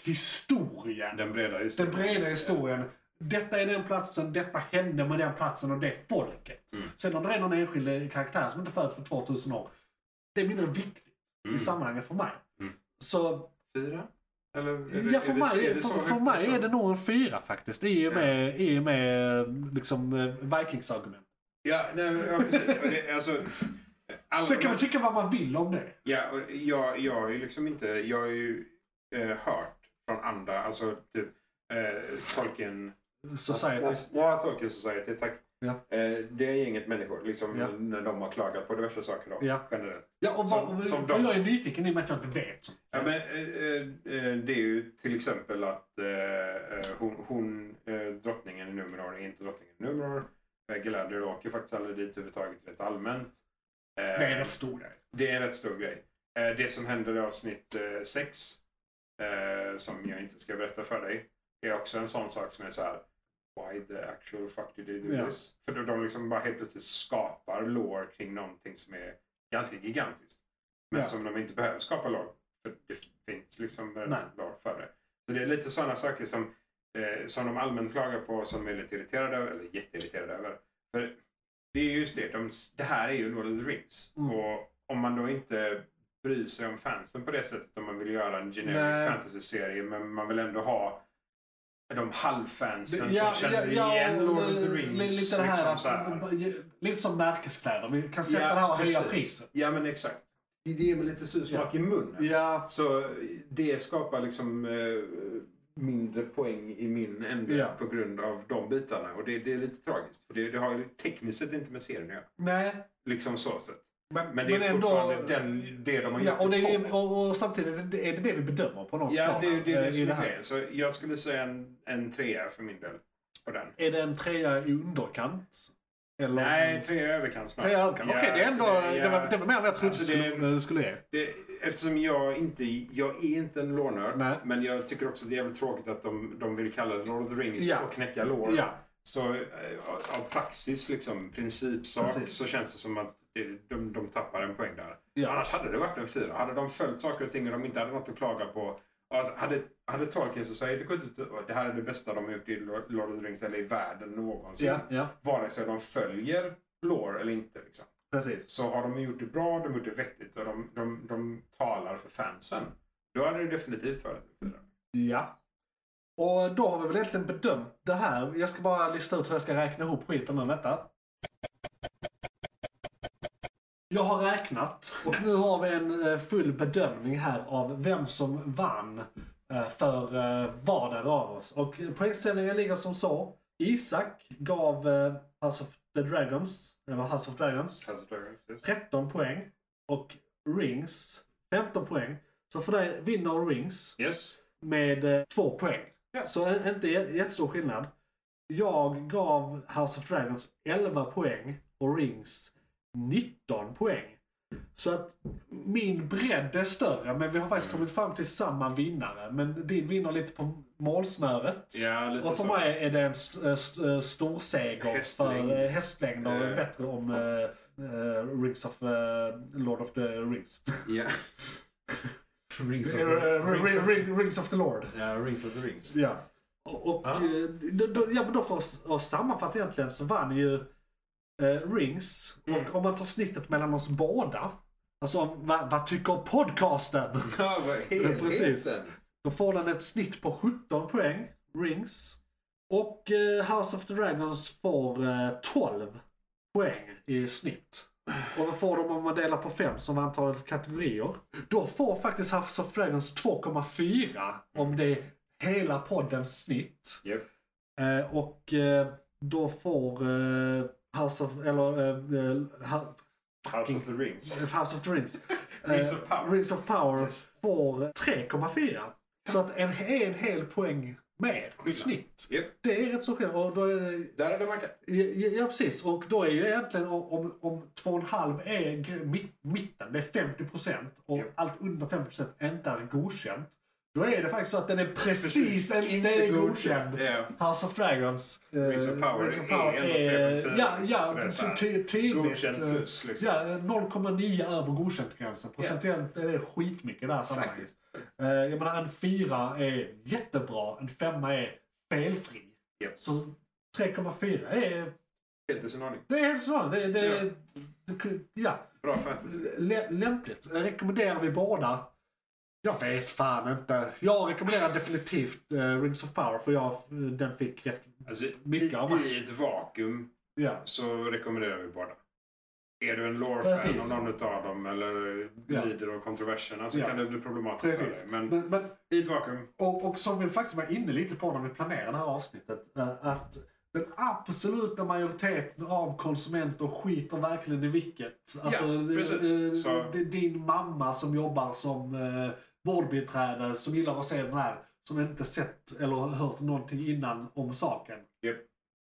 Speaker 3: historien.
Speaker 4: Den breda
Speaker 3: Den
Speaker 4: historien.
Speaker 3: breda historien. Detta är den platsen, detta hände med den platsen och det folket.
Speaker 4: Mm.
Speaker 3: Sen om det är någon enskild eh, karaktär som inte föds för 2000 år. Det är mindre viktigt
Speaker 4: Mm.
Speaker 3: i sammanhanget för mig.
Speaker 4: Mm.
Speaker 3: Så
Speaker 4: Fyra? Eller? är det-
Speaker 3: ja, för
Speaker 4: är det-
Speaker 3: mig,
Speaker 4: är det så
Speaker 3: för, för
Speaker 4: högt
Speaker 3: mig
Speaker 4: också?
Speaker 3: är det nog en fyra faktiskt. I och med, i och med liksom, eh, Vikings argument.
Speaker 4: Ja, nej, men- ja precis. Och det- Alltså, alla
Speaker 3: Sen
Speaker 4: de
Speaker 3: kan
Speaker 4: här-
Speaker 3: man tycka vad man vill om det.
Speaker 4: Ja, och jag, jag har ju liksom inte... Jag har ju eh, hört från andra, alltså typ eh, Tolkien... Alltså,
Speaker 3: Society.
Speaker 4: Ja, Tolkien Society, tack.
Speaker 3: Ja.
Speaker 4: Eh, det är gänget människor, liksom
Speaker 3: Ja.
Speaker 4: när de har klagat på diverse saker då,
Speaker 3: Ja.
Speaker 4: generellt.
Speaker 3: Ja, och
Speaker 4: Som-
Speaker 3: vad,
Speaker 4: som
Speaker 3: för
Speaker 4: de-
Speaker 3: jag är nyfiken i och med att jag inte vet. så mycket.
Speaker 4: Ja, men, eh, eh, eh, det är ju till exempel att eh, eh, hon, hon eh, drottningen i Numenor är inte drottningen i Numenor. Eh, Galadriel åker faktiskt aldrig dit överhuvudtaget rent allmänt. Eh,
Speaker 3: Det är en rätt stor grej.
Speaker 4: Det är en rätt stor grej. Eh, Det som händer i avsnitt 6, som jag inte ska berätta för dig, är också en sån sak som är så här. Why the actual fuck did they do
Speaker 3: Ja.
Speaker 4: this? För då de liksom bara helt plötsligt skapar lore kring någonting som är ganska gigantiskt. Men
Speaker 3: Ja.
Speaker 4: som de inte behöver skapa lore för det finns liksom
Speaker 3: Nej.
Speaker 4: Nej. lore för det. Så det är lite sådana saker som, eh, som de allmänt klagar på och som är lite irriterade över, eller jätteirriterade över. För det är just det, de, det här är ju Lord of the Rings.
Speaker 3: Mm.
Speaker 4: Och om man då inte bryr sig om fansen på det sättet, om man vill göra en generic
Speaker 3: Nej.
Speaker 4: fantasy-serie, men man vill ändå ha de halvfansen
Speaker 3: Ja,
Speaker 4: som känner
Speaker 3: ja, ja,
Speaker 4: igen Lord of the
Speaker 3: li-
Speaker 4: Rings.
Speaker 3: Lite, det här
Speaker 4: liksom
Speaker 3: att,
Speaker 4: så här.
Speaker 3: lite som märkeskläder. Vi kan sätta
Speaker 4: Ja,
Speaker 3: det här och höja
Speaker 4: precis.
Speaker 3: priset.
Speaker 4: Ja, men exakt. Det är det med lite sursmak i munnen.
Speaker 3: Ja,
Speaker 4: Så det skapar liksom eh, mindre poäng i min ände
Speaker 3: Ja.
Speaker 4: på grund av de bitarna. Och det, det är lite tragiskt. För det, det har ju tekniskt sett inte med serien att göra.
Speaker 3: nej.
Speaker 4: Liksom så sett.
Speaker 3: Men,
Speaker 4: Men det är fortfarande den, det de har
Speaker 3: ja,
Speaker 4: gjort
Speaker 3: och, det
Speaker 4: det
Speaker 3: är,
Speaker 4: på.
Speaker 3: och, och samtidigt är det är det det vi bedömer på något
Speaker 4: Ja,
Speaker 3: plan,
Speaker 4: det är ju det, är
Speaker 3: eh,
Speaker 4: det
Speaker 3: i
Speaker 4: som är
Speaker 3: här.
Speaker 4: grejen. Så jag skulle säga en, en trea för min del. På den.
Speaker 3: Är det en trea i underkant? Eller
Speaker 4: Nej, trea i överkant snart.
Speaker 3: Trea i överkant?
Speaker 4: Ja,
Speaker 3: Okej, det är
Speaker 4: alltså
Speaker 3: ändå... Det,
Speaker 4: ja.
Speaker 3: var, det var mer än vad jag trodde
Speaker 4: Alltså,
Speaker 3: du skulle,
Speaker 4: det-
Speaker 3: skulle ge.
Speaker 4: Det, eftersom jag inte, jag är inte en lånörd,
Speaker 3: Nej.
Speaker 4: men jag tycker också att det är jävligt tråkigt att de, de vill kalla det Lord of the Rings
Speaker 3: Ja.
Speaker 4: och knäcka lår.
Speaker 3: Ja.
Speaker 4: Så eh, av- av praxis, liksom, principsak,
Speaker 3: Precis.
Speaker 4: så känns det som att eh, de, de tappar en poäng där.
Speaker 3: Ja.
Speaker 4: Annars hade det varit en fyra. Hade de följt saker och ting och de inte hade något att klaga på. Alltså, hade, hade Tolkien Society gått ut och det här är det bästa de har gjort i Lord of the Rings eller i världen någonsin.
Speaker 3: Ja, ja,
Speaker 4: Vare sig de följer lore eller inte. Liksom
Speaker 3: precis.
Speaker 4: så har de gjort det bra, de har gjort det vettigt och de, de, de talar för fansen. Då hade det definitivt varit en fyra.
Speaker 3: Ja. Och då har vi väl egentligen bedömt det här. Jag ska bara lista ut hur jag ska räkna ihop skiten nu. Vänta. Jag har räknat och nu har vi en eh, full bedömning här av vem som vann eh, för eh, vardera av oss. Och eh, poängställningen ligger som så. Isak gav eh, House of the Dragons, eller House of Dragons,
Speaker 4: House of Dragons, just.
Speaker 3: 13 poäng. Och Rings 15 poäng. Så för dig vinner Rings
Speaker 4: Yes.
Speaker 3: med eh, två poäng.
Speaker 4: Ja.
Speaker 3: Så eh, inte jä- jättestor skillnad. Jag gav House of Dragons 11 poäng och Rings 19 poäng. Så att min bredd är större, men vi har faktiskt kommit fram till samma vinnare. Men din vinner lite på målsnöret.
Speaker 4: Ja, lite
Speaker 3: Och för
Speaker 4: så.
Speaker 3: mig är det en st- eh, st- eh, stor seger
Speaker 4: Hästlängd.
Speaker 3: för eh, hästlängder.
Speaker 4: Eh.
Speaker 3: Bättre om eh, eh, Rings of eh, Lord of the Rings.
Speaker 4: Ja.
Speaker 1: Rings of
Speaker 3: Eh,
Speaker 1: the,
Speaker 3: Rings
Speaker 1: rings
Speaker 3: of,
Speaker 1: of,
Speaker 3: Rings of the Lord.
Speaker 1: ja, rings, of the rings.
Speaker 3: Ja. Och, och
Speaker 4: Ja.
Speaker 3: eh, då, då, ja, men då för att att sammanfatta egentligen så vann ju eh, Rings.
Speaker 4: Mm.
Speaker 3: Och om man tar snittet mellan oss båda. Alltså om- vad, vad tycker podcasten?
Speaker 4: Ja, vad helheten.
Speaker 3: Precis. Då får den ett snitt på 17 poäng, Rings. Och eh, House of the Dragons får eh, 12 poäng i snitt. Och vad får de om man delar på fem som antalet kategorier? Då får faktiskt House of Dragons 2,4 om det är hela poddens snitt.
Speaker 4: Japp.
Speaker 3: Eh, och eh, då får eh, House of... Eller... Eh, eh, Ha-
Speaker 4: House of the Rings.
Speaker 3: Eh, House of the Rings.
Speaker 4: Rings of
Speaker 3: Eh,
Speaker 4: Power.
Speaker 3: Rings of Power
Speaker 4: Yes.
Speaker 3: får 3,4. Så att en, en hel poäng mer i
Speaker 4: Skillnad.
Speaker 3: snitt.
Speaker 4: Japp.
Speaker 3: Det är rätt så skillnad. Och då är det,
Speaker 4: Där hade man rätt.
Speaker 3: ja, ja, ja, precis. Och då är ju egentligen om, om, om 2,5 är gr- mitt, mitten, det är 50% och
Speaker 4: Ja.
Speaker 3: allt under 50% inte är godkänt. Då är det faktiskt så att den är precis, en,
Speaker 4: Inte
Speaker 3: den är godkänd. Eh,
Speaker 4: Ja.
Speaker 3: House of Dragons. eh,
Speaker 4: Rings of Power
Speaker 3: Rings of
Speaker 4: är
Speaker 3: Power
Speaker 4: ändå
Speaker 3: är...
Speaker 4: 3,4,
Speaker 3: Ja,
Speaker 4: liksom, så det
Speaker 3: ja
Speaker 4: är så här,
Speaker 3: ty, tydligt.
Speaker 4: Godkänd
Speaker 3: eh,
Speaker 4: plus liksom.
Speaker 3: Ja, 0,9 över godkänt-gränsen. Procentuellt är det skitmycket i det här sammanhanget.
Speaker 4: Faktiskt.
Speaker 3: Eh, Jag menar, en fyra är jättebra, en femma är felfri.
Speaker 4: Ja.
Speaker 3: Så 3,4 är...
Speaker 4: Helt i sin ordning.
Speaker 3: Det är helt så. Det, det,
Speaker 4: Ja.
Speaker 3: det kun- ja.
Speaker 4: Bra fantasy.
Speaker 3: Lä- lämpligt. Rekommenderar vi båda? Jag vet fan inte. Jag rekommenderar definitivt eh, Rings of Power för jag, den fick rätt.
Speaker 4: Alltså,
Speaker 3: Mycket
Speaker 4: i,
Speaker 3: av mig.
Speaker 4: I ett vakuum
Speaker 3: Ja.
Speaker 4: så rekommenderar vi båda. Är du en lore-fan
Speaker 3: Precis.
Speaker 4: av någon av dem eller
Speaker 3: Ja.
Speaker 4: lider av kontroverserna så
Speaker 3: Ja.
Speaker 4: kan det bli problematiskt
Speaker 3: Precis.
Speaker 4: för dig. Men
Speaker 3: Men, men
Speaker 4: i ett vakuum,
Speaker 3: Och, och som vi faktiskt var inne lite på när vi planerade det här avsnittet. eh, Att den absoluta majoriteten av konsumenter skiter verkligen i vilket. Alltså, eh,
Speaker 4: precis.
Speaker 3: eh,
Speaker 4: Så-
Speaker 3: det är din mamma som jobbar som eh, vårdbiträde som gillar att se den här. Som inte sett eller hört någonting innan om saken.
Speaker 4: Japp.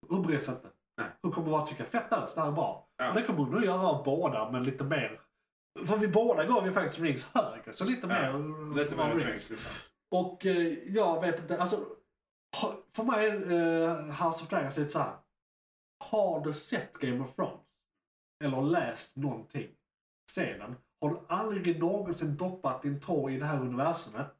Speaker 3: Hon bryr sig inte.
Speaker 4: Nej.
Speaker 3: Hon kommer bara tycka fett ös, det här är bra.
Speaker 4: Ja.
Speaker 3: Och det kommer hon nog göra av båda, men lite mer. För vi båda gav ju faktiskt Rings högre, så lite
Speaker 4: Ja.
Speaker 3: mer.
Speaker 4: lite
Speaker 3: var
Speaker 4: mer trängs liksom.
Speaker 3: och eh, jag vet inte, alltså. ha- För mig är eh, House of Dragons lite såhär. Har du sett Game of Thrones? Eller läst någonting? Scenen. Har du aldrig någonsin doppat din tå i det här universumet?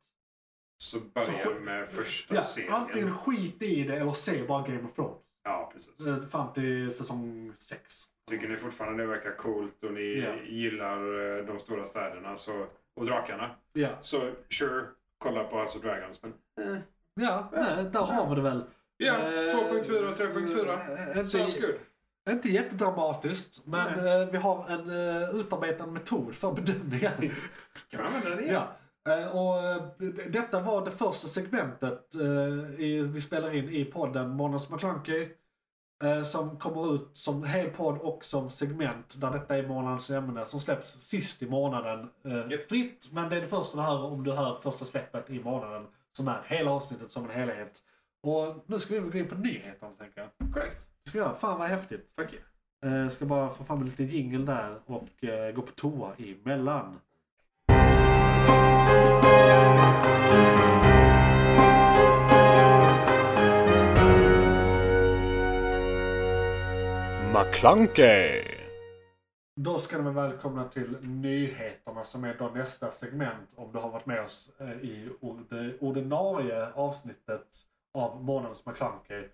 Speaker 4: Så
Speaker 3: Så-
Speaker 4: börja med första
Speaker 3: Ja, antingen
Speaker 4: serien.
Speaker 3: skit i det eller se bara Game of Thrones.
Speaker 4: Ja, precis.
Speaker 3: Eh, Fram till säsong 6.
Speaker 4: Tycker ni fortfarande det verkar coolt och ni
Speaker 3: Ja.
Speaker 4: gillar eh, de stora städerna så, och drakarna
Speaker 3: Ja.
Speaker 4: så sure, kolla på House of Dragons. Men...
Speaker 3: Ja, nej, där har vi det väl.
Speaker 4: Ja,
Speaker 3: Eh,
Speaker 4: 2.4 och 3.4.
Speaker 3: eh, inte-
Speaker 4: Sounds good.
Speaker 3: Inte jättedramatiskt, men
Speaker 4: Nej.
Speaker 3: eh, vi har en eh, utarbetad metod för bedömningar.
Speaker 4: Kan man använda det? igen?
Speaker 3: ja. Eh, och, eh, d- detta var det första segmentet eh, i, vi spelar in i podden Månads McClunky. Eh, som kommer ut som hel podd och som segment där detta är månadens ämne som släpps sist i månaden. Eh,
Speaker 4: Japp.
Speaker 3: Fritt, men det är det första du hör om du hör första släppet i månaden. Som är hela avsnittet som en helhet. Och nu ska vi gå in på nyheterna tänker jag.
Speaker 4: Korrekt.
Speaker 3: Det Ska jag? Fan vad häftigt.
Speaker 4: Fuck yeah.
Speaker 3: Eh, ska bara få fram en liten jingle där och eh, gå på toa emellan.
Speaker 2: McClunkey.
Speaker 3: Då ska ni vara välkomna till nyheterna som är då nästa segment om du har varit med oss eh, i or- det ordinarie avsnittet av Månadens McClunky.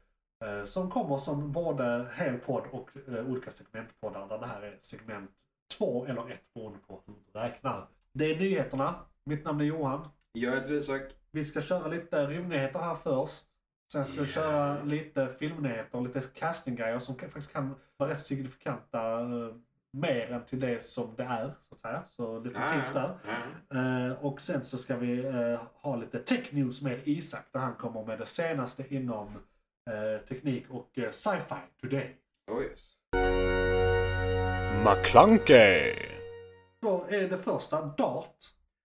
Speaker 3: eh, Som kommer som både hel podd och eh, olika segmentpoddar där det här är segment två eller ett beroende på hur du räknar. Det är nyheterna. Mitt namn är Johan.
Speaker 4: Jag heter Isak.
Speaker 3: Vi ska köra lite rymdnyheter här först. Sen ska vi
Speaker 4: Yeah.
Speaker 3: köra lite filmnyheter och lite castinggrejer som kan- faktiskt kan vara rätt signifikanta. eh, Mer än till det som det är, så att säga. Så lite
Speaker 4: Ja,
Speaker 3: notis där.
Speaker 4: ja.
Speaker 3: Eh, och sen så ska vi eh, ha lite tech news med Isak. Där han kommer med det senaste inom eh, teknik och eh, sci-fi today.
Speaker 4: Oh, yes.
Speaker 2: McClunkey.
Speaker 3: Då är det första DART.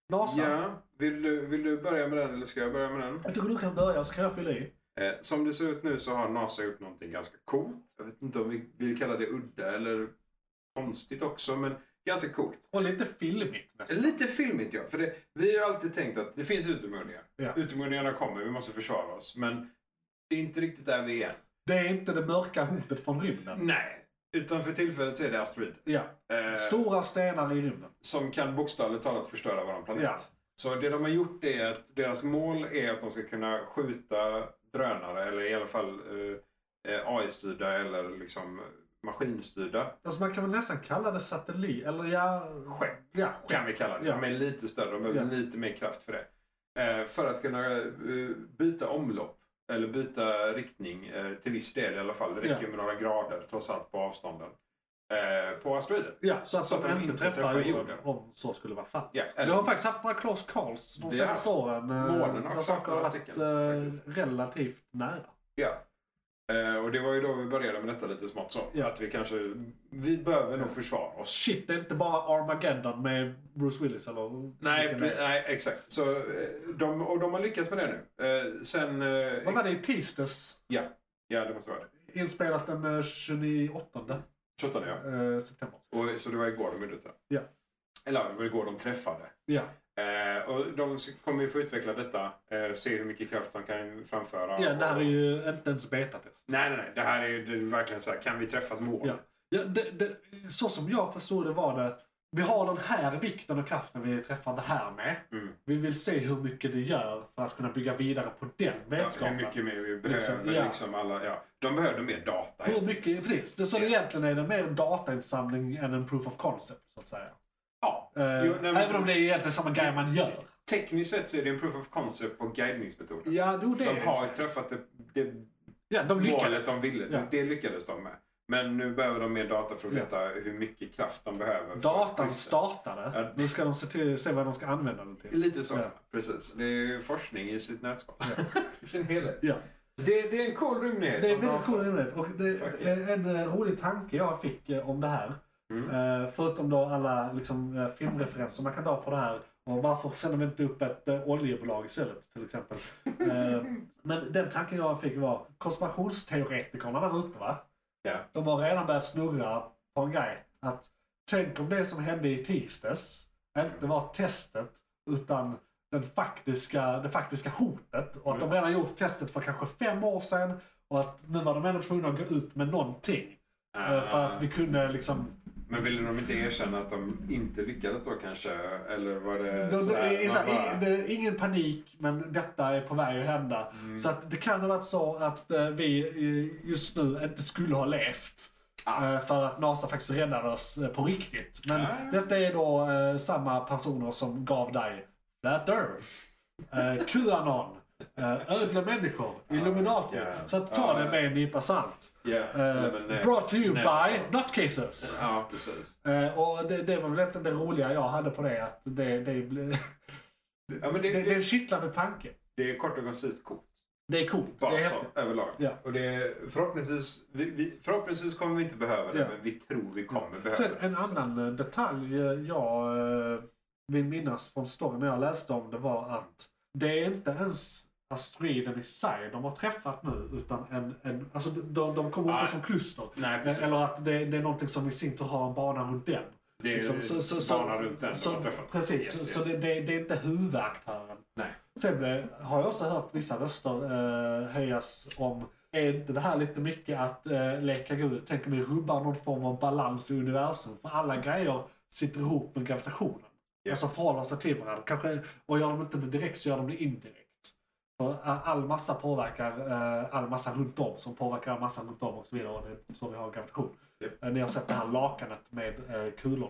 Speaker 3: NASA.
Speaker 4: Ja, vill du, vill du börja med den eller ska jag börja med den?
Speaker 3: Jag tycker du kan börja så kan jag fylla i.
Speaker 4: Eh, som det ser ut nu så har NASA gjort någonting ganska coolt. Jag vet inte om vi vill kalla det udda eller konstigt också, men ganska coolt.
Speaker 3: Och lite filmigt nästan.
Speaker 4: Lite filmigt ja, för det, vi har ju alltid tänkt att det finns utomjordingar.
Speaker 3: Ja.
Speaker 4: Utomjordingarna kommer, vi måste försvara oss. Men det är inte riktigt där vi är.
Speaker 3: Det är inte det mörka hotet från rymden.
Speaker 4: Nej, utan för tillfället så är det asteroid.
Speaker 3: Ja.
Speaker 4: Eh,
Speaker 3: Stora stenar i rymden.
Speaker 4: som kan bokstavligt talat förstöra vår planet.
Speaker 3: Ja.
Speaker 4: Så det de har gjort är att deras mål är att de ska kunna skjuta drönare eller i alla fall eh, eh, AI-styrda eller liksom maskinstyrda
Speaker 3: Alltså man kan väl nästan kalla det satellit, eller ja...
Speaker 4: skepp.
Speaker 3: Ja,
Speaker 4: Kan vi kalla det.
Speaker 3: Ja.
Speaker 4: De är lite större, de behöver
Speaker 3: Ja.
Speaker 4: lite mer kraft för det. Eh, för att kunna eh, byta omlopp eller byta riktning eh, till viss del i alla fall. Det räcker
Speaker 3: Ja.
Speaker 4: med några grader trots allt på avstånden. eh, på asteroiden.
Speaker 3: Ja, så att,
Speaker 4: Så att
Speaker 3: de
Speaker 4: de
Speaker 3: inte
Speaker 4: inte
Speaker 3: träffar
Speaker 4: träffar
Speaker 3: jorden,
Speaker 4: jorden.
Speaker 3: om så skulle vara fallet.
Speaker 4: Ja,
Speaker 3: Vi
Speaker 4: eller-
Speaker 3: har faktiskt haft några close calls de
Speaker 4: Vi har
Speaker 3: senaste åren. eh,
Speaker 4: Månen har
Speaker 3: Där saker har
Speaker 4: några
Speaker 3: varit
Speaker 4: stycken,
Speaker 3: eh,
Speaker 4: faktiskt.
Speaker 3: relativt nära.
Speaker 4: Ja. Eh, och det var ju då vi började med detta lite smått så.
Speaker 3: Ja.
Speaker 4: Att vi kanske, vi behöver nog försvara oss.
Speaker 3: Shit, det är inte bara Armageddon med Bruce Willis eller...
Speaker 4: Nej,
Speaker 3: vilken det
Speaker 4: pre-
Speaker 3: är.
Speaker 4: nej exakt. Så, eh, de, och de har lyckats med det nu. Eh, sen... eh,
Speaker 3: Vad var det i tisdags?
Speaker 4: Ja. ja, det måste vara det.
Speaker 3: Inspelat den eh, 28
Speaker 4: 17 ja.
Speaker 3: eh, september.
Speaker 4: Och, så det var igår de gjorde detta.
Speaker 3: Ja.
Speaker 4: Eller det var igår de träffade.
Speaker 3: Ja,
Speaker 4: Eh, och de s- kommer ju få utveckla detta. Eh, se hur mycket kraft de kan framföra.
Speaker 3: ja det här är
Speaker 4: och-
Speaker 3: ju inte ens betatest.
Speaker 4: Nej, nej, nej. Det här är ju det är verkligen så här. Kan vi träffa ett mål?
Speaker 3: Ja. Ja, det, det, så som jag förstod det var det, vi har den här vikten och kraften vi träffar det här med.
Speaker 4: Mm.
Speaker 3: Vi vill se hur mycket det gör för att kunna bygga vidare på den
Speaker 4: Ja, hur
Speaker 3: vetskapen.
Speaker 4: mycket mer vi behöver.
Speaker 3: Liksom,
Speaker 4: Liksom,
Speaker 3: ja.
Speaker 4: alla, ja. De behövde mer data.
Speaker 3: Hur mycket, precis. Det, så
Speaker 4: Ja.
Speaker 3: egentligen är det mer en datainsamling än en proof of concept, så att säga.
Speaker 4: Ja.
Speaker 3: Eh,
Speaker 4: Jo, nej, men-
Speaker 3: Även om det är egentligen samma grej man gör.
Speaker 4: Tekniskt sett så är det en proof of concept på guidningsmetoden.
Speaker 3: Ja, jo, det
Speaker 4: de
Speaker 3: är
Speaker 4: har ju
Speaker 3: det.
Speaker 4: träffat det, det
Speaker 3: Ja, de
Speaker 4: målet
Speaker 3: lyckades.
Speaker 4: de ville.
Speaker 3: Ja.
Speaker 4: Det lyckades de med. Men nu behöver de mer data för att
Speaker 3: Ja.
Speaker 4: veta hur mycket kraft de behöver. för att
Speaker 3: Datan
Speaker 4: skydda.
Speaker 3: startade.
Speaker 4: Ja.
Speaker 3: Nu ska de se, till, se vad de ska använda den till.
Speaker 4: Lite så,
Speaker 3: Ja.
Speaker 4: precis. Det är ju forskning i sitt nötskal. I sin helhet.
Speaker 3: Ja.
Speaker 4: Det, det är en cool rymdnyhet.
Speaker 3: Det är
Speaker 4: om
Speaker 3: väldigt
Speaker 4: NASA.
Speaker 3: cool rymdrätt. Och det
Speaker 4: Fuck
Speaker 3: är en eh, rolig tanke jag fick eh, om det här.
Speaker 4: Mm.
Speaker 3: Eh, Förutom då alla liksom, eh, filmreferenser man kan ta på det här. Och varför sänder vi inte upp ett eh, oljebolag istället till exempel? Eh, Men den tanken jag fick var konspirationsteoretikerna där ute va?
Speaker 4: Ja.
Speaker 3: De har redan börjat snurra på en grej. Att tänk om det som hände i tisdags inte
Speaker 4: Mm.
Speaker 3: var testet utan den faktiska, det faktiska hotet. Och att de redan gjort testet för kanske fem år sedan. Och att nu var de ändå tvungna att gå ut med någonting.
Speaker 4: Ah.
Speaker 3: eh, För att vi kunde liksom...
Speaker 4: Men ville de inte erkänna att de inte lyckades då kanske? Eller var det
Speaker 3: Då, det,
Speaker 4: Eh, sådär,
Speaker 3: är, så
Speaker 4: man
Speaker 3: här,
Speaker 4: bara-
Speaker 3: i- det är ingen panik, men detta är på väg att hända.
Speaker 4: Mm.
Speaker 3: Så att det kan ha varit så att eh, vi eh, just nu inte skulle ha levt.
Speaker 4: Ah.
Speaker 3: Eh, För att NASA faktiskt räddade oss eh, på riktigt. Men
Speaker 4: Ah.
Speaker 3: detta är då eh, samma personer som gav dig That Earth, eh, Qanon, eh, ödle människor, Illuminati.
Speaker 4: yeah.
Speaker 3: Så att ta
Speaker 4: Ah.
Speaker 3: det med en nypa salt.
Speaker 4: Ja,
Speaker 3: Eh,
Speaker 4: nej, men nej.
Speaker 3: brought to you
Speaker 4: Nej,
Speaker 3: by
Speaker 4: sant.
Speaker 3: Nutcases.
Speaker 4: Ja, precis.
Speaker 3: Eh, och det, det var väl inte det roliga jag hade på det. Att det, det, blir-
Speaker 4: Ja, men
Speaker 3: det,
Speaker 4: det,
Speaker 3: det är en
Speaker 4: det,
Speaker 3: kittlande tanke.
Speaker 4: det är kort och koncist coolt.
Speaker 3: Det är coolt. Det
Speaker 4: Bara
Speaker 3: är
Speaker 4: så,
Speaker 3: häftigt.
Speaker 4: överlag.
Speaker 3: Ja.
Speaker 4: Och det, är- förhoppningsvis, vi, vi, förhoppningsvis kommer vi inte behöva det,
Speaker 3: Ja.
Speaker 4: men vi tror vi kommer behöva
Speaker 3: Sen
Speaker 4: det.
Speaker 3: en annan eh, detalj eh, jag eh, vill minnas från storyn när jag läste om det var att det är inte ens asteroiden i sig de har träffat nu utan en, en alltså de, de kommer ofta
Speaker 4: Nej.
Speaker 3: som kluster.
Speaker 4: Nej, precis.
Speaker 3: Eller att det, det är någonting som i sin tur har en bana runt den.
Speaker 4: Det är
Speaker 3: Liksom,
Speaker 4: så, banan runt den de
Speaker 3: så,
Speaker 4: har träffat.
Speaker 3: Precis,
Speaker 4: Yes,
Speaker 3: så,
Speaker 4: yes.
Speaker 3: så det, det, det är inte huvudaktören.
Speaker 4: Nej.
Speaker 3: Sen blev, har jag också hört vissa röster eh, höjas om är inte det här lite mycket att eh, leka gud? Tänk om vi rubbar någon form av balans i universum? För alla grejer sitter ihop med gravitationen.
Speaker 4: Ja.
Speaker 3: Alltså förhåller sig till varandra. Kanske, och gör de inte det direkt så gör de det indirekt. För a- all massa påverkar eh, all massa runt om som påverkar all massa runt om och så vidare. Och det är så vi har gravitation.
Speaker 4: Japp.
Speaker 3: Eh, Ni har sett det här lakanet med eh, kulorna.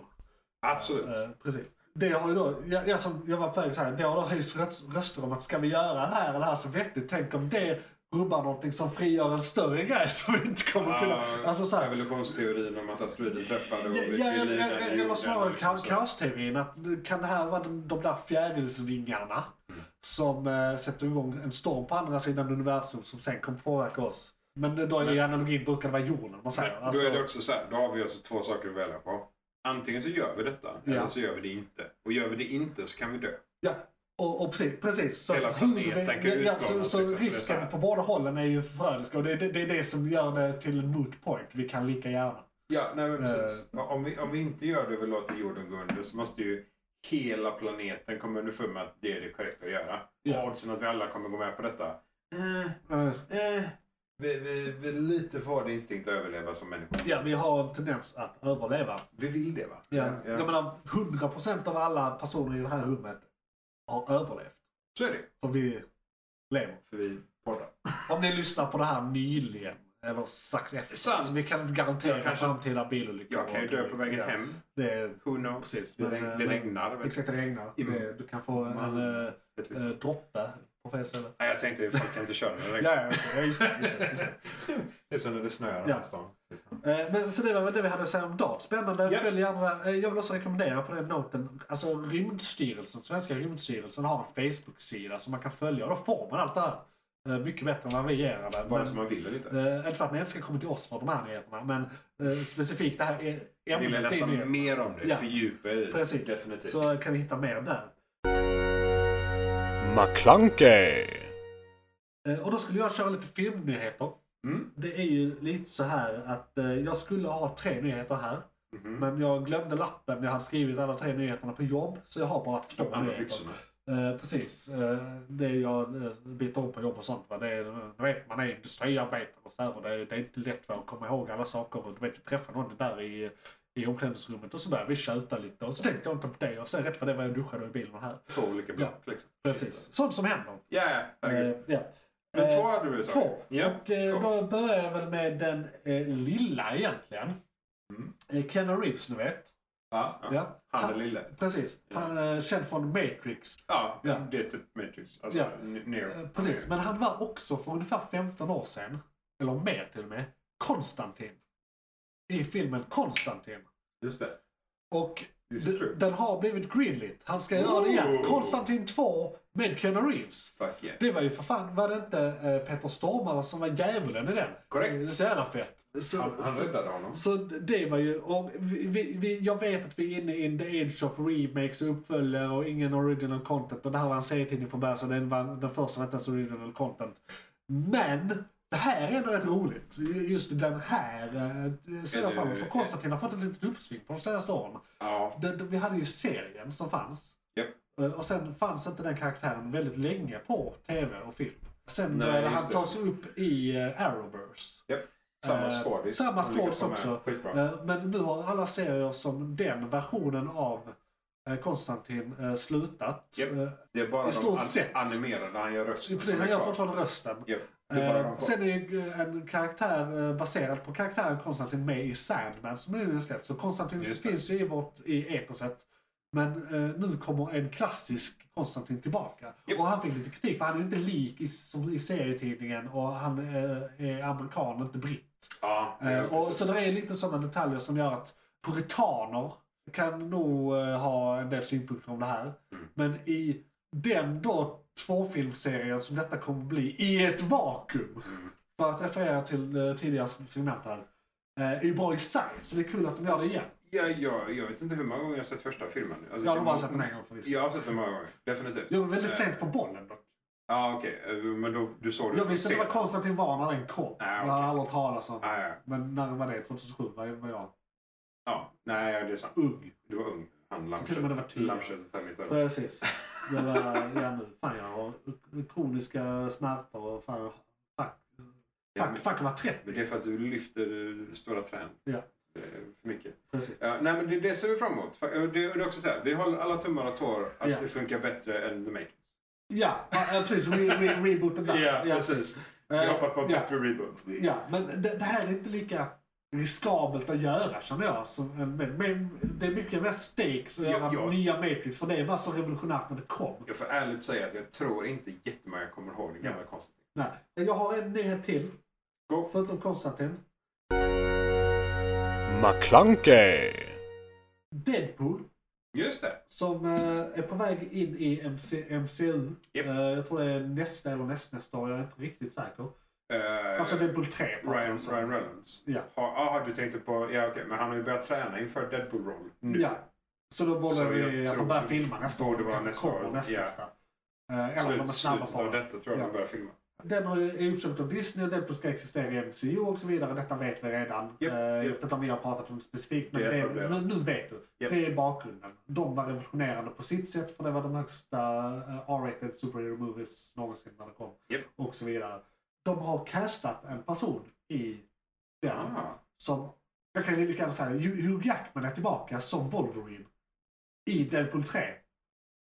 Speaker 4: Absolut.
Speaker 3: Eh, precis. Det har ju då, jag, jag, som, jag var på väg att säga, det har då höjts röst- röster om att ska vi göra det här eller det här så vettigt, tänk om det rubbar någonting som frigör en större grej som vi inte kommer kunna...
Speaker 4: Ja,
Speaker 3: Alltså så här,
Speaker 4: evolutionsteorin om att asteroiden träffade och
Speaker 3: Ja, ja,
Speaker 4: vilken
Speaker 3: eller-
Speaker 4: liten
Speaker 3: eller-
Speaker 4: jorden
Speaker 3: eller
Speaker 4: och
Speaker 3: snarare
Speaker 4: liksom
Speaker 3: liksom
Speaker 4: så.
Speaker 3: kaosteorin. Att, kan det här vara de, de där fjärilsvingarna
Speaker 4: Mm.
Speaker 3: som eh, sätter igång en storm på andra sidan universum som sen kommer påverka oss? Men då i
Speaker 4: Men-
Speaker 3: analogin brukar det vara jorden. Man säger.
Speaker 4: Men
Speaker 3: alltså,
Speaker 4: Då är det också så här, då har vi alltså två saker att välja på. Antingen så gör vi detta,
Speaker 3: Ja.
Speaker 4: eller så gör vi det inte. Och gör vi det inte så kan vi dö.
Speaker 3: ja, och, och precis. precis så
Speaker 4: Hela
Speaker 3: att
Speaker 4: planeten
Speaker 3: huvud-
Speaker 4: kan ju
Speaker 3: ja,
Speaker 4: utplånas,
Speaker 3: så, så
Speaker 4: liksom, så det är så
Speaker 3: risken
Speaker 4: här.
Speaker 3: på båda hållen är ju förödisk. Och det, det, det är det som gör det till en moot point. Vi kan lika gärna.
Speaker 4: Ja, nej men
Speaker 3: Eh.
Speaker 4: precis. Om, vi, om vi inte gör det och vi låter jorden gå under så måste ju hela planeten komma underfund med att det är det korrekta att göra.
Speaker 3: Ja.
Speaker 4: Och oddsen att vi alla kommer gå med på detta.
Speaker 3: Eh,
Speaker 4: Eh, vi, vi, vi är lite för det instinkt att överleva som människor.
Speaker 3: Ja, vi har en tendens att överleva.
Speaker 4: Vi vill det va?
Speaker 3: Ja. Jag menar, 100% av alla personer i det här rummet har överlevt.
Speaker 4: Så är det.
Speaker 3: För vi lever.
Speaker 4: För vi poddar.
Speaker 3: Om ni lyssnar på det här nyligen, eller strax efter,
Speaker 4: Sant.
Speaker 3: så vi kan inte garantera
Speaker 4: Jag kanske-
Speaker 3: framtida bilolyckor.
Speaker 4: Jag kan ju
Speaker 3: och-
Speaker 4: dö på vägen
Speaker 3: ja,
Speaker 4: hem.
Speaker 3: Det är,
Speaker 4: Who knows?
Speaker 3: precis.
Speaker 4: Det,
Speaker 3: men,
Speaker 4: regn,
Speaker 3: eh,
Speaker 4: det
Speaker 3: men-
Speaker 4: regnar. vet
Speaker 3: Exakt, det regnar.
Speaker 4: Mm.
Speaker 3: Det, du kan få en
Speaker 4: Man-
Speaker 3: eh,
Speaker 4: du.
Speaker 3: eh, droppe på fel ställe.
Speaker 4: Nej, jag tänkte vi fan kan inte köra när det
Speaker 3: Ja, ja, okej. ja just det. Just det, just det.
Speaker 4: Det är som när det snöar
Speaker 3: Ja.
Speaker 4: här i stan.
Speaker 3: Eh, Men så det var väl det vi hade att säga om DART. Spännande.
Speaker 4: Ja.
Speaker 3: Följ gärna. eh, Jag vill också rekommendera på den noten. Alltså Rymdstyrelsen, Svenska Rymdstyrelsen har en Facebook-sida som man kan följa. Och då får man allt det här. Eh, Mycket bättre än vad vi ger det.
Speaker 4: Bara
Speaker 3: Men,
Speaker 4: som man vill lite.
Speaker 3: eh, Inte för att ni inte ska komma till oss för de här nyheterna. Men eh, specifikt det här är-
Speaker 4: Jag vill
Speaker 3: ämnet i
Speaker 4: läsa
Speaker 3: nyheterna.
Speaker 4: mer om det,
Speaker 3: Ja.
Speaker 4: fördjupa i det.
Speaker 3: Precis.
Speaker 4: Definitivt.
Speaker 3: Så kan ni hitta mer där.
Speaker 2: McClunkey!
Speaker 3: Eh, Och då skulle jag köra lite filmnyheter.
Speaker 4: Mm.
Speaker 3: Det är ju lite så här att eh, jag skulle ha tre nyheter här.
Speaker 4: Mhm.
Speaker 3: Men jag glömde lappen. Jag hade skrivit alla tre nyheterna på jobb. Så jag har bara två
Speaker 4: De andra
Speaker 3: nyheter.
Speaker 4: byxorna.
Speaker 3: Eh, precis. Eh, det jag eh, byter om på jobb och sånt. Va? Det är, du vet, man är industriarbetare och så här, och det, det är inte lätt va, att komma ihåg alla saker. Och du vet, jag träffade någon där i, i omklädningsrummet och så började vi tjöta lite. Och så tänkte jag inte på det. Och sen rätt för det var jag duschade och i bilen och här.
Speaker 4: Två olika block liksom.
Speaker 3: Precis. Sånt som händer.
Speaker 4: Ja, ja.
Speaker 3: Eh,
Speaker 4: herregud.
Speaker 3: ja.
Speaker 4: Men
Speaker 3: Eh,
Speaker 4: två hade du sagt?
Speaker 3: Två.
Speaker 4: Ja.
Speaker 3: Och eh,
Speaker 4: cool.
Speaker 3: då börjar jag väl med den eh, lilla egentligen.
Speaker 4: Mm.
Speaker 3: Eh, Keanu Reeves, ni vet.
Speaker 4: Ja, ja.
Speaker 3: Ja.
Speaker 4: Han den lille.
Speaker 3: Precis.
Speaker 4: Ja.
Speaker 3: Han är känd från Matrix.
Speaker 4: Ja,
Speaker 3: Ja.
Speaker 4: det är typ Matrix. Alltså,
Speaker 3: Ja.
Speaker 4: n- near.
Speaker 3: Eh, Precis. Men han var också för ungefär 15 år sedan, eller mer till och med, Konstantin. I filmen Konstantin.
Speaker 4: Just det.
Speaker 3: Och
Speaker 4: This
Speaker 3: d-
Speaker 4: is true.
Speaker 3: den har blivit greenlit. Han ska göra det igen.
Speaker 4: Ooh.
Speaker 3: Konstantin 2 med Keanu Reeves.
Speaker 4: Fuck yeah.
Speaker 3: Det var ju för fan, var det inte eh, Peter Stormare som var djävulen i den? Eh,
Speaker 4: Korrekt.
Speaker 3: Det är så jävla fett. Så,
Speaker 4: Han, han
Speaker 3: så-
Speaker 4: räddade honom.
Speaker 3: Så det var ju, och vi, vi- vi, jag vet att vi är inne in the age of remakes och uppföljare och ingen original content. Och det här var en serietidning från början så den, var, den första var inte ens original content. Men det här är ändå rätt roligt. Just den här eh, ser jag
Speaker 4: Är
Speaker 3: fram emot.
Speaker 4: det-
Speaker 3: För Konstantin har fått ett litet uppsving på de senaste åren.
Speaker 4: Ja.
Speaker 3: Det- det- vi hade ju serien som fanns.
Speaker 4: Japp.
Speaker 3: Eh, Och sen fanns inte den karaktären väldigt länge på tv och film. Sen
Speaker 4: Nej,
Speaker 3: började
Speaker 4: just
Speaker 3: han
Speaker 4: det.
Speaker 3: tas upp i eh, Arrowverse.
Speaker 4: Japp. Samma
Speaker 3: Eh,
Speaker 4: skådis.
Speaker 3: samma
Speaker 4: Han lyckas
Speaker 3: skådis
Speaker 4: vara med.
Speaker 3: också.
Speaker 4: Skitbra.
Speaker 3: Eh, Men nu har alla serier som den versionen av eh, Konstantin eh, slutat.
Speaker 4: Japp.
Speaker 3: Eh,
Speaker 4: Det är bara
Speaker 3: i stort
Speaker 4: de an-
Speaker 3: sett.
Speaker 4: animerade, han gör rösten
Speaker 3: Precis, han gör fortfarande rösten.
Speaker 4: Japp. Det är bara
Speaker 3: Eh,
Speaker 4: de kvar.
Speaker 3: Sen är ju eh, en karaktär eh, baserad på karaktären Konstantin med i Sandman som nu är släppt. Så Konstantin
Speaker 4: Just det.
Speaker 3: finns ju i vårt i etoset. Men eh, nu kommer en klassisk Konstantin tillbaka.
Speaker 4: Japp.
Speaker 3: Och han fick lite kritik för han är ju inte lik i, som i serietidningen och han eh, är amerikan och inte britt.
Speaker 4: Ja, det
Speaker 3: Eh,
Speaker 4: är
Speaker 3: och
Speaker 4: precis.
Speaker 3: så det är lite sådana detaljer som gör att puritaner kan nog eh, ha en del synpunkter om det här.
Speaker 4: Mm.
Speaker 3: Men i den då tvåfilmserien som detta kommer bli, i ett vakuum,
Speaker 4: Mm.
Speaker 3: för att referera till eh, tidigare segment här, eh, är ju bra i sig. Så det är kul att de gör det igen.
Speaker 4: Ja, jag, jag vet inte hur många gånger jag har sett första filmen. Alltså,
Speaker 3: Jag har
Speaker 4: det-
Speaker 3: nog bara sett den en gång förvisso.
Speaker 4: Jag har sett den många gånger, definitivt.
Speaker 3: Jag var väldigt
Speaker 4: Eh,
Speaker 3: sent på bollen dock.
Speaker 4: Ja, okej. Eh, Men då, du såg det
Speaker 3: Jag visste inte vad
Speaker 4: sen.
Speaker 3: Konstantin var när den kom.
Speaker 4: Nej,
Speaker 3: Jag hade
Speaker 4: okej. Ah.
Speaker 3: aldrig hört talas om den.
Speaker 4: Ja, ja.
Speaker 3: Men när var det? 2007 var jag- var jag
Speaker 4: ja. Nej, det är sant.
Speaker 3: ung.
Speaker 4: Du var ung. Han lammkött.
Speaker 3: till och med det var tio. Eh.
Speaker 4: Lammköttet här mitt över.
Speaker 3: Precis. Det var, ja, nu, fan jag har kroniska smärtor och fan, fuck,
Speaker 4: Ja,
Speaker 3: fuck,
Speaker 4: men-
Speaker 3: fuck jag var
Speaker 4: Men
Speaker 3: 30.
Speaker 4: det är för att du lyfter eh, stora trän.
Speaker 3: Ja.
Speaker 4: Eh, För mycket.
Speaker 3: Precis.
Speaker 4: Ja, nej, men det, det ser vi fram emot. För, eh, Det, det är också så här, vi håller alla tummar och tår att
Speaker 3: Ja.
Speaker 4: det funkar bättre än The Matrix.
Speaker 3: Ja, ja, precis. Re, re, rebooten där.
Speaker 4: Vi hoppas på en
Speaker 3: Eh, ja,
Speaker 4: bättre reboot.
Speaker 3: ja, men det, det här är inte lika riskabelt att göra känner jag. Som, en- men, men det är mycket mer stakes att
Speaker 4: Ja,
Speaker 3: göra
Speaker 4: ja.
Speaker 3: nya Matrix. För det var så revolutionärt när det kom.
Speaker 4: Jag får ärligt säga att jag tror inte jättemånga kommer ihåg den gamla konsten.
Speaker 3: Nej. Jag har en nyhet till.
Speaker 4: Gå.
Speaker 3: Förutom Konstantin.
Speaker 2: McClunkey!
Speaker 3: Deadpool
Speaker 4: Just det!
Speaker 3: Som eh, är på väg in i MC, MCU.
Speaker 4: Japp.
Speaker 3: Eh, jag tror det är nästa eller nästnästa år, jag är inte riktigt säker.
Speaker 4: Eh,
Speaker 3: Alltså Deadpool 3. pratar jag
Speaker 4: Ryan,
Speaker 3: om, så.
Speaker 4: Ryan Reynolds.
Speaker 3: Ja.
Speaker 4: Har, aha, du tänkte på... Ja, okej. men han har ju börjat träna inför Deadpool-roll nu.
Speaker 3: ja. Så då
Speaker 4: Så
Speaker 3: borde vi
Speaker 4: jag
Speaker 3: att de
Speaker 4: tror-
Speaker 3: börjar filma nästa år.
Speaker 4: borde vara
Speaker 3: Kanske
Speaker 4: nästa år,
Speaker 3: kommer Nästa,
Speaker 4: ja.
Speaker 3: nästa. Eh, eller om de är
Speaker 4: Slut,
Speaker 3: snabba
Speaker 4: slutet
Speaker 3: på
Speaker 4: av
Speaker 3: det.
Speaker 4: detta tror jag
Speaker 3: Ja.
Speaker 4: de börjar filma.
Speaker 3: Den har ju- är uppköpt av Disney och Deadpool ska existera i MCU och så vidare. Detta vet vi redan.
Speaker 4: Japp,
Speaker 3: Eh,
Speaker 4: japp.
Speaker 3: Jag vet inte om vi har pratat om det specifikt, men
Speaker 4: Det
Speaker 3: det
Speaker 4: är problemet.
Speaker 3: nu, nu vet du.
Speaker 4: Japp.
Speaker 3: Det är bakgrunden. De var revolutionerande på sitt sätt, för det var de högsta eh, R-rated superhero movies någonsin när det kom.
Speaker 4: Japp.
Speaker 3: Och så vidare. De har castat en person i den
Speaker 4: Ah,
Speaker 3: som, jag kan ju lika gärna säga Hugh Hugh Jackman är tillbaka som Wolverine. I Deadpool 3.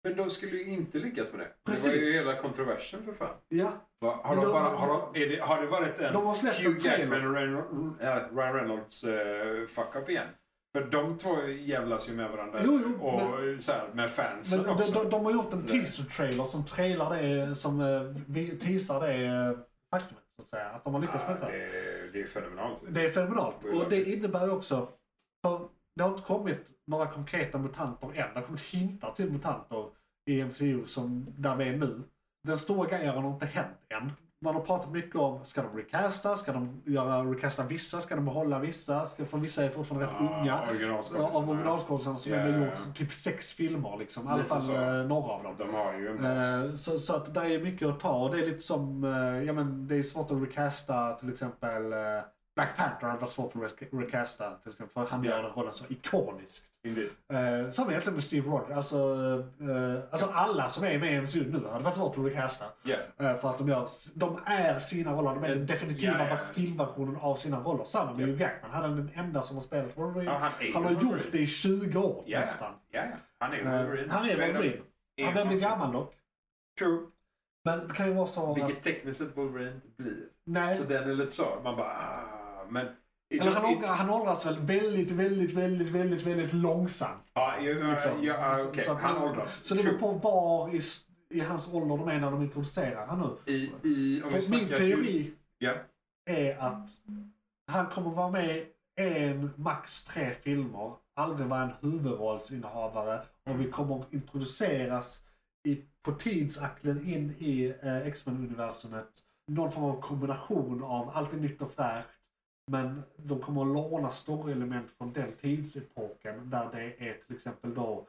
Speaker 4: men de skulle ju inte lyckas med det. Det var ju
Speaker 3: Precis.
Speaker 4: hela kontroversen för fan.
Speaker 3: Ja,
Speaker 4: Va, har,
Speaker 3: Men
Speaker 4: de,
Speaker 3: de-
Speaker 4: bara, har, de, är det, har det varit en
Speaker 3: De har släppt en
Speaker 4: Hugh
Speaker 3: trailer.
Speaker 4: Jackman och Ryan, äh, Ryan Reynolds eh, fuck-up igen? För de två jävlas ju med varandra.
Speaker 3: Jo, jo,
Speaker 4: och så här, med fansen
Speaker 3: Men de,
Speaker 4: också.
Speaker 3: de, de har gjort en teaser-trailer som trailar det, som eh, vi- teasar det eh, faktumet så att säga. Att de har lyckats med det.
Speaker 4: ja, Ah, det, det är fenomenalt.
Speaker 3: Det är fenomenalt.
Speaker 4: Det är
Speaker 3: Och det
Speaker 4: verkligen.
Speaker 3: innebär ju också, för det har inte kommit några konkreta mutanter än. Det har kommit hintar till mutanter i MCU som där vi är nu. Den stora grejen har inte hänt än. Man har pratat mycket om, ska de recasta? Ska de göra, recasta vissa? Ska de behålla vissa? Ska, för vissa är fortfarande rätt
Speaker 4: Ah,
Speaker 3: unga. Ja,
Speaker 4: originalskådisarna.
Speaker 3: Av originalskådisarna som
Speaker 4: Ja,
Speaker 3: ändå
Speaker 4: ja,
Speaker 3: gjort
Speaker 4: ja.
Speaker 3: typ sex filmer liksom. I alla
Speaker 4: Lite
Speaker 3: fall
Speaker 4: så.
Speaker 3: eh, några av dem.
Speaker 4: De har ju en bas.
Speaker 3: Eh, Så, så att där är mycket att ta och det är lite som, eh, ja men det är svårt att recasta till exempel eh, Black Panther hade varit svårt att rec- recasta till exempel för han
Speaker 4: Ja.
Speaker 3: gör den rollen så ikoniskt.
Speaker 4: Indeed.
Speaker 3: Eh, samma egentligen med Steve Rogers, alltså, eh, alltså alla som är med i MCU nu hade varit svårt att recasta.
Speaker 4: Ja.
Speaker 3: Eh, för att de, gör, s- de är sina roller, de är den
Speaker 4: Eh,
Speaker 3: definitiva
Speaker 4: ja, ja, ja.
Speaker 3: filmversionen av sina roller. Samma med Hugh Jackman, han är den enda som har spelat Wolverine.
Speaker 4: Ja, han är
Speaker 3: han har
Speaker 4: ju
Speaker 3: gjort
Speaker 4: Wolverine.
Speaker 3: det i 20 år
Speaker 4: Ja,
Speaker 3: nästan.
Speaker 4: ja, ja. Han är ju
Speaker 3: Eh,
Speaker 4: Wolverine.
Speaker 3: han är
Speaker 4: Straight up.
Speaker 3: Wolverine. Han
Speaker 4: Ingen
Speaker 3: börjar bli
Speaker 4: konstigt.
Speaker 3: gammal dock.
Speaker 4: True.
Speaker 3: Men det kan ju vara så
Speaker 4: Vilket
Speaker 3: att...
Speaker 4: tekniskt sett Wolverine inte blir.
Speaker 3: Nej.
Speaker 4: Så den är lite så. Man bara... Ah, men...
Speaker 3: Eller han,
Speaker 4: It-
Speaker 3: åldras, han åldras väl väldigt, väldigt, väldigt, väldigt, väldigt långsamt.
Speaker 4: Ja, ju,
Speaker 3: liksom.
Speaker 4: ja, ja
Speaker 3: Så-
Speaker 4: okej.
Speaker 3: så att-
Speaker 4: Han åldras.
Speaker 3: Så det beror
Speaker 4: True.
Speaker 3: på var i, s- i hans ålder de är när de introducerar han nu.
Speaker 4: I, i, om vi
Speaker 3: För min
Speaker 4: snackar jul-
Speaker 3: teori
Speaker 4: Ja.
Speaker 3: är att han kommer vara med en, max tre filmer. Aldrig vara en huvudrollsinnehavare. Och vi kommer introduceras i, på tidsakten in i eh, X-Men-universumet. Någon form av kombination av allt är nytt och fräscht. Men de kommer att låna stora element från den tidsepoken där det är till exempel då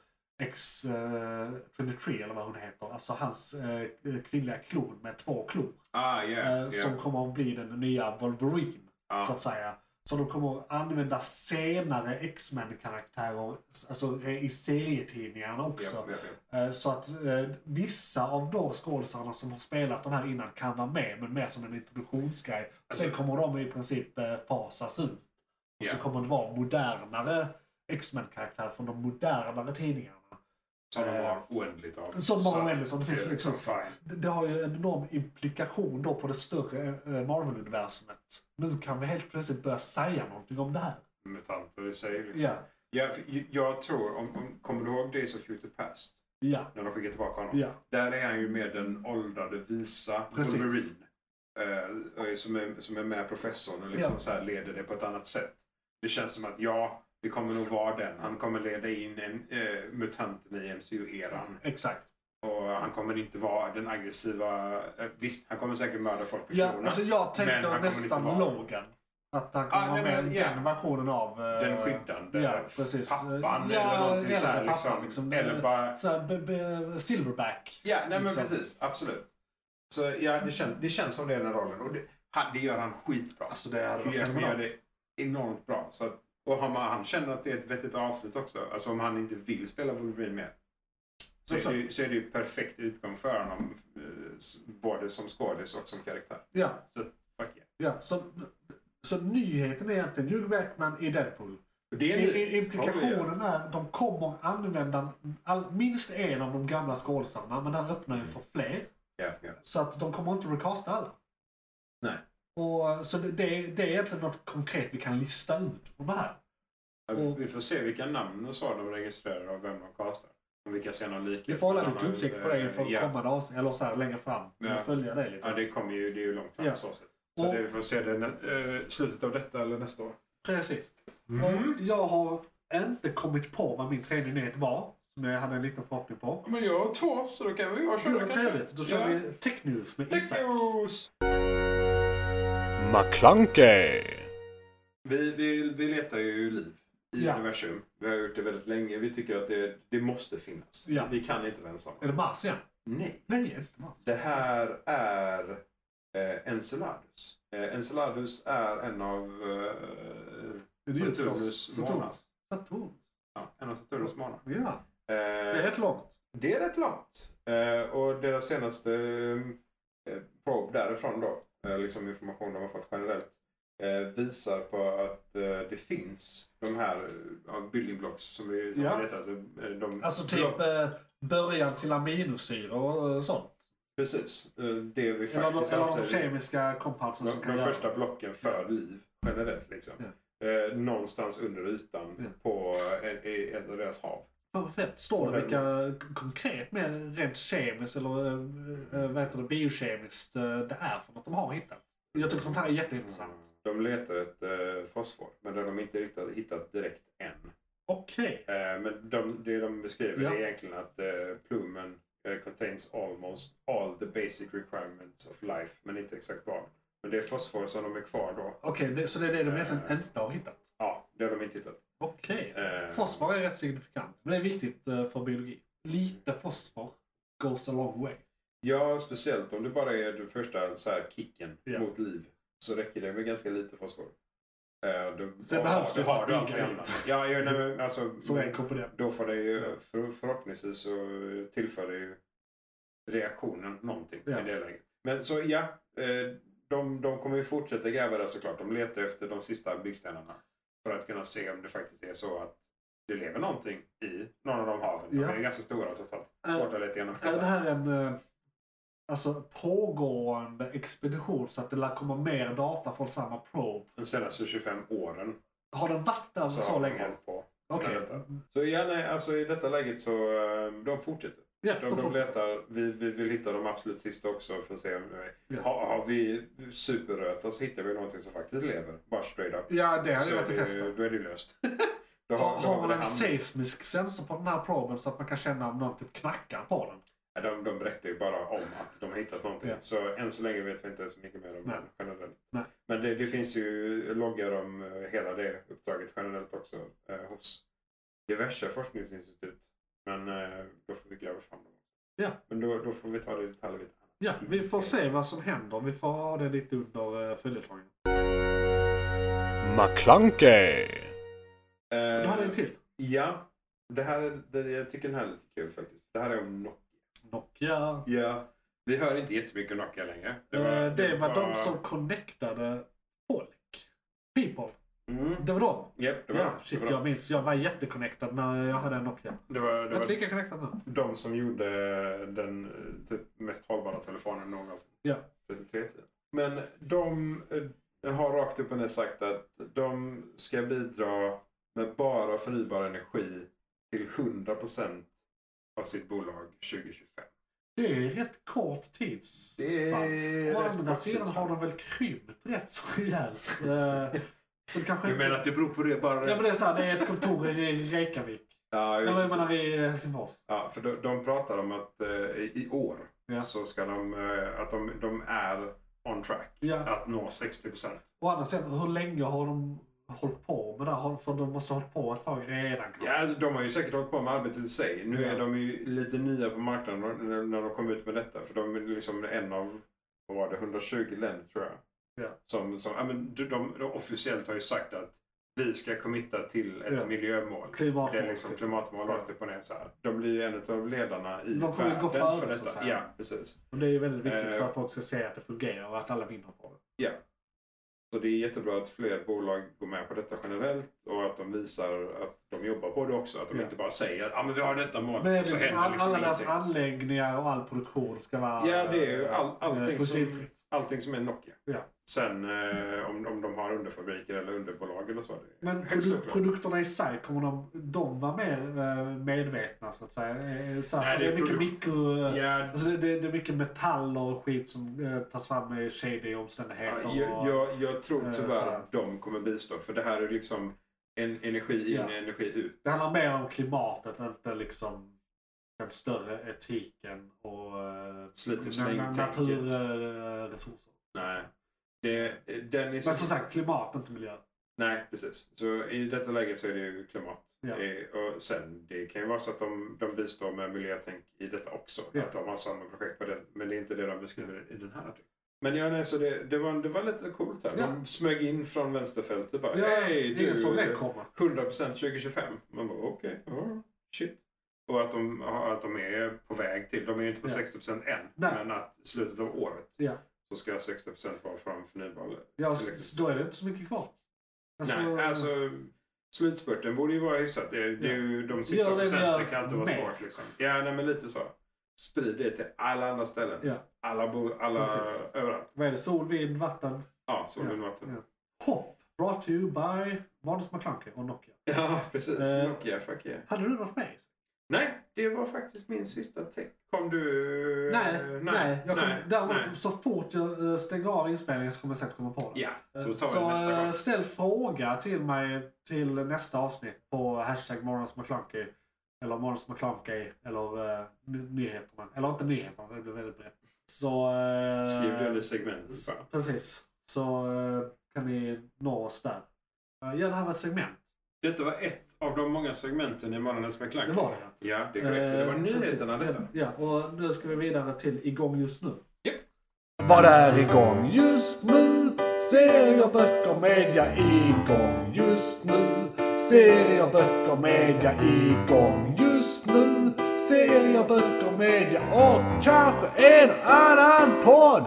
Speaker 3: X-23 eller vad hon heter. Alltså hans eh, kvinnliga klon med två klor
Speaker 4: Ah, ja.
Speaker 3: eh,
Speaker 4: ja.
Speaker 3: som kommer att bli den nya Wolverine.
Speaker 4: Ja.
Speaker 3: Så att säga. Så de kommer att använda senare X-Men-karaktärer alltså re- i serietidningarna också.
Speaker 4: Ja, ja,
Speaker 3: Eh, Så att eh, vissa av de skådisarna som har spelat de här innan kan vara med, men mer som en introduktionsgrej. Sen
Speaker 4: Alltså-
Speaker 3: kommer de i princip eh, fasas ut. Och så
Speaker 4: Ja.
Speaker 3: kommer det vara modernare X-Men-karaktärer från de modernare tidningarna.
Speaker 4: Som de har oändligt av.
Speaker 3: Eh, Som
Speaker 4: Så-
Speaker 3: Marvel Ellison, det finns
Speaker 4: Ja,
Speaker 3: liksom
Speaker 4: så fine.
Speaker 3: det det har ju en enorm implikation då på det större eh, Marvel-universumet. Nu kan vi helt plötsligt börja säga någonting om det här.
Speaker 4: Mutanter i sig. Liksom.
Speaker 3: Ja,
Speaker 4: Ja, för jag, jag tror, om, om, kommer du ihåg Days of Future Past?
Speaker 3: ja,
Speaker 4: När de skickar tillbaka honom.
Speaker 3: ja.
Speaker 4: Där är han ju med den åldrade visa
Speaker 3: Precis.
Speaker 4: Wolverine. Eh, eh, som, är, som är med professorn och liksom så här leder det på ett annat sätt. Det känns som att ja, det kommer nog vara den. Han kommer leda in en, eh, mutanten i MCU-eran.
Speaker 3: Exakt.
Speaker 4: Och han kommer inte vara den aggressiva... eh, Visst, han kommer säkert mörda folk med
Speaker 3: Ja,
Speaker 4: klorna.
Speaker 3: alltså jag
Speaker 4: Men han
Speaker 3: tänker
Speaker 4: kommer
Speaker 3: nästan
Speaker 4: inte vara-
Speaker 3: Logan. Att han kommer
Speaker 4: Ah,
Speaker 3: vara
Speaker 4: nej,
Speaker 3: med
Speaker 4: men,
Speaker 3: i
Speaker 4: ja.
Speaker 3: den versionen av... eh,
Speaker 4: Den skyddande
Speaker 3: Ja, precis.
Speaker 4: pappan
Speaker 3: Ja,
Speaker 4: eller någonting
Speaker 3: äldre
Speaker 4: så här,
Speaker 3: pappan,
Speaker 4: liksom.
Speaker 3: liksom. Det-
Speaker 4: Eller bara...
Speaker 3: Så här, b- b- silverback.
Speaker 4: Ja, nej men
Speaker 3: liksom.
Speaker 4: precis. Absolut. Så ja, det, kän, det känns som det är den rollen. Och det, han, det gör han skitbra.
Speaker 3: Alltså det hade
Speaker 4: han
Speaker 3: varit
Speaker 4: gör
Speaker 3: fenomenalt.
Speaker 4: det enormt bra. Så att, och han, han känner att det är ett vettigt avslut också. Alltså om han inte vill spela Wolverine mer. Så,
Speaker 3: Så-
Speaker 4: är, det, ju- så är det ju perfekt utgång för honom. eh, s- Både som skådis och som karaktär.
Speaker 3: Ja,
Speaker 4: Så fuck yeah.
Speaker 3: ja. Så, så nyheten är egentligen Hugh Jackman i Deadpool.
Speaker 4: Och det är
Speaker 3: I-
Speaker 4: nytt.
Speaker 3: i-
Speaker 4: Oh, yeah.
Speaker 3: Implikationen är att de kommer använda all, minst en av de gamla skådisarna, men den öppnar ju för fler.
Speaker 4: Ja, ja.
Speaker 3: Så att de kommer inte recasta alla.
Speaker 4: Nej.
Speaker 3: Och, så det, det, är- det är egentligen något konkret vi kan lista ut från det här.
Speaker 4: Ja,
Speaker 3: Och-
Speaker 4: Vi får se vilka namn och så de registrerar och vem de castar. Och vilka ser någon likhet.
Speaker 3: Vi får hålla
Speaker 4: mellan
Speaker 3: lite
Speaker 4: dem.
Speaker 3: uppsikt på det inför
Speaker 4: eh, ja.
Speaker 3: kommande avsnitt, eller så här längre fram.
Speaker 4: Ja.
Speaker 3: Vi följer det lite.
Speaker 4: Ja, det kommer ju. Det är ju långt fram
Speaker 3: Ja.
Speaker 4: så sett. Så
Speaker 3: Och-
Speaker 4: det, vi får se det nä- eh, slutet av detta eller nästa år.
Speaker 3: Precis.
Speaker 4: Mm.
Speaker 3: Och jag har inte kommit på vad min tredje nyhet var, som jag hade en liten förhoppning på.
Speaker 4: Men jag har två, så då kan vi jag
Speaker 3: Gud vad trevligt! Då kör vi Tech News med Isak.
Speaker 4: Technos!
Speaker 2: McClunkey,
Speaker 4: Vi, vi, vi letar ju liv i
Speaker 3: Ja.
Speaker 4: universum. Vi har gjort det väldigt länge. Vi tycker att det, det måste finnas.
Speaker 3: Ja.
Speaker 4: Vi kan inte vara ensamma.
Speaker 3: Är det Mars igen?
Speaker 4: Nej.
Speaker 3: Nej, det är inte Mars.
Speaker 4: Det här är eh, Enceladus. Eh, Enceladus är en av eh,
Speaker 3: Det är ju
Speaker 4: Saturnus
Speaker 3: förstås
Speaker 4: månar.
Speaker 3: Saturnus. Saturnus.
Speaker 4: Ja, en av Saturnus månar.
Speaker 3: Ja, det är
Speaker 4: Eh,
Speaker 3: rätt långt.
Speaker 4: det är rätt långt. Eh, och deras senaste eh, probe därifrån då, eh, liksom information de har fått generellt, eh, visar på att eh, det finns de här uh, building blocks som vi som
Speaker 3: Ja.
Speaker 4: vi letar efter. Eh, de,
Speaker 3: Alltså typ eh, början till aminosyror och eh, sånt.
Speaker 4: Precis, eh, det vi faktiskt
Speaker 3: Eller, de- eller de
Speaker 4: anser-
Speaker 3: kemiska compound som
Speaker 4: de,
Speaker 3: kan
Speaker 4: de
Speaker 3: göra.
Speaker 4: första blocken för liv generellt. Liksom. eh, någonstans under ytan
Speaker 3: Mm.
Speaker 4: på eh, i ett av deras hav.
Speaker 3: Fan vad fett. Står det
Speaker 4: Och
Speaker 3: vilka konkret mer rent kemiskt eller eh, eh, vad heter det, biokemiskt eh, det är för något de har hittat? Jag tycker sånt här är jätteintressant.
Speaker 4: De letar efter eh, fosfor, men det har de inte riktigt hittat direkt än.
Speaker 3: Okej.
Speaker 4: Eh, men de, det de beskriver
Speaker 3: Ja.
Speaker 4: är egentligen att eh, plumen eh, contains almost all the basic requirements of life, men inte exakt vad. Men det är fosfor som de är kvar då.
Speaker 3: Okej, det- så det är det de egentligen
Speaker 4: Eh.
Speaker 3: inte har hittat?
Speaker 4: Ja, det har de inte hittat.
Speaker 3: Okej.
Speaker 4: Eh,
Speaker 3: Fosfor är rätt signifikant. Men det är viktigt eh, för biologi. Lite fosfor goes a long way.
Speaker 4: Ja, speciellt om det bara är den första så här kicken
Speaker 3: Ja.
Speaker 4: mot liv. Så räcker det med ganska lite fosfor. Eh, då-
Speaker 3: Sen
Speaker 4: då
Speaker 3: behövs
Speaker 4: har-
Speaker 3: det
Speaker 4: då har
Speaker 3: för
Speaker 4: du
Speaker 3: att
Speaker 4: alltid
Speaker 3: bygga
Speaker 4: annat. Ja, ja, nej, men, alltså,
Speaker 3: Som är en komponent.
Speaker 4: då får det ju för, förhoppningsvis så tillför det ju reaktionen någonting
Speaker 3: Ja.
Speaker 4: i det läget. Men så ja, eh, de, de kommer ju fortsätta gräva där såklart. De letar efter de sista byggstenarna för att kunna se om det faktiskt är så att det lever någonting i någon av de haven. De
Speaker 3: Ja.
Speaker 4: är ganska stora trots allt.
Speaker 3: Äh,
Speaker 4: Svårt att leta igenom.
Speaker 3: Är det här en eh, alltså, pågående expedition så att det lär komma mer data från samma probe?
Speaker 4: De senaste 25 åren
Speaker 3: Har den varit där så,
Speaker 4: så, har de
Speaker 3: länge?
Speaker 4: hållit på.
Speaker 3: Okej.
Speaker 4: med detta. Så ja, nej, alltså i detta läget så eh, de fortsätter.
Speaker 3: Ja,
Speaker 4: De,
Speaker 3: då
Speaker 4: de
Speaker 3: får-
Speaker 4: letar, vi, vi vill hitta de absolut sista också för att se om
Speaker 3: Ja.
Speaker 4: har, har vi superröta så hittar vi någonting som faktiskt lever. Bara straight up.
Speaker 3: Ja, det hade
Speaker 4: Så
Speaker 3: ju varit
Speaker 4: är
Speaker 3: det bästa.
Speaker 4: Då är det löst. Då
Speaker 3: Har,
Speaker 4: då
Speaker 3: har
Speaker 4: vi
Speaker 3: man
Speaker 4: det
Speaker 3: en
Speaker 4: hand-
Speaker 3: seismisk sensor på den här proben så att man kan känna om någon typ knackar på den?
Speaker 4: Ja, de, de berättar ju bara om att de har hittat någonting.
Speaker 3: Ja.
Speaker 4: Så än så länge vet vi inte så mycket mer om
Speaker 3: Nej.
Speaker 4: det generellt.
Speaker 3: Nej.
Speaker 4: Men det, det finns ju loggar om eh, hela det uppdraget generellt också eh, hos diverse forskningsinstitut. Men eh, då får vi gräva fram dem.
Speaker 3: Ja.
Speaker 4: Men då, då får vi ta det i detalj lite.
Speaker 3: Ja, vi får se vad som händer. Vi får ha det lite under eh, följetongen.
Speaker 2: McClunkey!
Speaker 3: Du hade en
Speaker 4: Eh,
Speaker 3: till?
Speaker 4: Ja, det här är, det, jag tycker den här är lite kul faktiskt. Det här är om Nokia.
Speaker 3: Nokia.
Speaker 4: Ja. Vi hör inte jättemycket om Nokia längre.
Speaker 3: Eh, Det var, det var de som connectade folk. People.
Speaker 4: Mm.
Speaker 3: Det var de.
Speaker 4: Japp, det var,
Speaker 3: Ja, shit,
Speaker 4: det, var,
Speaker 3: jag minns. Jag var jätteconnectad när jag hade en Nokia.
Speaker 4: det, var,
Speaker 3: Jag
Speaker 4: det
Speaker 3: är inte
Speaker 4: var
Speaker 3: lika connectad nu.
Speaker 4: de som gjorde den eh, typ, mest hållbara telefonen någonsin.
Speaker 3: Ja.
Speaker 4: 33. Men de eh, har rakt upp och ner sagt att de ska bidra med bara förnybar energi till 100% av sitt bolag 2025.
Speaker 3: Det är rätt kort tidsspann. Å andra sidan har de väl krympt rätt så rejält. eh, så det kanske
Speaker 4: Du
Speaker 3: inte-
Speaker 4: menar att det beror på det bara?
Speaker 3: Ja men det är så här, det är ett kontor i Reykjavik.
Speaker 4: Ja,
Speaker 3: Eller jag
Speaker 4: precis.
Speaker 3: menar i eh, Helsingfors.
Speaker 4: ja, för de, de pratar om att eh, i i år
Speaker 3: Ja.
Speaker 4: så ska de, eh, att de, de är on track
Speaker 3: Ja.
Speaker 4: att nå 60 procent.
Speaker 3: Å andra sidan, hur länge har de hållit på med det här? Har- För de måste ha hållit på ett tag redan. kanske.
Speaker 4: Ja, alltså, de har ju säkert hållit på med arbetet i sig. Nu
Speaker 3: Ja.
Speaker 4: är de ju lite nya på marknaden när, när de kom ut med detta. För de är liksom en av, vad var det, 120 länder tror jag.
Speaker 3: Ja.
Speaker 4: Som, som, ja, men de, de, de officiellt har ju sagt att vi ska committa till ett
Speaker 3: Ja.
Speaker 4: miljömål.
Speaker 3: Klimatmål.
Speaker 4: Det är liksom klimatmål
Speaker 3: Ja.
Speaker 4: rakt upp och ner så här. De blir ju en av ledarna i
Speaker 3: De kommer ju gå
Speaker 4: världen
Speaker 3: före,
Speaker 4: för
Speaker 3: så att
Speaker 4: detta.
Speaker 3: säga.
Speaker 4: Ja, precis.
Speaker 3: Och det är ju väldigt viktigt
Speaker 4: Eh.
Speaker 3: för att folk ska se att det fungerar och att alla vinner på det.
Speaker 4: Så det är jättebra att fler bolag går med på detta generellt och att de visar att de jobbar på det också. Att de
Speaker 3: Ja.
Speaker 4: inte bara säger att ah, men vi har detta mål
Speaker 3: Men det är
Speaker 4: så
Speaker 3: liksom,
Speaker 4: händer
Speaker 3: all,
Speaker 4: liksom
Speaker 3: alla deras
Speaker 4: ingenting.
Speaker 3: anläggningar och all produktion ska vara
Speaker 4: Ja, det är ju all-
Speaker 3: eh,
Speaker 4: allting som-
Speaker 3: fossilfritt.
Speaker 4: Allting som är Nokia.
Speaker 3: Ja.
Speaker 4: Sen eh, om, om de har underfabriker eller underbolag eller så. Det är
Speaker 3: Men
Speaker 4: högst
Speaker 3: produ-
Speaker 4: oklart.
Speaker 3: produkterna i sig, kommer de, de vara mer eh, medvetna så att säga? Eh, Så här,
Speaker 4: Nej,
Speaker 3: för
Speaker 4: det
Speaker 3: det
Speaker 4: är
Speaker 3: är mycket
Speaker 4: produ-
Speaker 3: mikro...
Speaker 4: Ja,
Speaker 3: Alltså det, det, det är mycket metaller och skit som eh, tas fram i shady
Speaker 4: ja,
Speaker 3: omständigheter.
Speaker 4: jag,
Speaker 3: och,
Speaker 4: jag, jag tror
Speaker 3: eh, så
Speaker 4: tyvärr
Speaker 3: här.
Speaker 4: att de kommer bistå. För det här är liksom en energi in,
Speaker 3: Ja.
Speaker 4: energi ut.
Speaker 3: det handlar mer om klimatet, inte liksom den större etiken och eh,
Speaker 4: Slit och
Speaker 3: na-
Speaker 4: släng
Speaker 3: na-
Speaker 4: tänket.
Speaker 3: naturresurser.
Speaker 4: Nej. Det, den är
Speaker 3: Men som sagt, klimat, inte miljö.
Speaker 4: Nej, precis. Så i detta läget så är det ju klimat.
Speaker 3: Ja.
Speaker 4: Eh, Och sen, det kan ju vara så att de, de bistår med miljötänk i detta också.
Speaker 3: Ja.
Speaker 4: Att de har samma projekt på det. Men det är inte det de beskriver i den här artikeln. Men ja, nej, så det, det, var, det var lite coolt här.
Speaker 3: Ja.
Speaker 4: De smög in från vänsterfältet bara.
Speaker 3: Ja,
Speaker 4: Hej,
Speaker 3: det är så det
Speaker 4: du!
Speaker 3: kommer.
Speaker 4: 100% 2025. Man bara okej, ja, shit. Och att de, att de är på väg till. De är ju inte på
Speaker 3: Ja.
Speaker 4: 60% än.
Speaker 3: Nej.
Speaker 4: Men att i slutet av året
Speaker 3: Ja.
Speaker 4: så ska 60% vara från förnybar
Speaker 3: Ja,
Speaker 4: Elektrisk.
Speaker 3: då är det inte så mycket kvar. Alltså,
Speaker 4: Nej, alltså slutspurten borde ju vara hyfsat. Det, det är ju de sista
Speaker 3: Gör det vi
Speaker 4: procenten
Speaker 3: gör
Speaker 4: kan alltid vara
Speaker 3: med.
Speaker 4: svårt. Liksom. Ja, nej, men lite så. Sprid det till alla andra ställen.
Speaker 3: Ja.
Speaker 4: Alla, bo, alla
Speaker 3: Precis.
Speaker 4: överallt.
Speaker 3: Vad är det? Sol, vind, vatten?
Speaker 4: Ja, sol,
Speaker 3: Ja,
Speaker 4: vind, vatten.
Speaker 3: Hopp Brought to you by Måns McClunky och Nokia.
Speaker 4: Ja, precis.
Speaker 3: Eh.
Speaker 4: Nokia, fuck yeah.
Speaker 3: Hade du något med?
Speaker 4: Nej, det var faktiskt min sista tech. Kom du...
Speaker 3: Nej,
Speaker 4: eh,
Speaker 3: nej. jag kom, däremot,
Speaker 4: nej.
Speaker 3: typ så fort jag eh, stänger av inspelningen så kommer jag säkert komma på det.
Speaker 4: Ja, så tar vi
Speaker 3: Så,
Speaker 4: det nästa
Speaker 3: eh,
Speaker 4: gång.
Speaker 3: ställ fråga till mig till nästa avsnitt på hashtag morgonsmcclunky. Eller morgonsmcclunky. Eller eh, ny- nyheterna. Eller inte nyheterna, det blir väldigt brett. Så... eh,
Speaker 4: Skriv det i segmentet.
Speaker 3: s- Precis. Så eh, kan ni nå oss där. Eh, Ja, det här var ett segment.
Speaker 4: Detta var ett av de många segmenten i Månadens McClunky.
Speaker 3: Det var det, ja.
Speaker 4: Ja, det är korrekt. Det var
Speaker 3: Eh,
Speaker 4: nyheterna
Speaker 3: precis.
Speaker 4: detta.
Speaker 3: Ja, och nu ska vi vidare till igång just nu.
Speaker 5: Vad är igång just nu? Serier, böcker, media igång just nu. Serier, böcker, media igång just nu. Serier, böcker, media och kanske en annan podd.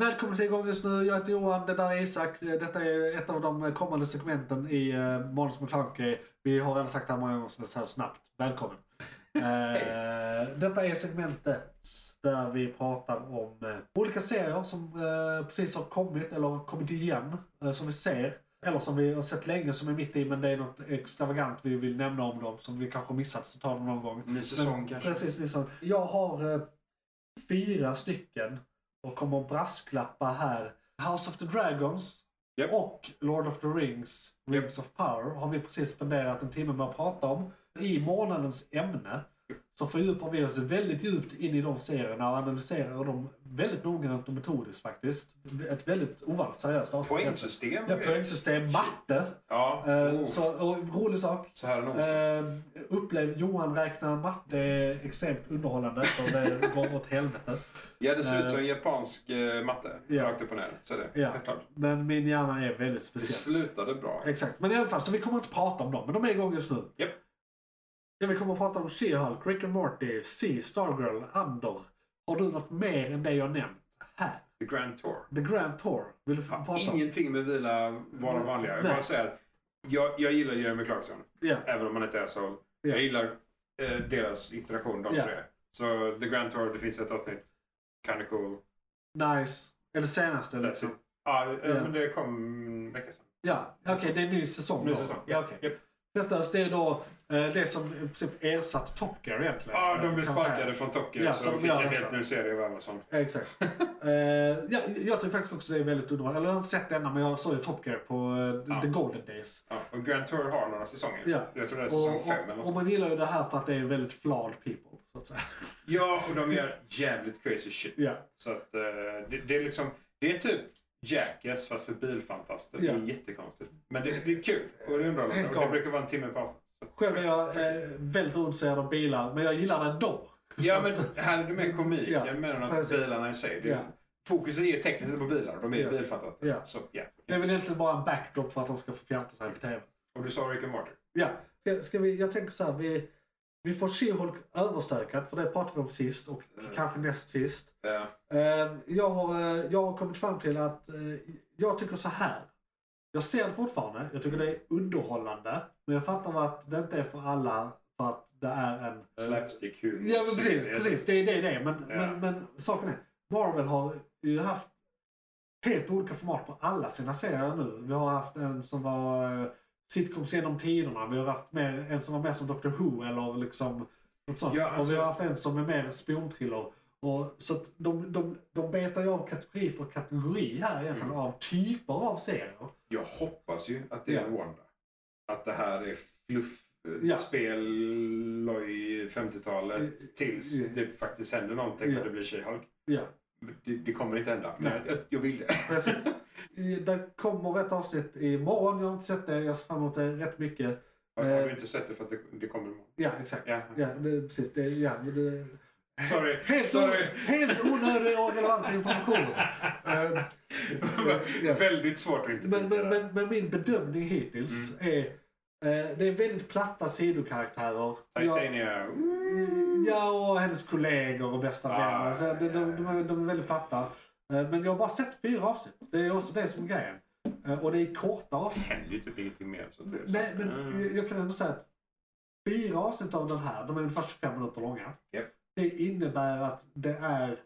Speaker 3: Välkommen till igång just nu. Jag heter Johan, det där är Isak. Detta är ett av de kommande segmenten i eh, Måns McClunky. Vi har redan sagt det här många gånger så det är så här snabbt. Välkommen. Eh, detta är segmentet där vi pratar om eh, olika serier som eh, precis har kommit eller har kommit igen. eh, som vi ser. Eller som vi har sett länge som är mitt i men det är något extravagant vi vill nämna om dem som vi kanske har missat så tar vi dem någon gång.
Speaker 4: Ny säsong
Speaker 3: Men,
Speaker 4: kanske.
Speaker 3: Precis, liksom. Jag har eh, fyra stycken och kommer att brasklappa här. House of the Dragons
Speaker 4: Japp.
Speaker 3: och Lord of the Rings, Rings of Power, har vi precis spenderat en timme med att prata om. I månadens ämne så fördjupar vi oss väldigt djupt in i de serierna och analyserar dem väldigt noggrant och metodiskt faktiskt. Ett väldigt ovanligt seriöst avsnitt.
Speaker 4: Poängsystem.
Speaker 3: Ja, poängsystem, matte.
Speaker 4: Ja,
Speaker 3: Eh,
Speaker 4: oh,
Speaker 3: Så, och rolig sak.
Speaker 4: så här är det nog.
Speaker 3: Eh, upplev Johan räknar matte är extremt underhållande och det går åt helvete.
Speaker 4: Ja, det ser ut
Speaker 3: eh,
Speaker 4: som en japansk eh, matte.
Speaker 3: ja.
Speaker 4: Rakt upp och ner. Så är det.
Speaker 3: Ja.
Speaker 4: Helt klart.
Speaker 3: Men min hjärna är väldigt
Speaker 4: Det
Speaker 3: speciell.
Speaker 4: slutade bra.
Speaker 3: Exakt, men i alla fall så vi kommer inte prata om dem, men de är igång just nu.
Speaker 4: Japp.
Speaker 3: Ja, vi kommer att prata om She-Hulk, Rick and Morty, C, Stargirl, Andor. Har du något mer än det jag nämnt? Här.
Speaker 4: The Grand Tour.
Speaker 3: The Grand Tour. Vill du prata om?
Speaker 4: Ingenting med vila vara
Speaker 3: Nej.
Speaker 4: vanliga. Jag
Speaker 3: Nej.
Speaker 4: bara säger att jag, jag gillar Jeremy Clarkson.
Speaker 3: Ja.
Speaker 4: Även om han inte är asshole.
Speaker 3: Ja.
Speaker 4: Jag gillar eh, deras interaktion, de
Speaker 3: Ja.
Speaker 4: tre. Så The Grand Tour, det finns ett avsnitt. Kinda cool.
Speaker 3: Nice. Eller senaste.
Speaker 4: That's
Speaker 3: Liksom.
Speaker 4: it. Ja, eh,
Speaker 3: Ja.
Speaker 4: men det kom en vecka sedan.
Speaker 3: Ja, okej, det är en ny säsong
Speaker 4: Nu
Speaker 3: då.
Speaker 4: säsong.
Speaker 3: Ja, okej.
Speaker 4: Japp.
Speaker 3: Detta det är då eh, det som i princip ersatt Top Gear egentligen. eh,
Speaker 4: Ja, de blev
Speaker 3: kan man säga.
Speaker 4: sparkade från Tokyo
Speaker 3: Ja,
Speaker 4: så de
Speaker 3: som
Speaker 4: fick
Speaker 3: jag
Speaker 4: en
Speaker 3: också.
Speaker 4: helt ny serie av Amazon.
Speaker 3: Ja, Exakt. Eh, ja, jag tycker faktiskt också det är väldigt underhållande. Eller jag har inte sett det ännu, men jag såg ju Top Gear på eh,
Speaker 4: Ja.
Speaker 3: The Golden Days.
Speaker 4: Ja, och Grand Tour har några säsonger.
Speaker 3: Ja.
Speaker 4: Jag tror det är
Speaker 3: Och,
Speaker 4: säsong fem eller
Speaker 3: och,
Speaker 4: något
Speaker 3: och
Speaker 4: sånt.
Speaker 3: man gillar ju det här för att det är väldigt flawed people. Så att säga.
Speaker 4: Ja, och de gör jävligt crazy shit.
Speaker 3: Ja,
Speaker 4: Så att eh, det, det är liksom... Det är typ Jackass fast för bilfantaster.
Speaker 3: Ja.
Speaker 4: Det är jättekonstigt. Men det, det är kul och det är
Speaker 3: Helt
Speaker 4: underhållande. Och det
Speaker 3: galet.
Speaker 4: brukar vara en timme per avsnitt. Så-
Speaker 3: själv är jag eh, väldigt ointresserad av bilar, men jag gillar det ändå.
Speaker 4: Ja,
Speaker 3: Så att-
Speaker 4: men här är det mer komiken
Speaker 3: Ja,
Speaker 4: mer än att
Speaker 3: precis.
Speaker 4: bilarna i sig. Det,
Speaker 3: Ja.
Speaker 4: Fokuset är tekniskt på bilar. De är
Speaker 3: Ja.
Speaker 4: bilfantaster.
Speaker 3: Ja.
Speaker 4: Så, ja.
Speaker 3: Det är väl egentligen bara en backdrop för att de ska få fjanta sig på TV.
Speaker 4: Och du sa Rick and Morty.
Speaker 3: Ja, ska, ska vi, jag tänker så här, vi, vi får She-Hulk överstökat, för det pratade vi om sist och
Speaker 4: Mm.
Speaker 3: kanske näst sist.
Speaker 4: Ja.
Speaker 3: Eh, jag, har, eh, jag har kommit fram till att eh, jag tycker så här. Jag ser det fortfarande, jag tycker det är underhållande. Men jag fattar väl att det inte är för alla för att det är en...
Speaker 4: Slapstick humor.
Speaker 3: Ja men precis,
Speaker 4: Serie.
Speaker 3: precis. Det är det det är. Men,
Speaker 4: Ja.
Speaker 3: men, men saken är, Marvel har ju haft helt olika format på alla sina serier nu. Vi har haft en som var eh, sitcoms genom tiderna. Vi har haft mer, en som var mer som Doctor Who eller liksom något sånt.
Speaker 4: Ja, alltså-
Speaker 3: Och vi har haft en som är mer spionthriller. Och, så att de, de, de betar ju av kategori för kategori här egentligen
Speaker 4: Mm.
Speaker 3: av typer av serier.
Speaker 4: Jag hoppas ju att det
Speaker 3: Ja.
Speaker 4: är en Wanda. Att det här är fluff, eh,
Speaker 3: Ja.
Speaker 4: spel, loj, 50-talet tills
Speaker 3: Ja.
Speaker 4: det faktiskt händer någonting
Speaker 3: eh, Ja.
Speaker 4: och det blir She-Hulk.
Speaker 3: Ja,
Speaker 4: Men Det, det kommer inte hända. Men
Speaker 3: Nej.
Speaker 4: jag, jag vill det.
Speaker 3: precis. I- Det kommer ett avsnitt imorgon. Jag har inte sett det. Jag ser fram emot det rätt mycket.
Speaker 4: Har, har
Speaker 3: Eh.
Speaker 4: du inte sett det för att det, det kommer imorgon?
Speaker 3: Ja, exakt.
Speaker 4: Ja.
Speaker 3: Ja, det, precis. Det, ja, det,
Speaker 4: Sorry.
Speaker 3: helt, o,
Speaker 4: Sorry.
Speaker 3: helt onödig och relevant information. Eh, ja.
Speaker 4: Väldigt svårt att inte
Speaker 3: men, men,
Speaker 4: tycka det.
Speaker 3: men, men min bedömning hittills
Speaker 4: Mm.
Speaker 3: är... eh, det är väldigt platta sidokaraktärer. Jag-
Speaker 4: Titania.
Speaker 3: Ja, och hennes kollegor och bästa
Speaker 4: Ah,
Speaker 3: vänner. Så de, de,
Speaker 4: ja,
Speaker 3: de, är- de är väldigt platta. Eh, Men jag har bara sett fyra avsnitt. Det är också det som är grejen. Eh, Och det är korta
Speaker 4: Det
Speaker 3: avsnitt.
Speaker 4: händer ju typ ingenting mer. Så att det är så.
Speaker 3: Nej, men
Speaker 4: Mm.
Speaker 3: jag- jag kan ändå säga att fyra avsnitt av den här, de är ungefär 25 minuter långa.
Speaker 4: Japp.
Speaker 3: Det innebär att det är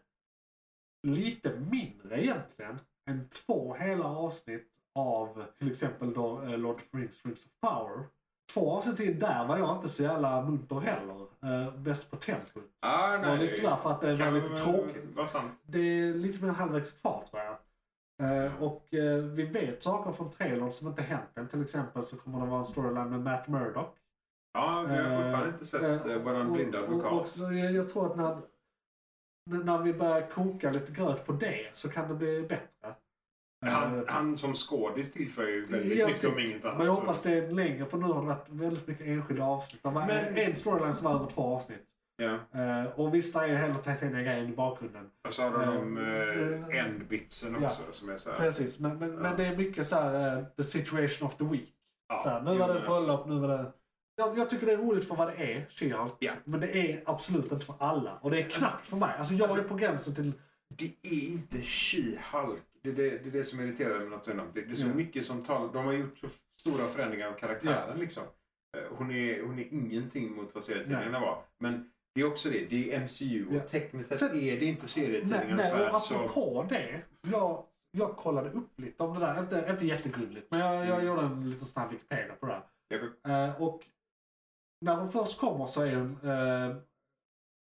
Speaker 3: lite mindre egentligen än två hela avsnitt av till exempel då eh, Lord of the Rings, Rings of Power. Två avsnitt in där var jag inte så jävla munter heller. Eh, bäst på tempot.
Speaker 4: Ah,
Speaker 3: Det var lite sådär för att det var
Speaker 4: kan
Speaker 3: lite
Speaker 4: väl
Speaker 3: tråkigt.
Speaker 4: Vara sant.
Speaker 3: Det är lite mer än halvvägs kvar tror jag. Eh, Och eh, vi vet saker från trailern som inte hänt än. Till exempel så kommer det vara en storyline med Matt Murdock.
Speaker 4: Ja, vi har fortfarande inte sett
Speaker 3: Eh,
Speaker 4: eh, våran
Speaker 3: och-
Speaker 4: blinda
Speaker 3: och-
Speaker 4: advokat.
Speaker 3: och också, jag, jag tror att när, när- när vi börjar koka lite gröt på det så kan det bli bättre.
Speaker 4: Han,
Speaker 3: Eh,
Speaker 4: han som skådis tillför ju väldigt
Speaker 3: ja,
Speaker 4: mycket om
Speaker 3: precis.
Speaker 4: inget annat.
Speaker 3: Men jag
Speaker 4: så-
Speaker 3: hoppas det är längre för nu har det varit väldigt mycket enskilda avsnitt. Det var
Speaker 4: Men-
Speaker 3: en storyline som var över två avsnitt.
Speaker 4: Ja.
Speaker 3: Eh, och visst, där är hela Titania-grejen i bakgrunden.
Speaker 4: Och så har de
Speaker 3: Eh,
Speaker 4: de eh,
Speaker 3: eh,
Speaker 4: endbitsen
Speaker 3: ja.
Speaker 4: också som är så här.
Speaker 3: Precis, men, men, men det är mycket så här eh, the situation of the week.
Speaker 4: Ja,
Speaker 3: så här, nu
Speaker 4: jo,
Speaker 3: var det
Speaker 4: men
Speaker 3: ett bröllop, nu var det... Jag, jag tycker det är roligt för vad det är, She-Hulk.
Speaker 4: Ja.
Speaker 3: Men det är absolut inte för alla. Och det är knappt för mig. Alltså jag
Speaker 4: Alltså-
Speaker 3: är på gränsen till...
Speaker 4: Det är inte She-Hulk. Det, är det, det är det som irriterar mig något sådant. Det det är så
Speaker 3: Ja.
Speaker 4: mycket som talar. De har gjort så stora förändringar av karaktären
Speaker 3: Ja.
Speaker 4: liksom. Eh, Hon är, hon är ingenting mot vad serietidningarna var. Men det är också det. Det är MCU och
Speaker 3: Ja.
Speaker 4: tekniskt sett
Speaker 3: Sen-
Speaker 4: är det inte
Speaker 3: Nej,
Speaker 4: serietidningarnas
Speaker 3: nej, och
Speaker 4: värld. Så...
Speaker 3: apropå det. Jag, jag kollade upp lite om det där. Inte, inte jättegrundligt, men jag, jag
Speaker 4: Mm.
Speaker 3: gjorde en liten snabb Wikipedia på det här.
Speaker 4: Jag-
Speaker 3: Eh, och när hon först kommer så är hon, eh,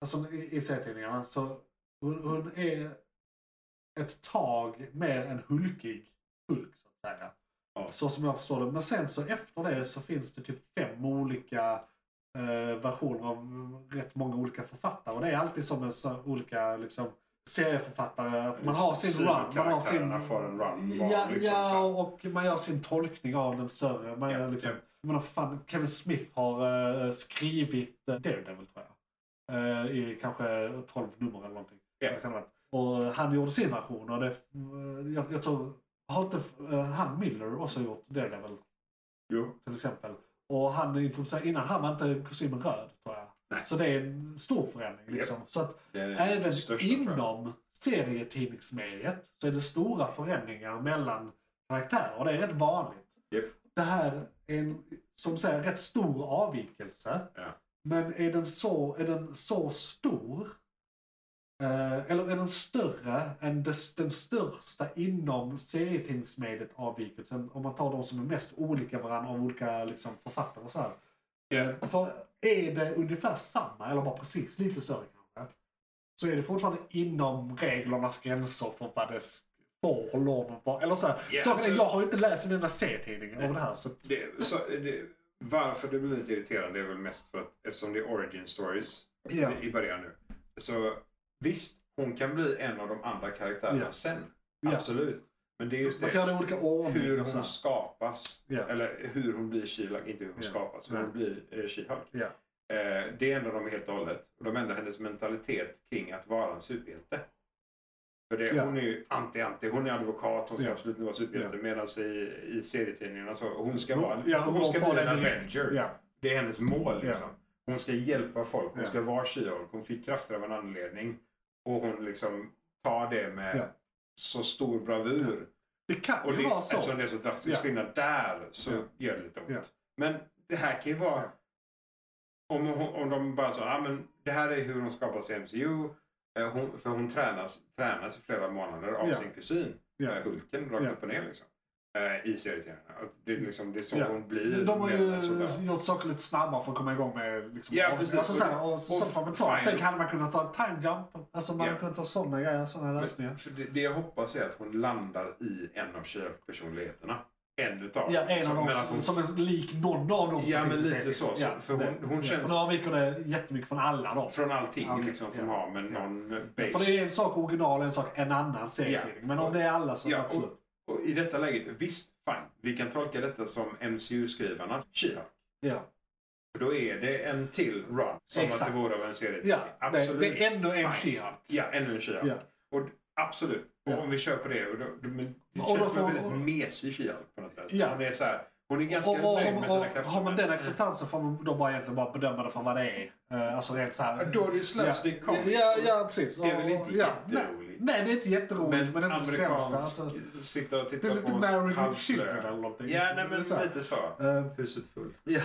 Speaker 3: alltså i, i serietidningarna, så hon, hon är ett tag mer en hulkig Hulk så att säga.
Speaker 4: Ja.
Speaker 3: Så som jag förstår det. Men sen så efter det så finns det typ fem olika eh, versioner av rätt många olika författare. Och det är alltid som en så, olika liksom, serieförfattare. Att man har sin run. Man har sin...
Speaker 4: Sidokaraktärerna får en run var,
Speaker 3: ja,
Speaker 4: liksom, så
Speaker 3: ja,
Speaker 4: här.
Speaker 3: och man gör sin tolkning av den större. Man
Speaker 4: Ja,
Speaker 3: gör liksom,
Speaker 4: ja.
Speaker 3: jag menar, fan, Kevin Smith har eh, skrivit uh, Daredevil tror jag. Eh, I kanske 12 nummer eller någonting.
Speaker 4: Ja.
Speaker 3: Det kan det vara. Och eh, han gjorde sin version och det, eh, jag, jag tror, har inte eh, han Miller också gjort Daredevil
Speaker 4: Jo.
Speaker 3: till exempel? Och han introducerade, innan han var inte kostymen röd tror jag.
Speaker 4: Nej.
Speaker 3: Så det är en stor förändring liksom. Så att
Speaker 4: Det är den
Speaker 3: Även
Speaker 4: största, tror jag.
Speaker 3: inom serietidningsmediet så är det stora förändringar mellan karaktärer och det är rätt vanligt.
Speaker 4: Japp.
Speaker 3: Det här är en, som säger, rätt stor avvikelse.
Speaker 4: Ja.
Speaker 3: Men är den så, är den så stor? Eh, eller är den större än des, den största inom serietidningsmediet avvikelsen? Om man tar de som är mest olika varandra av olika liksom, författare och så här.
Speaker 4: Ja.
Speaker 3: För är det ungefär samma, eller bara precis lite större kanske, så är det fortfarande inom reglernas gränser för vad det s- får och lov att vara. Eller så här,
Speaker 4: Ja,
Speaker 3: så
Speaker 4: alltså-
Speaker 3: jag har ju inte läst en enda C-tidning om det här. Så,
Speaker 4: Det, så, det, varför det blir lite irriterande är väl mest för att eftersom det är origin stories
Speaker 3: ja.
Speaker 4: i början nu. Så visst, hon kan bli en av de andra karaktärerna
Speaker 3: Ja.
Speaker 4: sen.
Speaker 3: Ja.
Speaker 4: Absolut. Men det är just
Speaker 3: Man kan
Speaker 4: det.
Speaker 3: göra det i olika ordning.
Speaker 4: Hur
Speaker 3: och så
Speaker 4: hon
Speaker 3: här.
Speaker 4: skapas.
Speaker 3: Ja.
Speaker 4: Eller hur hon blir She-Hulk, inte hur hon
Speaker 3: Ja.
Speaker 4: skapas. Hur
Speaker 3: Nej.
Speaker 4: hon blir eh, She-Hulk.
Speaker 3: Ja.
Speaker 4: Eh, det ändrar de helt och hållet. Och de ändrar hennes mentalitet kring att vara en superhjälte. För det,
Speaker 3: Ja.
Speaker 4: hon är ju anti-anti. Hon är advokat, hon ska
Speaker 3: Ja.
Speaker 4: absolut inte vara superhjälte. Medan i, i serietidningarna så, hon ska vara en,
Speaker 3: Ja,
Speaker 4: hon,
Speaker 3: går
Speaker 4: ska
Speaker 3: på
Speaker 4: bli en
Speaker 3: det direkt.
Speaker 4: Avenger.
Speaker 3: Ja.
Speaker 4: Det är hennes mål.
Speaker 3: Ja.
Speaker 4: Liksom. Hon ska hjälpa folk, hon
Speaker 3: Ja.
Speaker 4: ska vara She-Hulk. Hon fick krafter av en anledning. Och hon liksom tar det med
Speaker 3: Ja.
Speaker 4: så stor bravur.
Speaker 3: Det kan
Speaker 4: Och
Speaker 3: ju
Speaker 4: det, alltså,
Speaker 3: vara så.
Speaker 4: eftersom det är så drastisk
Speaker 3: Ja.
Speaker 4: skillnad där så
Speaker 3: Ja.
Speaker 4: gör det lite ont.
Speaker 3: Ja.
Speaker 4: Men det här kan ju vara...
Speaker 3: Ja.
Speaker 4: Om, hon- om de bara sa ah, men det här är hur hon skapas i MCU. eh, Hon, för hon tränas, tränas i flera månader av
Speaker 3: Ja.
Speaker 4: sin kusin,
Speaker 3: Ja.
Speaker 4: eh, Hulken, rakt
Speaker 3: Ja.
Speaker 4: upp och ner. Liksom, eh, I serietidningarna. Och Det, är liksom, det är så
Speaker 3: Ja.
Speaker 4: hon blir.
Speaker 3: De har ju
Speaker 4: med en soldat.
Speaker 3: gjort saker lite snabbare för att komma igång med liksom,
Speaker 4: Ja,
Speaker 3: av-
Speaker 4: precis.
Speaker 3: Alltså, så här, och,
Speaker 4: Och-
Speaker 3: så får man ta.
Speaker 4: fine.
Speaker 3: Sen hade man kunnat ta en time jump. Alltså man
Speaker 4: Ja.
Speaker 3: hade kunnat ta sådana grejer, sådana lösningar.
Speaker 4: Men, för det, det jag hoppas är att hon landar i en av She-Hulk-personligheterna. En utav
Speaker 3: Ja, en
Speaker 4: Så-
Speaker 3: av dem
Speaker 4: men att
Speaker 3: som,
Speaker 4: hon-
Speaker 3: som är lik någon av dem.
Speaker 4: Ja,
Speaker 3: som
Speaker 4: men
Speaker 3: finns i serien.
Speaker 4: lite så. Så- för hon-
Speaker 3: det-
Speaker 4: hon känns-
Speaker 3: För nu avviker det jättemycket från alla dem.
Speaker 4: Från allting
Speaker 3: Ja,
Speaker 4: liksom, som
Speaker 3: ja.
Speaker 4: har med någon base.
Speaker 3: För det är en sak original och en sak en annan serietidning.
Speaker 4: Ja.
Speaker 3: Men om det är alla så
Speaker 4: Ja,
Speaker 3: absolut.
Speaker 4: Och i detta läget, visst, fine. Vi kan tolka detta som MCU-skrivarnas She-Hulk.
Speaker 3: Ja.
Speaker 4: För då är det en till run. Som att
Speaker 3: Exakt.
Speaker 4: det vore av en serietidning.
Speaker 3: Ja, det,
Speaker 4: absolut.
Speaker 3: det är ännu en
Speaker 4: fine.
Speaker 3: She-Hulk.
Speaker 4: Ja, ännu en She-Hulk.
Speaker 3: Ja.
Speaker 4: Och Absolut.
Speaker 3: Ja.
Speaker 4: Och om vi kör på det. Och då, då, men, det
Speaker 3: Och
Speaker 4: känns
Speaker 3: då
Speaker 4: som en
Speaker 3: får-
Speaker 4: väldigt mesig She-Hulk på något sätt.
Speaker 3: Ja.
Speaker 4: Hon är så här, hon är ganska
Speaker 3: Och, och,
Speaker 4: nöjd med
Speaker 3: och,
Speaker 4: sina
Speaker 3: och
Speaker 4: krafter.
Speaker 3: har man den
Speaker 4: men-
Speaker 3: acceptansen får man då bara egentligen bara bedöma det för vad det är. Eh, Alltså rent
Speaker 4: Ja,
Speaker 3: såhär...
Speaker 4: Då är det ju slapstick
Speaker 3: ja,
Speaker 4: comedy.
Speaker 3: ja, ja, precis.
Speaker 4: Det är väl
Speaker 3: Och-
Speaker 4: inte
Speaker 3: ja,
Speaker 4: jätteroligt.
Speaker 3: Nej, nej, det är inte jätteroligt.
Speaker 4: Men,
Speaker 3: Men, det är inte det
Speaker 4: amerikansk,
Speaker 3: sämsta. Alltså,
Speaker 4: sitta och
Speaker 3: det är
Speaker 4: titta
Speaker 3: lite
Speaker 4: på
Speaker 3: Mary Good Children
Speaker 4: halvslöa.
Speaker 3: eller någonting.
Speaker 4: Ja, nej men
Speaker 3: Så här.
Speaker 4: lite så.
Speaker 3: Eh,
Speaker 4: Huset fullt.
Speaker 3: Ja,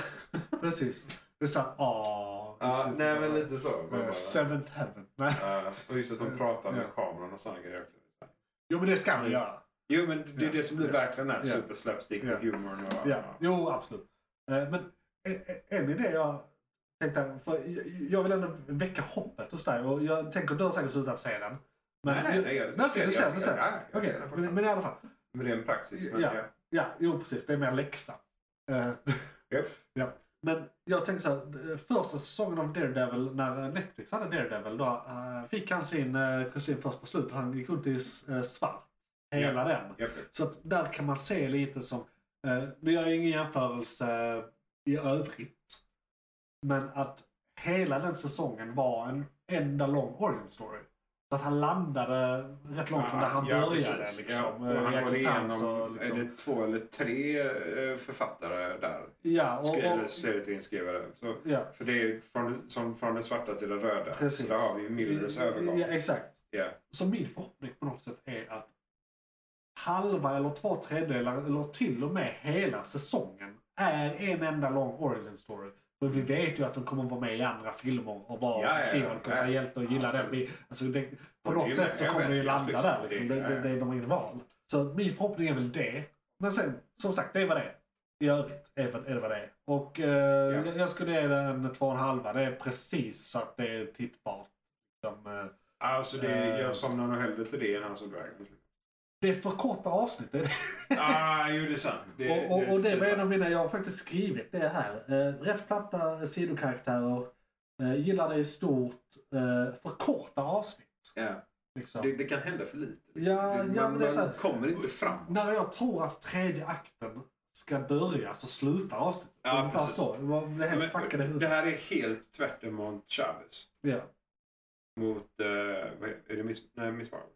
Speaker 3: precis. Det är såhär, åh.
Speaker 4: Ja, nej men lite så. Man
Speaker 3: Eh,
Speaker 4: bara-
Speaker 3: Seventh heaven. Nej.
Speaker 4: Ja, och just att de pratar med
Speaker 3: Ja.
Speaker 4: kameran och sådana grejer också.
Speaker 3: Jo men det ska man göra.
Speaker 4: Jo, men det är
Speaker 3: Ja.
Speaker 4: det som blir
Speaker 3: Ja.
Speaker 4: verkligen är
Speaker 3: Ja.
Speaker 4: super slapstick
Speaker 3: Ja.
Speaker 4: och humorn och...
Speaker 3: Ja, jo absolut. Eh, Men e- e- en idé jag tänkte, här, för jag- jag vill ändå väcka hoppet hos dig och jag tänker du har säkert slutat se den. Men,
Speaker 4: Nej, nej, nej. Jag,
Speaker 3: nej, okej, du ser,
Speaker 4: jag,
Speaker 3: du
Speaker 4: jag,
Speaker 3: ser.
Speaker 4: ja, jag
Speaker 3: Okej,
Speaker 4: ser den
Speaker 3: men,
Speaker 4: fortfarande.
Speaker 3: men i alla fall.
Speaker 4: Men det är en praxis. Men,
Speaker 3: Ja.
Speaker 4: ja.
Speaker 3: Ja, jo precis. Det är mer läxa. Eh,
Speaker 4: Japp.
Speaker 3: ja. Men jag tänker så här, eh, första säsongen av Daredevil, när eh, Netflix hade Daredevil, då eh, fick han sin eh, kostym först på slutet. Han gick runt i s- eh, svart. Hela den.
Speaker 4: Japp.
Speaker 3: Så att där kan man se lite som, eh, nu gör jag ingen jämförelse i övrigt, men att hela den säsongen var en enda lång origin story. Så att han landade rätt långt från där han
Speaker 4: Ja,
Speaker 3: började.
Speaker 4: precis.
Speaker 3: Liksom,
Speaker 4: ja. och
Speaker 3: eh, i
Speaker 4: han går
Speaker 3: acceptans och
Speaker 4: igenom
Speaker 3: liksom-
Speaker 4: är det två eller tre eh, författare där.
Speaker 3: Ja, och,
Speaker 4: Skri- eller
Speaker 3: och,
Speaker 4: serietidningsskrivare. Så,
Speaker 3: ja,
Speaker 4: för det är från, som från den svarta till den röda.
Speaker 3: Precis.
Speaker 4: Så där har vi ju Millers övergång.
Speaker 3: ja, exakt.
Speaker 4: Ja.
Speaker 3: Så min förhoppning på något sätt är att halva eller två tredjedelar eller till och med hela säsongen är en enda lång origin story. För vi vet ju att de kommer vara med i andra filmer och vara
Speaker 4: Ja,
Speaker 3: ja,
Speaker 4: ja,
Speaker 3: ja,
Speaker 4: ja,
Speaker 3: kommer vara
Speaker 4: ja.
Speaker 3: hjälte och gilla den.
Speaker 4: Absolut.
Speaker 3: Vi- Alltså det, på
Speaker 4: Och det är
Speaker 3: något
Speaker 4: ju
Speaker 3: sätt så
Speaker 4: verkligen
Speaker 3: kommer det ju
Speaker 4: Avengers,
Speaker 3: landa där. Liksom.
Speaker 4: liksom.
Speaker 3: Det,
Speaker 4: Det-
Speaker 3: det, det är de inget val. Så min förhoppning är väl det. Men sen, som sagt, det är vad det är. I övrigt är vad- är det vad det är. Och eh, jag, jag skulle ge den en två och en halva. Det är precis så att det är tittbart. Liksom, eh,
Speaker 4: Alltså det, är-
Speaker 3: Eh.
Speaker 4: jag somnar nog hellre till det än House of Dragons.
Speaker 3: det är för korta avsnitt. Det är det.
Speaker 4: ah, jo det är sant. Det,
Speaker 3: och, och, och det
Speaker 4: är
Speaker 3: var en
Speaker 4: sant.
Speaker 3: av mina, jag har faktiskt skrivit det här. Eh, rätt platta sidokaraktärer. Eh, gillar det i stort. Eh, för korta avsnitt.
Speaker 4: Ja.
Speaker 3: Liksom.
Speaker 4: Det, det kan hända för lite. liksom.
Speaker 3: Ja,
Speaker 4: Det-
Speaker 3: ja,
Speaker 4: man,
Speaker 3: men det är så här-
Speaker 4: man kommer inte fram.
Speaker 3: När jag tror att tredje akten ska börja så slutar avsnittet.
Speaker 4: Ja,
Speaker 3: Ungefär
Speaker 4: precis.
Speaker 3: så. Det var- det är helt
Speaker 4: Men
Speaker 3: fuckade i
Speaker 4: det
Speaker 3: huvudet.
Speaker 4: här är helt tvärt emot Chavez.
Speaker 3: Ja.
Speaker 4: Mot, eh, vad är är det Miss, nej, Miss Marvel?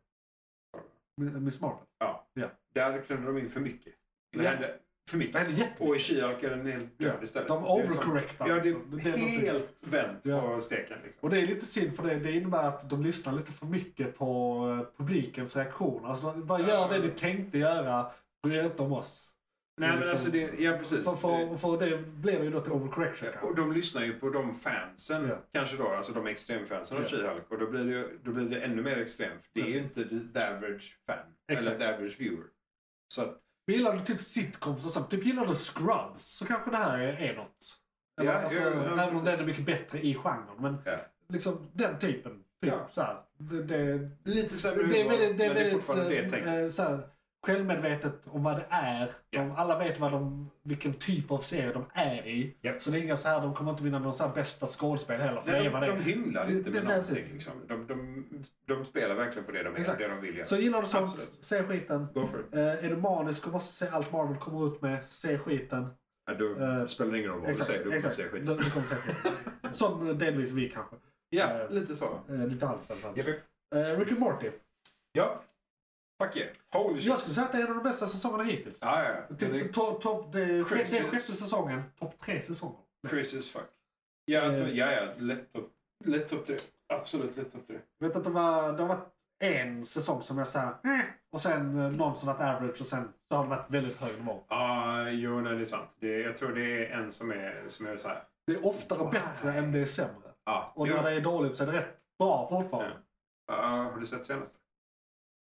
Speaker 3: Miss Marvel.
Speaker 4: Där klämde de in för mycket. Det
Speaker 3: Ja.
Speaker 4: hände för mycket.
Speaker 3: Det hände jättemycket.
Speaker 4: Och i She-Hulk är den helt
Speaker 3: Ja,
Speaker 4: död istället.
Speaker 3: de
Speaker 4: Det är som-
Speaker 3: overcorrectar,
Speaker 4: Ja, det
Speaker 3: liksom. Det- det
Speaker 4: är
Speaker 3: är någonting.
Speaker 4: helt vänt på
Speaker 3: Ja.
Speaker 4: steken. Liksom.
Speaker 3: Och det är lite synd för det, det innebär att de lyssnar lite för mycket på eh, publikens reaktioner. Alltså, vad gör det ni tänkte göra? Bry er inte om oss.
Speaker 4: Nej, men
Speaker 3: liksom-
Speaker 4: alltså det, ja precis.
Speaker 3: För, för, för det blir ju då till overcorrection.
Speaker 4: Ja,
Speaker 3: kanske.
Speaker 4: Och de lyssnar ju på de fansen,
Speaker 3: Ja.
Speaker 4: kanske då, alltså de extremfansen av
Speaker 3: Ja.
Speaker 4: She-Hulk. Och då blir, det, ju- då blir det ännu mer extremt. För det är ju
Speaker 3: Precis.
Speaker 4: inte the average fan.
Speaker 3: Exakt.
Speaker 4: Eller the average viewer. Så att,
Speaker 3: Gillar du typ sitcoms och sånt, typ gillar du Scrubs så kanske det här är, är något. Eller,
Speaker 4: Ja,
Speaker 3: alltså,
Speaker 4: ja, ja,
Speaker 3: även om
Speaker 4: precis.
Speaker 3: den är mycket bättre i genren. Men
Speaker 4: ja.
Speaker 3: liksom den typen. Typ,
Speaker 4: Ja.
Speaker 3: så här, det, det,
Speaker 4: Lite sämre
Speaker 3: det är
Speaker 4: humor,
Speaker 3: väldigt, det är
Speaker 4: men det är fortfarande
Speaker 3: väldigt
Speaker 4: det tänket.
Speaker 3: eh, så här, självmedvetet om vad det är. De, alla vet vad de, vilken typ av serie de är i.
Speaker 4: Japp.
Speaker 3: Så det är inga så här, de kommer inte vinna någon så här bästa skådespel heller. För
Speaker 4: Nej,
Speaker 3: det är
Speaker 4: de,
Speaker 3: vad det
Speaker 4: de
Speaker 3: är.
Speaker 4: hymlar inte
Speaker 3: Det-
Speaker 4: med
Speaker 3: det-
Speaker 4: någonting.
Speaker 3: precis.
Speaker 4: Liksom. De, de, de spelar verkligen på det de är,
Speaker 3: Exakt.
Speaker 4: det de vill göra.
Speaker 3: Så gillar du sånt,
Speaker 4: Absolut.
Speaker 3: se skiten.
Speaker 4: Go for it.
Speaker 3: Eh, är du manisk och måste se allt Marvel kommer ut med, se skiten.
Speaker 4: Ja, då
Speaker 3: Eh,
Speaker 4: spelar det ingen roll vad du säger, du kommer se skit.
Speaker 3: Du, du kommer se skiten. Som delvis vi kanske.
Speaker 4: Ja,
Speaker 3: eh,
Speaker 4: lite så.
Speaker 3: Eh, lite halvt i alla fall.
Speaker 4: Japp, japp.
Speaker 3: Eh, Rick and Morty.
Speaker 4: Ja. Fuck yeah. Holy shit.
Speaker 3: Jag skulle säga att det är en av de bästa säsongerna hittills.
Speaker 4: Ja, ja, ja. Den är
Speaker 3: Typ, to, to, det, är, sjätte-
Speaker 4: Crazy.
Speaker 3: det är sjätte säsongen. Topp tre säsonger.
Speaker 4: crazy as fuck. Ja, jag tror-
Speaker 3: Eh.
Speaker 4: ja, ja. Lätt upp. Lätt upp till det. Absolut lätt upp till det.
Speaker 3: Jag vet att det var, det har varit en säsong som jag såhär, eh, och sen eh, någon som varit average och sen så har det varit väldigt hög nivå.
Speaker 4: Ja, jo, nej, det är sant. Det, jag tror det är en som är, som är så här.
Speaker 3: Det är oftare bättre än det är sämre.
Speaker 4: Ja,
Speaker 3: Och
Speaker 4: jo.
Speaker 3: när det är dåligt så är det rätt bra fortfarande.
Speaker 4: Ja. Ja, har du sett senaste?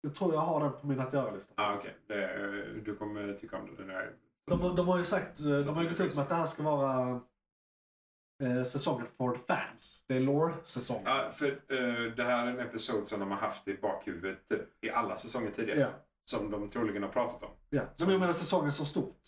Speaker 3: Jag tror jag har den på min att göra-lista.
Speaker 4: Ja, Ah, okej. Det- eh, Du kommer tycka om det. Den är...
Speaker 3: De, har- de har ju sagt, eh, de har ju gått ut med att det här ska vara eh, säsongen for the fans. Det är lore-säsongen.
Speaker 4: Ja, för eh, det här är en episod som de har haft i bakhuvudet typ, i alla säsonger tidigare.
Speaker 3: Ja,
Speaker 4: Som de troligen har pratat om.
Speaker 3: ja. Men jag menar säsongen som stort.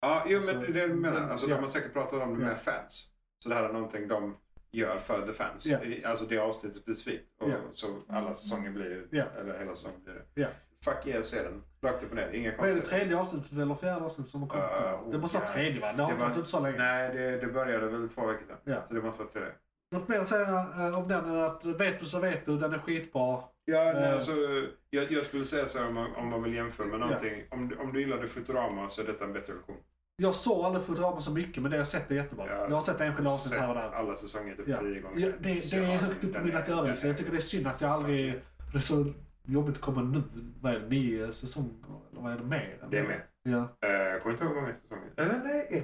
Speaker 4: Ja, jo,
Speaker 3: Alltså,
Speaker 4: men det är det jag menar. Alltså,
Speaker 3: ja.
Speaker 4: De har säkert pratat om det
Speaker 3: Ja.
Speaker 4: med fans. Så det här är någonting de gör för the fans.
Speaker 3: Ja.
Speaker 4: I- Alltså det avsnittet specifikt. Och,
Speaker 3: Ja.
Speaker 4: Så alla säsonger blir ju,
Speaker 3: Ja.
Speaker 4: eller hela säsongen blir det.
Speaker 3: Ja.
Speaker 4: Fuck yeah, se den. Rakt upp och ner. Inga
Speaker 3: Vad är det
Speaker 4: konstigheter.
Speaker 3: tredje avsnittet eller fjärde avsnittet som har kommit?
Speaker 4: Eh,
Speaker 3: det måste vara
Speaker 4: ja,
Speaker 3: tredje va? Det har
Speaker 4: det
Speaker 3: inte
Speaker 4: var-
Speaker 3: varit ut så länge.
Speaker 4: Nej, det, det började väl två veckor sedan.
Speaker 3: Ja.
Speaker 4: Så det måste vara tredje.
Speaker 3: Något mer att säga eh, om den än att vet du så vet du, den är skitbra.
Speaker 4: Ja, nej,
Speaker 3: Eh.
Speaker 4: alltså, jag, jag skulle säga så här om man, om man vill jämföra med någonting. Om, du- om du gillade Futurama så är detta en bättre version.
Speaker 3: Jag såg aldrig Futurama så mycket men det jag sett är jättebra.
Speaker 4: Ja.
Speaker 3: jag har sett enskilda avsnitt
Speaker 4: Sett
Speaker 3: här och där.
Speaker 4: alla säsonger typ
Speaker 3: Ja.
Speaker 4: tio gånger.
Speaker 3: Ja, det,
Speaker 4: Så
Speaker 3: det
Speaker 4: ja,
Speaker 3: är högt upp på
Speaker 4: den
Speaker 3: min
Speaker 4: är-
Speaker 3: att göra så
Speaker 4: den
Speaker 3: jag tycker det är synd att jag aldrig... Det är så jobbigt att komma nu. Vad är det, nio säsonger? Eller vad är det mer?
Speaker 4: Det är med.
Speaker 3: Ja,
Speaker 4: Eh, Jag kommer inte ihåg hur många säsonger. Eller nej, är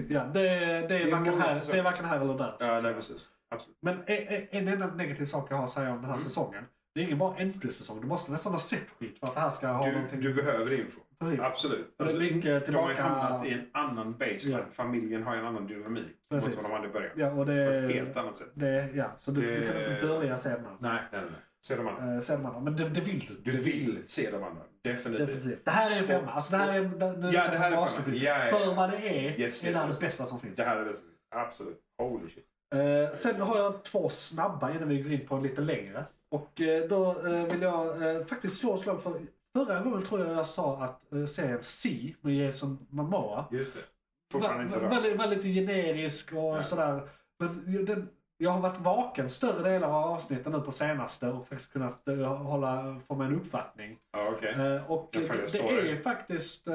Speaker 4: det
Speaker 3: ja det, det, är varken
Speaker 4: är många
Speaker 3: här, det
Speaker 4: säsonger.
Speaker 3: är varken här eller där. e- så
Speaker 4: Ja,
Speaker 3: att
Speaker 4: nej
Speaker 3: säga.
Speaker 4: precis. Absolut.
Speaker 3: Men en, en enda negativ sak jag har att säga om den här
Speaker 4: Mm.
Speaker 3: säsongen. Det är ingen bra entry-säsong. Du måste nästan ha sett skit för att det här ska ha
Speaker 4: Du,
Speaker 3: någonting.
Speaker 4: du behöver info.
Speaker 3: Precis.
Speaker 4: Absolut. Alltså,
Speaker 3: är mycket
Speaker 4: de har ju
Speaker 3: tillbaka-
Speaker 4: hamnat i en annan baseline.
Speaker 3: Ja.
Speaker 4: Familjen har ju en annan dynamik
Speaker 3: Precis.
Speaker 4: mot vad de hade i början.
Speaker 3: Ja, eh, och
Speaker 4: På ett
Speaker 3: det...
Speaker 4: helt annat sätt.
Speaker 3: det ja, så du, du kan inte
Speaker 4: Det-
Speaker 3: börja Sedman.
Speaker 4: Nej, nej, nej. Se de andra.
Speaker 3: Eh, Sedman. Men det, det vill du.
Speaker 4: Du vill se de andra. Definitivt.
Speaker 3: Definitivt. Det här är en femma. Alltså det här är... Nu
Speaker 4: Ja, det här är
Speaker 3: avslutar
Speaker 4: femma.
Speaker 3: vi.
Speaker 4: Ja, ja, ja.
Speaker 3: För vad det är,
Speaker 4: Yes,
Speaker 3: är det här
Speaker 4: yes,
Speaker 3: det bästa som finns.
Speaker 4: Det här är det. Absolut. Holy shit.
Speaker 3: Eh, sen har jag två snabba innan vi går in på lite längre. Och eh, då eh, vill jag eh, faktiskt slå ett slag för... Förra gången tror jag jag sa att eh, serien C med Jason Momoa
Speaker 4: Just det.
Speaker 3: var,
Speaker 4: Fortfarande inte
Speaker 3: var,
Speaker 4: rört.
Speaker 3: väldigt, väldigt generisk och
Speaker 4: Ja.
Speaker 3: sådär. Men ju- den, jag har varit vaken större delar av avsnitten nu på senaste och faktiskt kunnat eh, hålla, få mig en uppfattning.
Speaker 4: Ja, okej.
Speaker 3: Eh, och
Speaker 4: Jag följer
Speaker 3: det, det
Speaker 4: storyn.
Speaker 3: är faktiskt eh,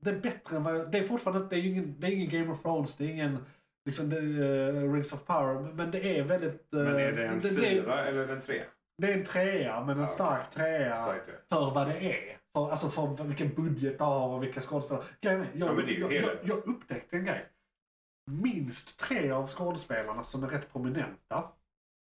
Speaker 3: det är bättre än vad, det är fortfarande inte- det är ju ingen, det är ingen Game of Thrones, det är ingen liksom, det, är, eh, Rings of Power, men det är väldigt... eh,
Speaker 4: Men är det en
Speaker 3: det, det,
Speaker 4: fyra eller en trea?
Speaker 3: det är en trea, men en
Speaker 4: Ja,
Speaker 3: stark trea
Speaker 4: Starkt det.
Speaker 3: för vad det är. För, alltså för vad- vilken budget det har och vilka skådespelare. Grejen är,
Speaker 4: Ja,
Speaker 3: jag,
Speaker 4: men det är ju
Speaker 3: jag, jag,
Speaker 4: hela-
Speaker 3: jag upptäckte en grej. Minst tre av skådespelarna som är rätt prominenta,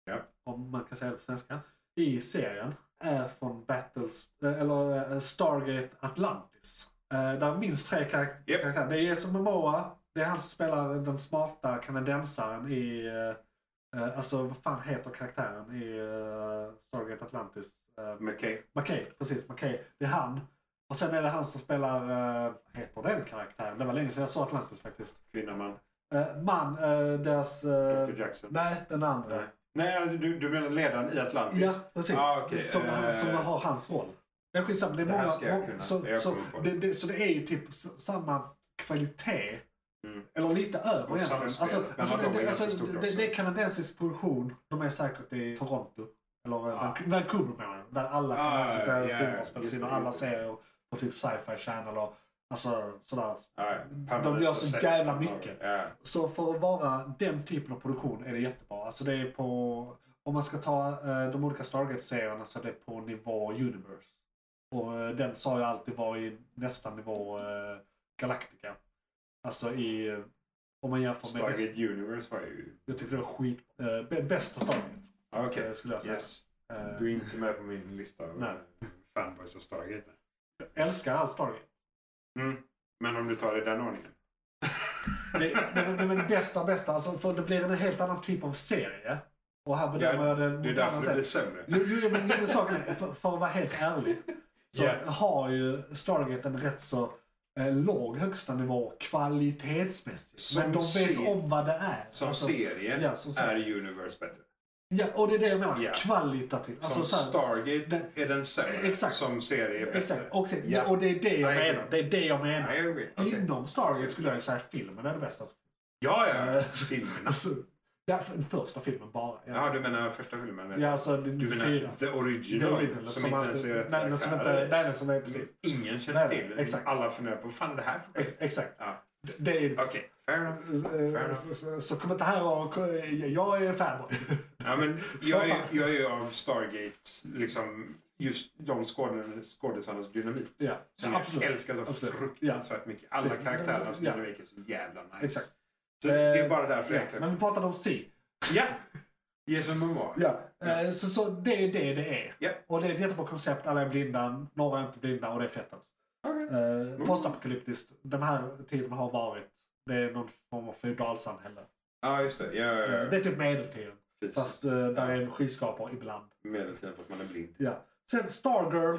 Speaker 4: Ja.
Speaker 3: om man kan säga det på svenska, i serien är från Battles, eller eh, Stargate Atlantis. Eh, Där är minst tre karak-
Speaker 4: Japp.
Speaker 3: karaktärer. Det är Jason Momoa, det är han som spelar den smarta kanadensaren i, eh, eh, alltså vad fan heter karaktären i eh, Stargate Atlantis? Eh,
Speaker 4: McKay.
Speaker 3: McKay, precis. McKay. Det är han. Och sen är det han som spelar, eh, vad heter den karaktären? Det var länge sedan jag såg Atlantis faktiskt.
Speaker 4: Kvinna, man.
Speaker 3: Eh, man, eh, deras... eh,
Speaker 4: Dr Jackson.
Speaker 3: nej, den andra.
Speaker 4: Nej, du, du menar ledaren i Atlantis?
Speaker 3: Ja, precis.
Speaker 4: Ah, okej.
Speaker 3: som, han, som
Speaker 4: Eh,
Speaker 3: har hans roll. Jag skitsamma, det är
Speaker 4: det här
Speaker 3: många...
Speaker 4: ska jag
Speaker 3: många-
Speaker 4: kunna.
Speaker 3: så,
Speaker 4: Jag
Speaker 3: så,
Speaker 4: kommer på det.
Speaker 3: det, det, så det är ju typ s- samma kvalitet.
Speaker 4: Mm.
Speaker 3: Eller lite över
Speaker 4: Och samma
Speaker 3: egentligen.
Speaker 4: spel.
Speaker 3: Alltså,
Speaker 4: Men
Speaker 3: alltså,
Speaker 4: de var
Speaker 3: det, det,
Speaker 4: ganska
Speaker 3: alltså,
Speaker 4: stora
Speaker 3: det,
Speaker 4: också.
Speaker 3: det är kanadensisk produktion. De är säkert i Toronto. Eller
Speaker 4: Ja.
Speaker 3: Vanc- Vancouver menar jag. Där alla
Speaker 4: Ah,
Speaker 3: kanadensiska
Speaker 4: ja, ja,
Speaker 3: filmer
Speaker 4: ja.
Speaker 3: spelas
Speaker 4: Just
Speaker 3: in
Speaker 4: det,
Speaker 3: och
Speaker 4: just
Speaker 3: alla
Speaker 4: det.
Speaker 3: serier på typ sci-fi channel och alltså, sådär.
Speaker 4: ja,
Speaker 3: De gör så
Speaker 4: Permanent
Speaker 3: jävla
Speaker 4: recept.
Speaker 3: mycket.
Speaker 4: Ja.
Speaker 3: Så för att vara den typen av produktion är det jättebra. Alltså det är på, om man ska ta eh, de olika Stargate-serierna så är det på nivå Universe. Och eh, den sa jag alltid var i nästa nivå eh, Galactica. Alltså i, eh, om man jämför med...
Speaker 4: Stargate Universe var ju...
Speaker 3: Jag tyckte det var skit... Eh, bä- bästa Stargate.
Speaker 4: Ah, Okej.
Speaker 3: Eh, skulle jag säga.
Speaker 4: Yes.
Speaker 3: Eh,
Speaker 4: Du är inte med på min lista av
Speaker 3: Nej.
Speaker 4: fanboys av Stargate.
Speaker 3: älskar all Stargate.
Speaker 4: Mm. Men om du tar det i den ordningen.
Speaker 3: Det, det, det är det bästa bästa. Alltså, för det blir en helt annan typ av serie. Och här bedömer
Speaker 4: Ja,
Speaker 3: jag det
Speaker 4: Det är
Speaker 3: mot
Speaker 4: därför
Speaker 3: annat
Speaker 4: det
Speaker 3: sätt.
Speaker 4: blir sämre.
Speaker 3: Jo, jo men, men saken är, för, för att vara helt ärlig, så
Speaker 4: Ja.
Speaker 3: har ju Stargate en rätt så eh, låg högsta nivå kvalitetsmässigt.
Speaker 4: Som
Speaker 3: men de vet
Speaker 4: serie.
Speaker 3: om vad det är.
Speaker 4: Som
Speaker 3: Alltså,
Speaker 4: serie
Speaker 3: ja, som serie.
Speaker 4: är Universe bättre.
Speaker 3: Ja, och det är det jag menar.
Speaker 4: Ja.
Speaker 3: Kvalitativt.
Speaker 4: Som
Speaker 3: Alltså, så här-
Speaker 4: Stargate
Speaker 3: den-
Speaker 4: är den sämre.
Speaker 3: Exakt.
Speaker 4: Som serie är bättre.
Speaker 3: Exakt. Och, sen-
Speaker 4: Ja.
Speaker 3: och det är det jag
Speaker 4: I agree.
Speaker 3: menar. Det är det jag menar.
Speaker 4: I agree. Okej.
Speaker 3: Inom Stargate skulle jag ju säga filmen är det bästa.
Speaker 4: Ja, ja.
Speaker 3: Eh,
Speaker 4: Filmerna.
Speaker 3: Alltså, ja, för- den första filmen bara. Ja,
Speaker 4: Ja, du menar första filmen? eller?
Speaker 3: ja alltså det-
Speaker 4: Du menar
Speaker 3: fyra.
Speaker 4: The Original,
Speaker 3: The Original,
Speaker 4: som, inte ens är rätt Mm.
Speaker 3: nej, nej, som inte,
Speaker 4: karaktär.
Speaker 3: nej, nej, som är precis.
Speaker 4: Ingen känner
Speaker 3: Nej,
Speaker 4: till.
Speaker 3: exakt.
Speaker 4: Alla funderar på vad fan är det här för
Speaker 3: Ex,
Speaker 4: skit?
Speaker 3: exakt.
Speaker 4: Ja.
Speaker 3: Det- Det är
Speaker 4: Okej, fair enough. Fair
Speaker 3: Eh,
Speaker 4: enough.
Speaker 3: Så, så, så kom inte här och jag är fanboy.
Speaker 4: Ja, men jag,
Speaker 3: Fan.
Speaker 4: är, jag är ju av Stargate, liksom, just de skådespel- skådisarnas dynamik.
Speaker 3: ja,
Speaker 4: Som
Speaker 3: absolut.
Speaker 4: jag älskar så
Speaker 3: Absolut.
Speaker 4: fruktansvärt mycket. Alla
Speaker 3: Precis.
Speaker 4: karaktärernas
Speaker 3: Ja.
Speaker 4: dynamik är så jävla nice.
Speaker 3: Exakt.
Speaker 4: Så det är
Speaker 3: Eh,
Speaker 4: bara därför
Speaker 3: Ja,
Speaker 4: egentligen.
Speaker 3: men vi pratade om C.
Speaker 4: Ja! Jason Momoa.
Speaker 3: Ja. eh, Så, så det är det det är.
Speaker 4: Ja.
Speaker 3: Och det är ett jättebra koncept. Alla är blinda, några är inte blinda och det är fett alltså.
Speaker 4: Okej.
Speaker 3: Eh, Postapokalyptiskt. Den här tiden har varit. Det är någon form av feodalsamhälle.
Speaker 4: Ja, just det. Ja, ja,
Speaker 3: Eh,
Speaker 4: ja.
Speaker 3: Det är typ medeltiden.
Speaker 4: Precis.
Speaker 3: Fast eh, där är en skyskrapa ibland.
Speaker 4: Medeltiden fast man är blind.
Speaker 3: Ja. Sen Stargirl.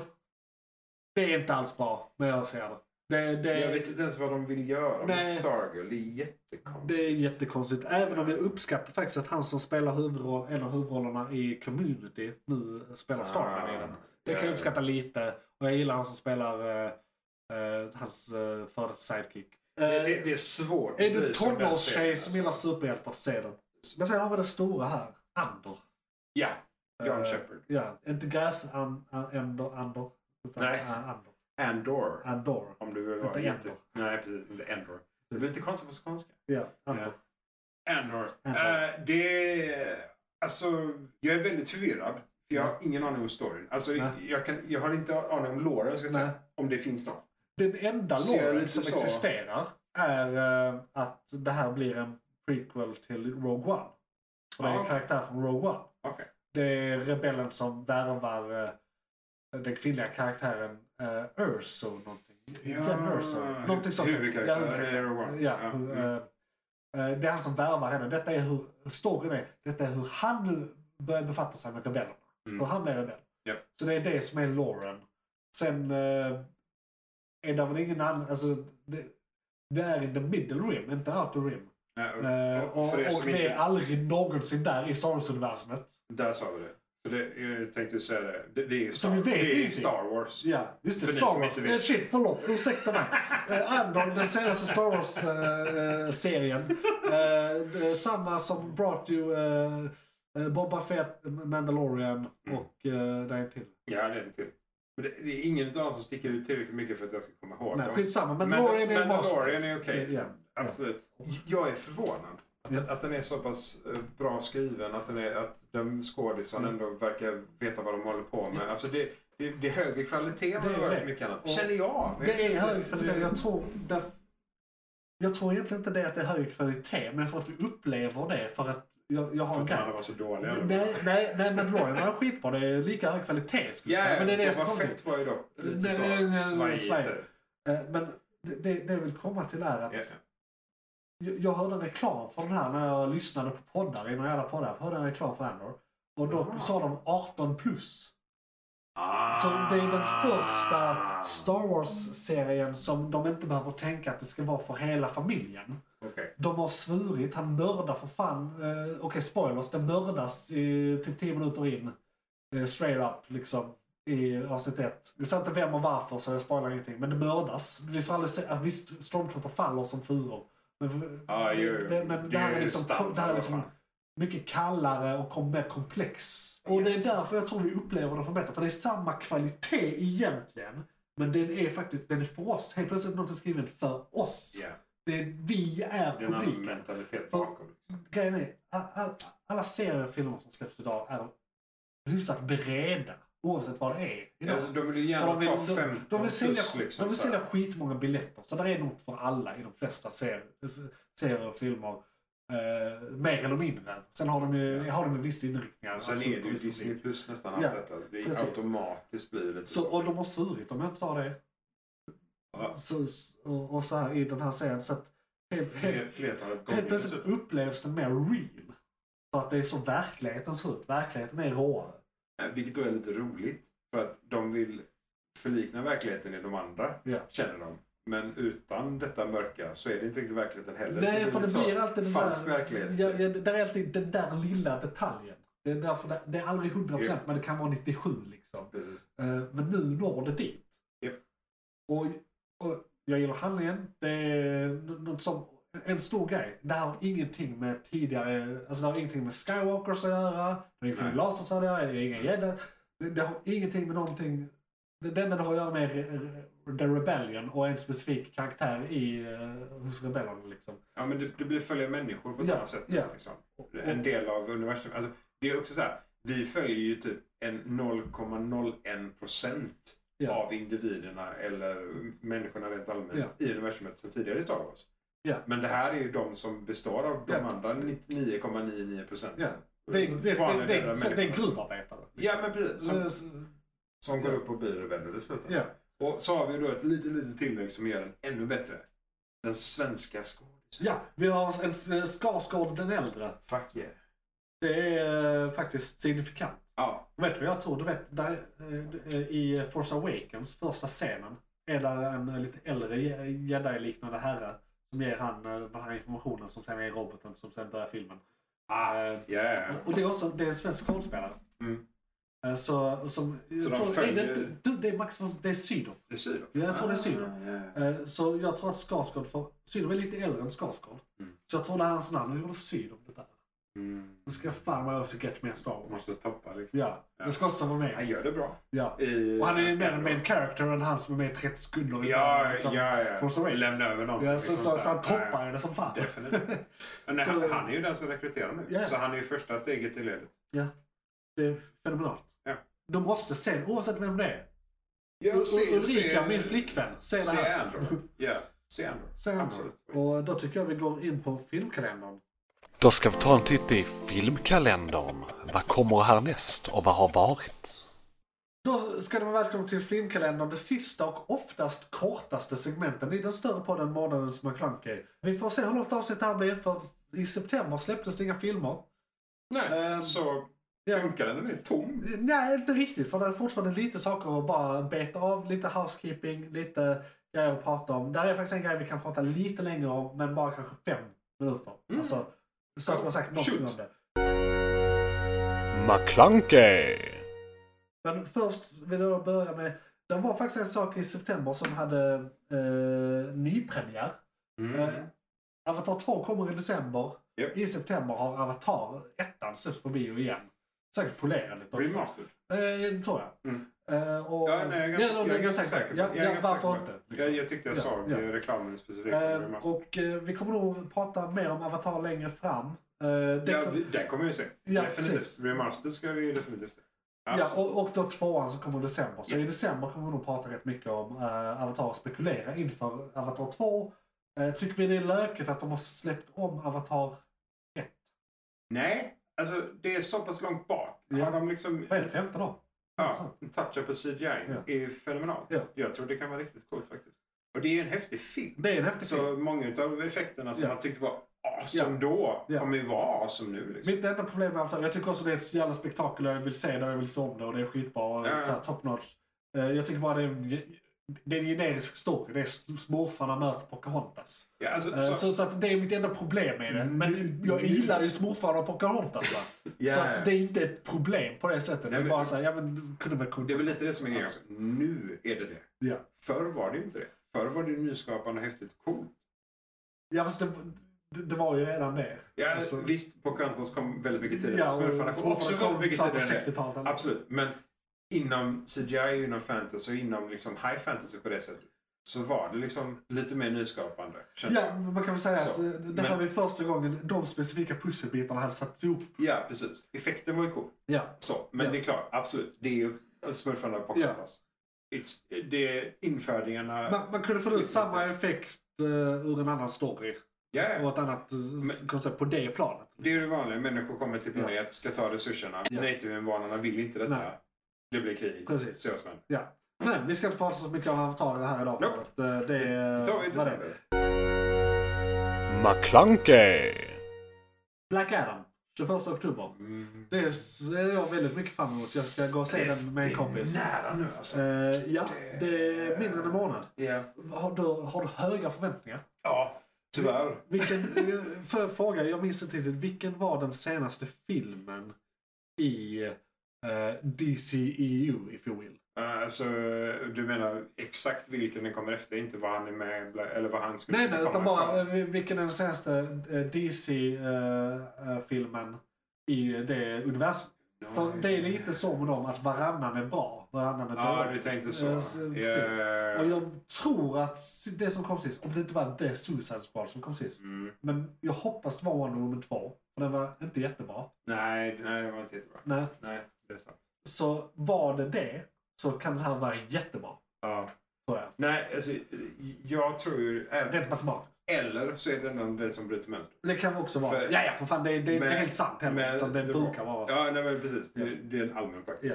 Speaker 3: Det är inte alls bra, men jag ser det. det, det
Speaker 4: Jag vet inte ens vad de vill göra med
Speaker 3: Nej.
Speaker 4: Stargirl. Det är jättekonstigt.
Speaker 3: Det är jättekonstigt. Även om jag uppskattar faktiskt att han som spelar huvudroll, en av huvudrollerna i Community nu
Speaker 4: Ah.
Speaker 3: spelar Starman i den. Det
Speaker 4: Eh,
Speaker 3: kan jag uppskatta lite. Och jag gillar han som spelar eh, eh, hans eh, före detta sidekick. Eh,
Speaker 4: Det, det, det är svårt.
Speaker 3: är
Speaker 4: bli
Speaker 3: du
Speaker 4: som den serien,
Speaker 3: tonårstjej
Speaker 4: alltså.
Speaker 3: som gillar superhjältar, se den. Men sen har vi den stora här. Ander.
Speaker 4: Ja, John
Speaker 3: Eh,
Speaker 4: Shepard.
Speaker 3: Ja, inte gräsänder Ander. Utan
Speaker 4: Nej.
Speaker 3: Nej. Ander.
Speaker 4: Andor.
Speaker 3: Andor.
Speaker 4: Om du vill vara
Speaker 3: Inte
Speaker 4: jätte...
Speaker 3: Andor.
Speaker 4: Nej, precis. Inte Andor. Det blir lite konstigt på skånska.
Speaker 3: Ja, Ander.
Speaker 4: Andor.
Speaker 3: Andor.
Speaker 4: Eh, det... Alltså, jag är väldigt förvirrad. För jag har ingen aning om storyn. Alltså,
Speaker 3: Mm. Nej.
Speaker 4: jag, kan, jag har inte aning om låren, ska jag
Speaker 3: Nej.
Speaker 4: säga. Om det finns någon.
Speaker 3: Den enda
Speaker 4: Ser jag
Speaker 3: låren
Speaker 4: lite
Speaker 3: som
Speaker 4: så.
Speaker 3: existerar är eh, att det här blir en prequel till Rogue One. Och det är
Speaker 4: Ja.
Speaker 3: en karaktär från Rogue One.
Speaker 4: Okej.
Speaker 3: Det är rebellen som värvar eh, den kvinnliga karaktären eh, Urso någonting. Jen Urso. Någonting sånt.
Speaker 4: Huvudkaraktären.
Speaker 3: Ja, huvudkaraktären. Ja,
Speaker 4: Ja,
Speaker 3: hur,
Speaker 4: mm.
Speaker 3: eh, eh, det är han som värvar henne. Detta är hur storyn är. Detta är hur han nu börjar befatta sig med rebellerna.
Speaker 4: Mm.
Speaker 3: Hur han blev rebell.
Speaker 4: Ja.
Speaker 3: Så det är det som är Lauren. Sen eh, är det väl ingen annan... Alltså, det, det är in the middle rim, inte outer rim.
Speaker 4: Ja, och-
Speaker 3: Eh,
Speaker 4: och-
Speaker 3: och och
Speaker 4: för er
Speaker 3: det
Speaker 4: som inte-
Speaker 3: är aldrig någonsin där i Star Wars-universumet.
Speaker 4: Där sa vi det. För det, jag tänkte ju säga det. det vi är ju
Speaker 3: Som
Speaker 4: Star,
Speaker 3: vi vet
Speaker 4: vi är ju
Speaker 3: ingenting.
Speaker 4: Star Wars.
Speaker 3: Ja, just det.
Speaker 4: För ni
Speaker 3: Star
Speaker 4: som
Speaker 3: Wars.
Speaker 4: inte vet.
Speaker 3: Eh, shit, förlåt. Ursäkta mig. Eh, Andor, den senaste Star eh, Wars-serien. Eh, samma som brought you eh, eh, Boba Fett, Mandalorian
Speaker 4: Mm.
Speaker 3: och eh, det är en till.
Speaker 4: Ja, det är en till. Men det, det är ingen annan som sticker ut tillräckligt mycket för att jag ska komma ihåg
Speaker 3: Nej,
Speaker 4: dem.
Speaker 3: skitsamma.
Speaker 4: Men-
Speaker 3: Mandalorian är
Speaker 4: Mandalorian är
Speaker 3: masterpiece.
Speaker 4: okej.
Speaker 3: Eh, ja.
Speaker 4: Absolut. Jag är förvånad att,
Speaker 3: Ja.
Speaker 4: att den är så pass eh, bra skriven. Att, den är, att de skådisarna
Speaker 3: Mm.
Speaker 4: ändå verkar veta vad de håller på med. Alltså det, det, det är högre kvalitet än
Speaker 3: Det är
Speaker 4: vad
Speaker 3: det.
Speaker 4: mycket annat.
Speaker 3: Och-
Speaker 4: Känner jag. Men
Speaker 3: Det
Speaker 4: jag-
Speaker 3: är hög kvalitet. Jag tror, det, jag tror egentligen inte det att det är hög kvalitet, men för att vi upplever det. För att jag, jag har
Speaker 4: För
Speaker 3: en
Speaker 4: att de
Speaker 3: grej.
Speaker 4: andra var så dåliga.
Speaker 3: Nej, nej, nej, Mandalorian var skitbra. Det är lika hög kvalitet skulle jag
Speaker 4: Ja,
Speaker 3: säga. Men det är det som
Speaker 4: var
Speaker 3: kommer till.
Speaker 4: fett var ju dock
Speaker 3: Det-
Speaker 4: lite
Speaker 3: det- det-
Speaker 4: så svajigt.
Speaker 3: svajigt. Eh, Men det, det, det jag vill komma till är att
Speaker 4: Ja.
Speaker 3: jag, jag hörde en reklam för den här när jag lyssnade på poddar, i några jävla poddar. Jag hörde en reklam för Andor. Och då
Speaker 4: Jaha.
Speaker 3: sa de 18 plus.
Speaker 4: Ah.
Speaker 3: Så det är den första Star Wars-serien som de inte behöver tänka att det ska vara för hela familjen.
Speaker 4: Okej.
Speaker 3: De har svurit, han mördar för fan. Eh, Okej, spoilers. Det mördas eh, typ 10 minuter in. Eh, straight up liksom. I avsnitt 1. Vi sa inte vem och varför så jag spoilar ingenting. Men det mördas. Vi får aldrig se, att visst, stormtrooper faller som furor. Men,
Speaker 4: Ja, Ah, ju-
Speaker 3: det, men
Speaker 4: det
Speaker 3: det här
Speaker 4: är
Speaker 3: är
Speaker 4: ju
Speaker 3: liksom,
Speaker 4: standard
Speaker 3: det här är
Speaker 4: i alla
Speaker 3: liksom
Speaker 4: fall.
Speaker 3: mycket kallare och kom- mer komplex. Och det är
Speaker 4: Yes.
Speaker 3: därför jag tror vi upplever den som bättre. För det är samma kvalitet egentligen. Men den är faktiskt, den är för oss. Helt plötsligt något är skriven för oss.
Speaker 4: Ja,
Speaker 3: Det är, vi är
Speaker 4: det är en annan
Speaker 3: publiken.
Speaker 4: mentalitet bakom. Liksom.
Speaker 3: Grejen är, all, all, alla serier och filmer som släpps idag är hyfsat breda. Oavsett vad det är. idag.
Speaker 4: Alltså, de vill ju
Speaker 3: För
Speaker 4: gärna
Speaker 3: de vill-
Speaker 4: ta
Speaker 3: de-
Speaker 4: 15
Speaker 3: de vill sälja,
Speaker 4: plus liksom.
Speaker 3: De vill
Speaker 4: så här.
Speaker 3: sälja skitmånga biljetter. Så där är något för alla i de flesta serier, serier och filmer. Eh, mer eller mindre. Sen har de ju, har de ju viss inriktning.
Speaker 4: Och sen är det ju Disney plus nästan allt
Speaker 3: Ja,
Speaker 4: detta. Det är
Speaker 3: precis.
Speaker 4: automatiskt blir det lite
Speaker 3: Så, och de har svurit om jag inte sa det.
Speaker 4: Ja.
Speaker 3: Så, och, och så här i den här serien. Så att helt, helt,
Speaker 4: Fler- Flertalet gånger.
Speaker 3: Helt plötsligt upplevs den mer real. För att det är så verkligheten ser ut. Verkligheten är råare.
Speaker 4: Eh, Vilket då är lite roligt. För att de vill förlikna verkligheten i de andra,
Speaker 3: Ja.
Speaker 4: känner de. Men utan detta mörka så är det inte riktigt verkligheten heller. så
Speaker 3: Nej,
Speaker 4: är
Speaker 3: för det
Speaker 4: lite så
Speaker 3: blir alltid den
Speaker 4: falsk
Speaker 3: där...
Speaker 4: verklighet.
Speaker 3: Ja, ja, det där är alltid den där lilla detaljen. Det är, därför det, det är aldrig 100%
Speaker 4: Ja.
Speaker 3: men det kan vara 97 liksom.
Speaker 4: Precis.
Speaker 3: Eh, Men nu når det dit.
Speaker 4: Ja.
Speaker 3: Och, och jag gillar handlingen. Det är n- något som, en stor grej. Det här har ingenting med tidigare, alltså det har ingenting med Skywalkers att göra. Det har ingenting med
Speaker 4: Nej.
Speaker 3: Lasers att göra. Det är inga gädda. Det, det har ingenting med någonting. Det det enda det har att göra med är Re- Re- The Rebellion och en specifik karaktär i, eh, hos rebellerna liksom.
Speaker 4: Ja, men det, det blir följa människor på ett
Speaker 3: Ja,
Speaker 4: annat sätt.
Speaker 3: ja.
Speaker 4: Liksom.
Speaker 3: Mm.
Speaker 4: En del av universum. Alltså, det är också så här. Vi följer ju typ en 0,01 procent
Speaker 3: Ja.
Speaker 4: av individerna eller människorna rent allmänt i universumet sedan tidigare i Star Wars.
Speaker 3: Ja.
Speaker 4: Men det här är ju de som består av de
Speaker 3: Ja.
Speaker 4: andra 99,99 procent.
Speaker 3: Ja. Det, det, det, det, det, så det är gruvarbetare.
Speaker 4: Ja, men precis. liksom. Som,
Speaker 3: Så- så-
Speaker 4: som går upp och blir rebeller i slutändan.
Speaker 3: ja.
Speaker 4: Och så har vi ju då ett litet, litet tillägg som gör den ännu bättre. Den svenska skådisen.
Speaker 3: ja, vi har en eh, Skarsgård den äldre.
Speaker 4: Fuck yeah.
Speaker 3: Det är eh, faktiskt signifikant.
Speaker 4: Ja,
Speaker 3: Vet du vad jag tror? Du vet, där, eh, i Force Awakens första scenen är där en eh, lite äldre je- jedi-liknande herre som ger han eh, den här informationen som sen är roboten som sen börjar filmen.
Speaker 4: Ah,
Speaker 3: Eh,
Speaker 4: yeah.
Speaker 3: och det är också det är en svensk skådespelare.
Speaker 4: Mm.
Speaker 3: Eh, Så, som, jag
Speaker 4: de
Speaker 3: tror, är det,
Speaker 4: följer-
Speaker 3: inte- du, det är Max von, det är Sydow.
Speaker 4: Det är Sydow.
Speaker 3: Ja, jag tror det är Sydow.
Speaker 4: Ah, ja, ja.
Speaker 3: Eh, Så jag tror att Skarsgård, för Sydow är lite äldre än Skarsgård.
Speaker 4: Mm.
Speaker 3: Så jag tror det här är hans namn, nu gjorde Sydow det där.
Speaker 4: Mm.
Speaker 3: Nu ska jag fan vad jag ska get mer Star Wars.
Speaker 4: Måste toppa liksom.
Speaker 3: Ja, det ska också vara
Speaker 4: Han
Speaker 3: med.
Speaker 4: gör det bra.
Speaker 3: Ja.
Speaker 4: I-
Speaker 3: Och han är ju mer en main character än han som är med i 30 sekunder.
Speaker 4: Ja,
Speaker 3: liksom.
Speaker 4: ja, ja.
Speaker 3: Force Awakens.
Speaker 4: Lämna över någonting.
Speaker 3: Ja, så,
Speaker 4: liksom,
Speaker 3: så, så han
Speaker 4: här.
Speaker 3: toppar ju det som fan.
Speaker 4: Nej, Definitivt. Men nej,
Speaker 3: Så-
Speaker 4: han är ju den som rekryterar nu.
Speaker 3: Ja.
Speaker 4: Så han är ju första steget i ledet.
Speaker 3: Ja. Det är fenomenalt.
Speaker 4: Ja.
Speaker 3: De måste se, oavsett vem det är. U- Ulrika, min flickvän, se det
Speaker 4: Se
Speaker 3: här.
Speaker 4: Andor. Ja, se Andor.
Speaker 3: Se Andor.
Speaker 4: Absolut.
Speaker 3: Och då tycker jag vi går in på filmkalendern.
Speaker 6: Då ska vi ta en titt i filmkalendern. Vad kommer härnäst och vad har varit?
Speaker 3: Då ska ni vara välkomna till filmkalendern, det sista och oftast kortaste segmenten i den större podden Månadens McKlunky. Vi får se hur långt avsnitt det här blir, för i september släpptes det inga filmer.
Speaker 4: Nej,
Speaker 3: Ehm,
Speaker 4: så
Speaker 3: ja.
Speaker 4: funkar den nu? Tom?
Speaker 3: Nej, inte riktigt, för det är fortfarande lite saker att bara beta av. Lite housekeeping, lite grejer att prata om. Där är faktiskt en grej vi kan prata lite längre om, men bara kanske fem minuter.
Speaker 4: Mm.
Speaker 3: Alltså, så att man sagt någonting
Speaker 4: Shoot.
Speaker 3: om det.
Speaker 2: McClunkey,
Speaker 3: Men först vill jag börja med, det var faktiskt en sak i september som hade eh, nypremiär. Eh, Avatar 2 kommer i december.
Speaker 4: Mm. Japp.
Speaker 3: I september har Avatar 1 släppts på bio igen. Säkert polerad lite också.
Speaker 4: Remastered.
Speaker 3: Eh, tror jag.
Speaker 4: Mm.
Speaker 3: Eh, och,
Speaker 4: Ja, nej, jag är ganska,
Speaker 3: Ja,
Speaker 4: jag är ganska säker på
Speaker 3: Ja,
Speaker 4: jag är
Speaker 3: ja,
Speaker 4: ganska
Speaker 3: varför
Speaker 4: säker på
Speaker 3: inte?
Speaker 4: det.
Speaker 3: liksom.
Speaker 4: Jag, jag tyckte jag
Speaker 3: Ja,
Speaker 4: såg
Speaker 3: ja.
Speaker 4: eh, reklamen specifikt. om
Speaker 3: Eh,
Speaker 4: remastered.
Speaker 3: och eh, vi kommer nog prata mer om Avatar längre fram. Eh, det
Speaker 4: ja,
Speaker 3: kom-
Speaker 4: vi- den kommer vi se.
Speaker 3: Ja,
Speaker 4: definitivt.
Speaker 3: precis.
Speaker 4: Remastered ska vi ju definitivt se.
Speaker 3: ja,
Speaker 4: Absolut.
Speaker 3: och, och då tvåan som kommer i december. Så
Speaker 4: Ja.
Speaker 3: i december kommer vi nog prata rätt mycket om eh, Avatar och spekulera inför Avatar 2. Eh, tycker vi det är löket att de har släppt om Avatar,
Speaker 4: Nej, alltså det är så pass långt bak.
Speaker 3: Ja.
Speaker 4: Har de liksom...
Speaker 3: vad är det, 15 år?
Speaker 4: Ja, en touch-up på CGI
Speaker 3: Ja.
Speaker 4: är ju fenomenalt.
Speaker 3: Ja.
Speaker 4: Jag tror det kan vara riktigt coolt faktiskt. Och det är en häftig film.
Speaker 3: Det är en häftig film.
Speaker 4: Så många av effekterna som
Speaker 3: Ja.
Speaker 4: man tyckte var awesome då
Speaker 3: Ja.
Speaker 4: kommer ju vara awesome nu. Liksom.
Speaker 3: Mitt enda problem med Avatar, jag tycker också det är ett jävla spektakel och jag vill se det och jag vill se om det och det är skitbra och
Speaker 4: Ja, ja.
Speaker 3: så här, top notch. Eh, Jag tycker bara det är en, det är en generisk story. Det är s- smurfarna möter Pocahontas.
Speaker 4: Ja, alltså,
Speaker 3: Eh,
Speaker 4: så, Mm.
Speaker 3: Så, så, att det är mitt enda problem med det. Men jag gillar ju smurfarna och Pocahontas va?
Speaker 4: Ja.
Speaker 3: Så att det är inte ett problem på det sättet.
Speaker 4: Nej,
Speaker 3: det är
Speaker 4: men-
Speaker 3: bara såhär, ja men du kunde väl kunna...
Speaker 4: Det är väl lite det som är grejen. också. Nu är det det.
Speaker 3: Ja.
Speaker 4: Förr var det ju inte det. Förr var det ju nyskapande och häftigt coolt.
Speaker 3: Ja fast det, det, det var ju redan det.
Speaker 4: Ja,
Speaker 3: Alltså,
Speaker 4: visst, Pocahontas kom väldigt mycket tidigare.
Speaker 3: ja, och
Speaker 4: Smurfarna kom också
Speaker 3: smurfarna
Speaker 4: väldigt mycket
Speaker 3: kom
Speaker 4: tidigare.
Speaker 3: på
Speaker 4: än det.
Speaker 3: 60-talet.
Speaker 4: Absolut, men inom CGI, inom fantasy och inom liksom high fantasy på det sättet så var det liksom lite mer nyskapande. kände
Speaker 3: Ja,
Speaker 4: jag.
Speaker 3: men man kan väl säga
Speaker 4: Så,
Speaker 3: att eh, det här
Speaker 4: men-
Speaker 3: var ju första gången de specifika pusselbitarna hade satts ihop.
Speaker 4: ja, precis. Effekten var ju cool.
Speaker 3: Ja,
Speaker 4: Så, men
Speaker 3: Ja.
Speaker 4: det är klart, absolut. Det är ju smurfarna på
Speaker 3: Ja.
Speaker 4: Pocahontas. It's- Det är införingarna.
Speaker 3: Man, man kunde få ut
Speaker 4: Precis.
Speaker 3: samma effekt eh, ur en annan story
Speaker 4: Ja, ja.
Speaker 3: och ett annat eh,
Speaker 4: Men-
Speaker 3: koncept på det planet.
Speaker 4: Det är det vanliga. Människor kommer till planet, ska ta resurserna.
Speaker 3: Ja.
Speaker 4: Native-invånarna vill inte detta.
Speaker 3: Nej.
Speaker 4: Det blir krig.
Speaker 3: Precis. Eh,
Speaker 4: Se oss men.
Speaker 3: Ja. Men vi ska inte prata så mycket om avtalen här idag. För
Speaker 4: Nope.
Speaker 3: att, eh, det, är-
Speaker 4: Det tar vi i
Speaker 3: vad det är.
Speaker 4: december.
Speaker 2: McClunkey,
Speaker 3: Black Adam, 21 oktober.
Speaker 4: Mm.
Speaker 3: Det ser jag väldigt mycket fram emot. Jag ska gå och se den med en kompis.
Speaker 4: Det är nära nu alltså.
Speaker 3: Eh, ja, det är mindre än en månad.
Speaker 4: Ja.
Speaker 3: Har du, har du höga förväntningar?
Speaker 4: Ja, tyvärr.
Speaker 3: Vilken, eh, för fråga, jag minns inte riktigt. Vilken var den senaste filmen i eh, E DCEU, if you will?
Speaker 4: Alltså, du menar exakt vilken den kommer efter? Inte vad han är med bla- eller vad han skulle
Speaker 3: Nej, nej,
Speaker 4: komma
Speaker 3: utan bara
Speaker 4: ifrån.
Speaker 3: eh, vi- vilken är den senaste eh, DC-filmen eh, i eh, det universum? För eh, det är lite så med dem att varannan är bra, varannan är
Speaker 4: Ja,
Speaker 3: dålig.
Speaker 4: du tänkte
Speaker 3: Eh,
Speaker 4: så.
Speaker 3: s- precis.
Speaker 4: Ja.
Speaker 3: Och jag tror att det som kom sist, om det inte var det Suicide Squad som kom sist.
Speaker 4: Mm.
Speaker 3: Men jag hoppas det var Wonder Woman 2, för den var inte jättebra.
Speaker 4: Nej, nej, det var inte jättebra.
Speaker 3: Nej.
Speaker 4: Nej, det är sant.
Speaker 3: Så var det det, så kan den här vara jättebra.
Speaker 4: Ja.
Speaker 3: Tror jag.
Speaker 4: Nej, alltså, jag tror ju...
Speaker 3: Rent matematiskt.
Speaker 4: Eller så är det den det som bryter mönstret.
Speaker 3: Det kan också vara...
Speaker 4: För-
Speaker 3: ja, ja, för fan det, det, det är
Speaker 4: Men-
Speaker 3: inte helt sant heller.
Speaker 4: men
Speaker 3: Utan det
Speaker 4: The
Speaker 3: brukar
Speaker 4: Rock-
Speaker 3: vara så.
Speaker 4: Ja, nej, men precis. Det,
Speaker 3: Ja.
Speaker 4: det är en allmän praxis.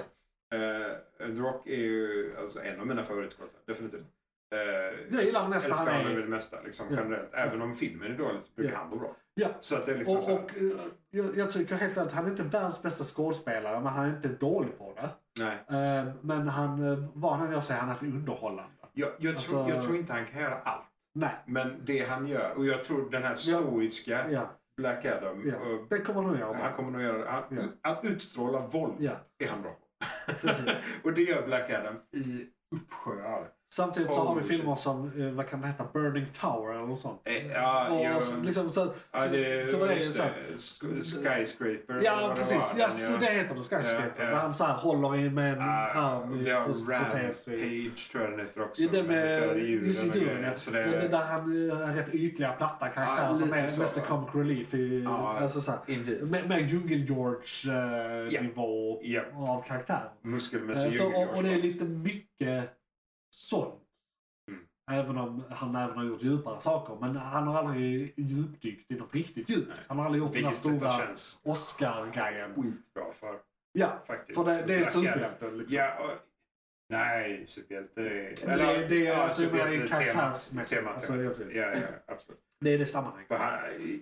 Speaker 4: Eh, The Rock är ju alltså, en av mina favoritskådisar, definitivt. Eh,
Speaker 3: Jag gillar honom nästan.
Speaker 4: älskar
Speaker 3: Alltså, Han
Speaker 4: honom
Speaker 3: är
Speaker 4: över det mesta, liksom,
Speaker 3: Ja.
Speaker 4: generellt. Även om filmen är dålig så brukar
Speaker 3: Ja.
Speaker 4: han vara bra.
Speaker 3: Ja.
Speaker 4: Så att det är liksom
Speaker 3: Och,
Speaker 4: så här-
Speaker 3: och eh, jag, jag tycker helt ärligt, han är inte världens bästa skådespelare, men han är inte dålig på det.
Speaker 4: nej.
Speaker 3: Eh, Men han, eh, vad han än gör så är han alltid underhållande.
Speaker 4: Jag, jag,
Speaker 3: Alltså-
Speaker 4: tror, jag tror inte han kan göra allt.
Speaker 3: Nej.
Speaker 4: Men det han gör, och jag tror den här stoiska
Speaker 3: Ja,
Speaker 4: Black Adam,
Speaker 3: ja.
Speaker 4: och
Speaker 3: Det kommer nog jag
Speaker 4: han
Speaker 3: med.
Speaker 4: kommer nog göra han,
Speaker 3: Ja.
Speaker 4: Att utstråla våld
Speaker 3: Ja,
Speaker 4: är han bra på.
Speaker 3: precis.
Speaker 4: och det gör Black Adam i uppsjöar.
Speaker 3: Samtidigt så har vi
Speaker 4: Holy shit.
Speaker 3: filmer som, eh, vad kan den heta, Burning Tower eller något sånt.
Speaker 4: Eh, ja,
Speaker 3: och,
Speaker 4: ja,
Speaker 3: så, liksom, så,
Speaker 4: Ja, det,
Speaker 3: så, så det är ju
Speaker 4: just
Speaker 3: så här,
Speaker 4: det. Sk- Skyscraper. eller
Speaker 3: Ja,
Speaker 4: vad det
Speaker 3: precis.
Speaker 4: var.
Speaker 3: Ja,
Speaker 4: Den,
Speaker 3: så det heter det. Skyscraper.
Speaker 4: Ja, ja.
Speaker 3: Där han så här håller i med en
Speaker 4: Ah,
Speaker 3: arm
Speaker 4: Vi
Speaker 3: i
Speaker 4: har
Speaker 3: protes- protes. i-
Speaker 4: Rampage tror jag den heter också.
Speaker 3: I det
Speaker 4: men det
Speaker 3: med
Speaker 4: är djuren
Speaker 3: just i
Speaker 4: och
Speaker 3: djuren,
Speaker 4: grejer,
Speaker 3: ja.
Speaker 4: så
Speaker 3: det,
Speaker 4: det-
Speaker 3: det där han eh, har rätt ytliga, platta karaktärer
Speaker 4: Ja,
Speaker 3: som
Speaker 4: lite
Speaker 3: är
Speaker 4: så,
Speaker 3: mest
Speaker 4: va?
Speaker 3: comic relief. I,
Speaker 4: Ja,
Speaker 3: alltså så här,
Speaker 4: Indeed.
Speaker 3: mer, mer Djungel-George-nivå
Speaker 4: Ja. Ja.
Speaker 3: eh, av karaktär.
Speaker 4: Muskelmässig
Speaker 3: Eh, så, Eh, och, och det är
Speaker 4: djungelhjortsmat.
Speaker 3: lite mycket sånt.
Speaker 4: Mm.
Speaker 3: Även om han även har gjort djupare saker. Men han har aldrig djupdykt i något riktigt djupt.
Speaker 4: Nej.
Speaker 3: Han har aldrig gjort den här
Speaker 4: Vilket detta
Speaker 3: stora
Speaker 4: känns
Speaker 3: Oscar-grejen.
Speaker 4: skitbra för.
Speaker 3: Ja,
Speaker 4: Faktiskt.
Speaker 3: för det, det är
Speaker 4: Black Adam.
Speaker 3: superhjälten liksom.
Speaker 4: Ja, och, nej, superhjälte är...
Speaker 3: det, det är
Speaker 4: ja,
Speaker 3: alltså
Speaker 4: superhjälte
Speaker 3: mer
Speaker 4: är
Speaker 3: karaktärsmässigt.
Speaker 4: Tema,
Speaker 3: Alltså,
Speaker 4: tema,
Speaker 3: ja,
Speaker 4: tema.
Speaker 3: precis.
Speaker 4: Ja, ja, absolut.
Speaker 3: det är det sammanhanget.
Speaker 4: För han-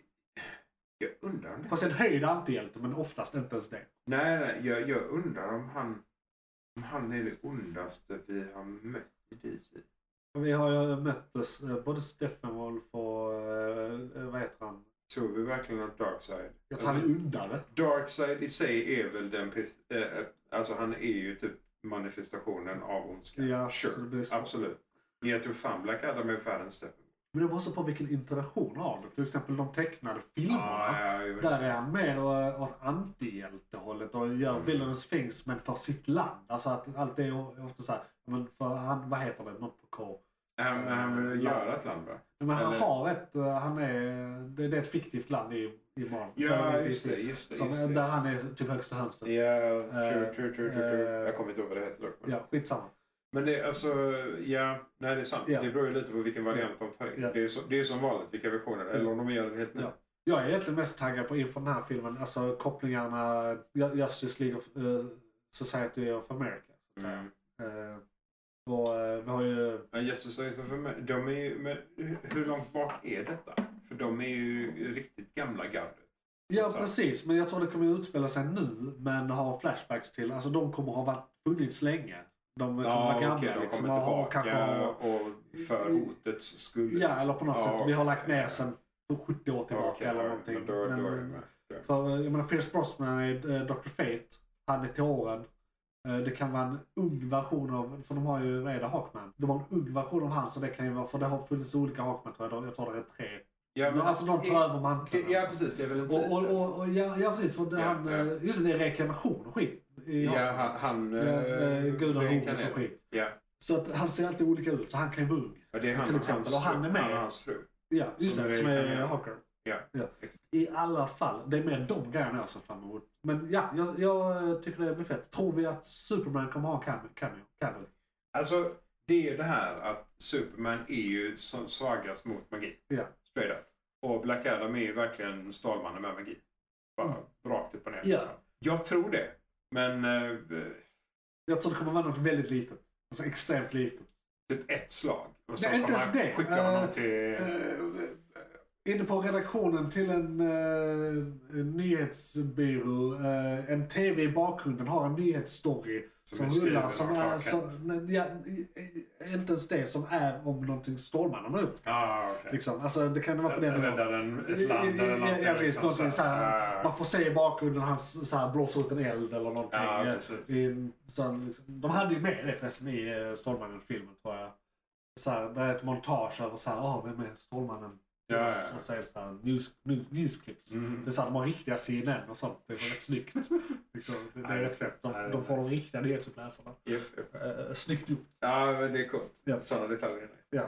Speaker 4: Jag undrar om det...
Speaker 3: Fast en höjd antihjälte, men oftast inte ens det.
Speaker 4: Nej, nej jag, jag undrar om han, om han är det ondaste vi har mött i DC.
Speaker 3: Vi har ju mött eh, både Steffenwolf och, eh, vad heter han?
Speaker 4: Tror vi verkligen att Darkseid...
Speaker 3: Jag tror han är undare.
Speaker 4: Darkseid i sig är väl den... pre- eh, eh, Alltså han är ju typ manifestationen av ondska.
Speaker 3: Ja, så det blir
Speaker 4: sure.
Speaker 3: så.
Speaker 4: Absolut. Men jag tror fan Black Adam är världens stepp.
Speaker 3: Men det beror också på vilken intonation av det. Till exempel de tecknade filmerna.
Speaker 4: Ah, ja, jag vet
Speaker 3: Där
Speaker 4: inte.
Speaker 3: är han mer å- åt antihjältehållet och gör
Speaker 4: Mm.
Speaker 3: Villainous Things men för sitt land. Alltså att allt är o- ofta såhär, men för han, vad heter det, något på K.
Speaker 4: Han, han vill göra ett land va?
Speaker 3: Men Eh, han
Speaker 4: Eller-
Speaker 3: har ett, eh, han är, det, det är ett fiktivt land i, i Marvel.
Speaker 4: Ja,
Speaker 3: Där-
Speaker 4: just det. Just det,
Speaker 3: Som,
Speaker 4: just det,
Speaker 3: där
Speaker 4: just det.
Speaker 3: han är typ högsta hönset.
Speaker 4: Ja, true,
Speaker 3: Eh,
Speaker 4: true, true, true, true.
Speaker 3: eh,
Speaker 4: Jag kommer inte ihåg vad det heter dock. men-
Speaker 3: Ja, skitsamma.
Speaker 4: Men det, alltså, ja, nej det är sant.
Speaker 3: Ja.
Speaker 4: Det beror ju lite på vilken variant de tar in.
Speaker 3: Ja.
Speaker 4: Det är ju som, det är ju som vanligt, vilka versioner. Eller om de gör det helt nu.
Speaker 3: Ja. Jag är egentligen mest taggad på inför den här filmen, alltså kopplingarna Ju- Justice League of eh, Society of America. Så att säga.
Speaker 4: Mm.
Speaker 3: Eh, och eh, vi har ju...
Speaker 4: Men Justice League för mig, de är ju, men hur- hur långt bort är detta? För de är ju riktigt gamla gardet.
Speaker 3: Ja,
Speaker 4: Så.
Speaker 3: precis. Men jag tror det kommer utspela sig nu, men ha flashbacks till. Alltså de kommer ha varit, funnits länge. De kommer vara gamla.
Speaker 4: okej, de
Speaker 3: liksom,
Speaker 4: kommer
Speaker 3: och ha-
Speaker 4: tillbaka
Speaker 3: kanske ha-
Speaker 4: och för hotets skull.
Speaker 3: Ja, eller på något
Speaker 4: Ja,
Speaker 3: sätt. Vi har lagt
Speaker 4: okej.
Speaker 3: ner sedan 70 år tillbaka
Speaker 4: Okej,
Speaker 3: eller
Speaker 4: då-
Speaker 3: någonting.
Speaker 4: Då, då,
Speaker 3: Men,
Speaker 4: är jag med.
Speaker 3: För eh, jag menar Pierce Brosnan är eh, Dr. Fate. Han är till åren. Eh, Det kan vara en ung version av, för de har ju, vad är det, Hawkman? De har en ung version av han, så det kan ju vara, för det har funnits olika Hawkman tror jag. Jag tror det är tre.
Speaker 4: Ja, men,
Speaker 3: alltså de tar över manteln.
Speaker 4: Ja,
Speaker 3: alltså.
Speaker 4: precis. Det är väl en
Speaker 3: och, och,
Speaker 4: titel.
Speaker 3: och, och, ja, ja, precis. För det,
Speaker 4: Ja,
Speaker 3: han,
Speaker 4: ja.
Speaker 3: eh, Just det, det är reklamation och skit. i
Speaker 4: Ja,
Speaker 3: Hawkman.
Speaker 4: han... han
Speaker 3: Ja, eh,
Speaker 4: eh,
Speaker 3: Gud har
Speaker 4: reinkarnerar.
Speaker 3: Horus och skit.
Speaker 4: Ja.
Speaker 3: Så att han ser alltid olika ut, så han kan ju vara ung.
Speaker 4: Ja, det är han
Speaker 3: Till exempel,
Speaker 4: hans
Speaker 3: och han
Speaker 4: fru.
Speaker 3: är med.
Speaker 4: Han och hans fru.
Speaker 3: Ja, just
Speaker 4: Som
Speaker 3: det,
Speaker 4: är
Speaker 3: som är
Speaker 4: reklamering.
Speaker 3: Hawker.
Speaker 4: Ja, exakt.
Speaker 3: I alla fall, det är mer de grejerna jag ser fram emot. Men ja, jag, jag tycker det blir fett. Tror vi att Superman kommer ha en cam- cameo? cameo?
Speaker 4: Alltså, det är ju det här att Superman är ju som svagast mot magi.
Speaker 3: Ja.
Speaker 4: Straight up. Och Black Adam är ju verkligen Stålmannen med magi. Bara rakt upp och ner.
Speaker 3: Mm. Ja.
Speaker 4: liksom. Jag tror det. Men eh,
Speaker 3: Jag tror det kommer vara något väldigt litet. Alltså extremt litet.
Speaker 4: typ ett slag. Och
Speaker 3: Nej, inte ens det.
Speaker 4: skicka honom
Speaker 3: Eh,
Speaker 4: till...
Speaker 3: Eh, Inne på redaktionen till en, eh, en nyhetsbyrå, eh, en tv i bakgrunden har en nyhetsstory
Speaker 4: Som
Speaker 3: som,
Speaker 4: är skriven
Speaker 3: rullar
Speaker 4: av
Speaker 3: som
Speaker 4: Clark
Speaker 3: är,
Speaker 4: Kent.
Speaker 3: som, nej, ja, i- i- inte ens det som är om någonting Stålmannen har gjort.
Speaker 4: ah, okej.
Speaker 3: Liksom. Alltså, det kan vara på den nivån.
Speaker 4: Rädda den, ett
Speaker 3: Ja,
Speaker 4: land eller någonting. liksom,
Speaker 3: Ja, visst, någonting
Speaker 4: så här,
Speaker 3: såhär,
Speaker 4: ah.
Speaker 3: man får se i bakgrunden han s- såhär, blåser ut en eld eller någonting.
Speaker 4: Ja,
Speaker 3: eh,
Speaker 4: precis.
Speaker 3: i en sån, liksom, de hade ju med det förresten i eh, Stålmannen-filmen tror jag. Såhär, det är ett montage över såhär, ah, vem är Stålmannen?
Speaker 4: Ja, ja, ja.
Speaker 3: Och så är det såhär, news, news, newsclips.
Speaker 4: Mm.
Speaker 3: Det är såhär, de har riktiga CNN och sånt. Det var rätt snyggt. liksom, det, det är
Speaker 4: Nej,
Speaker 3: rätt fett. De,
Speaker 4: nej, det är
Speaker 3: de får de
Speaker 4: nice.
Speaker 3: riktiga nyhetsuppläsarna.
Speaker 4: Japp, japp.
Speaker 3: Uh, snyggt gjort.
Speaker 4: Ja, men det är coolt.
Speaker 3: Ja.
Speaker 4: Sådana detaljer är nice.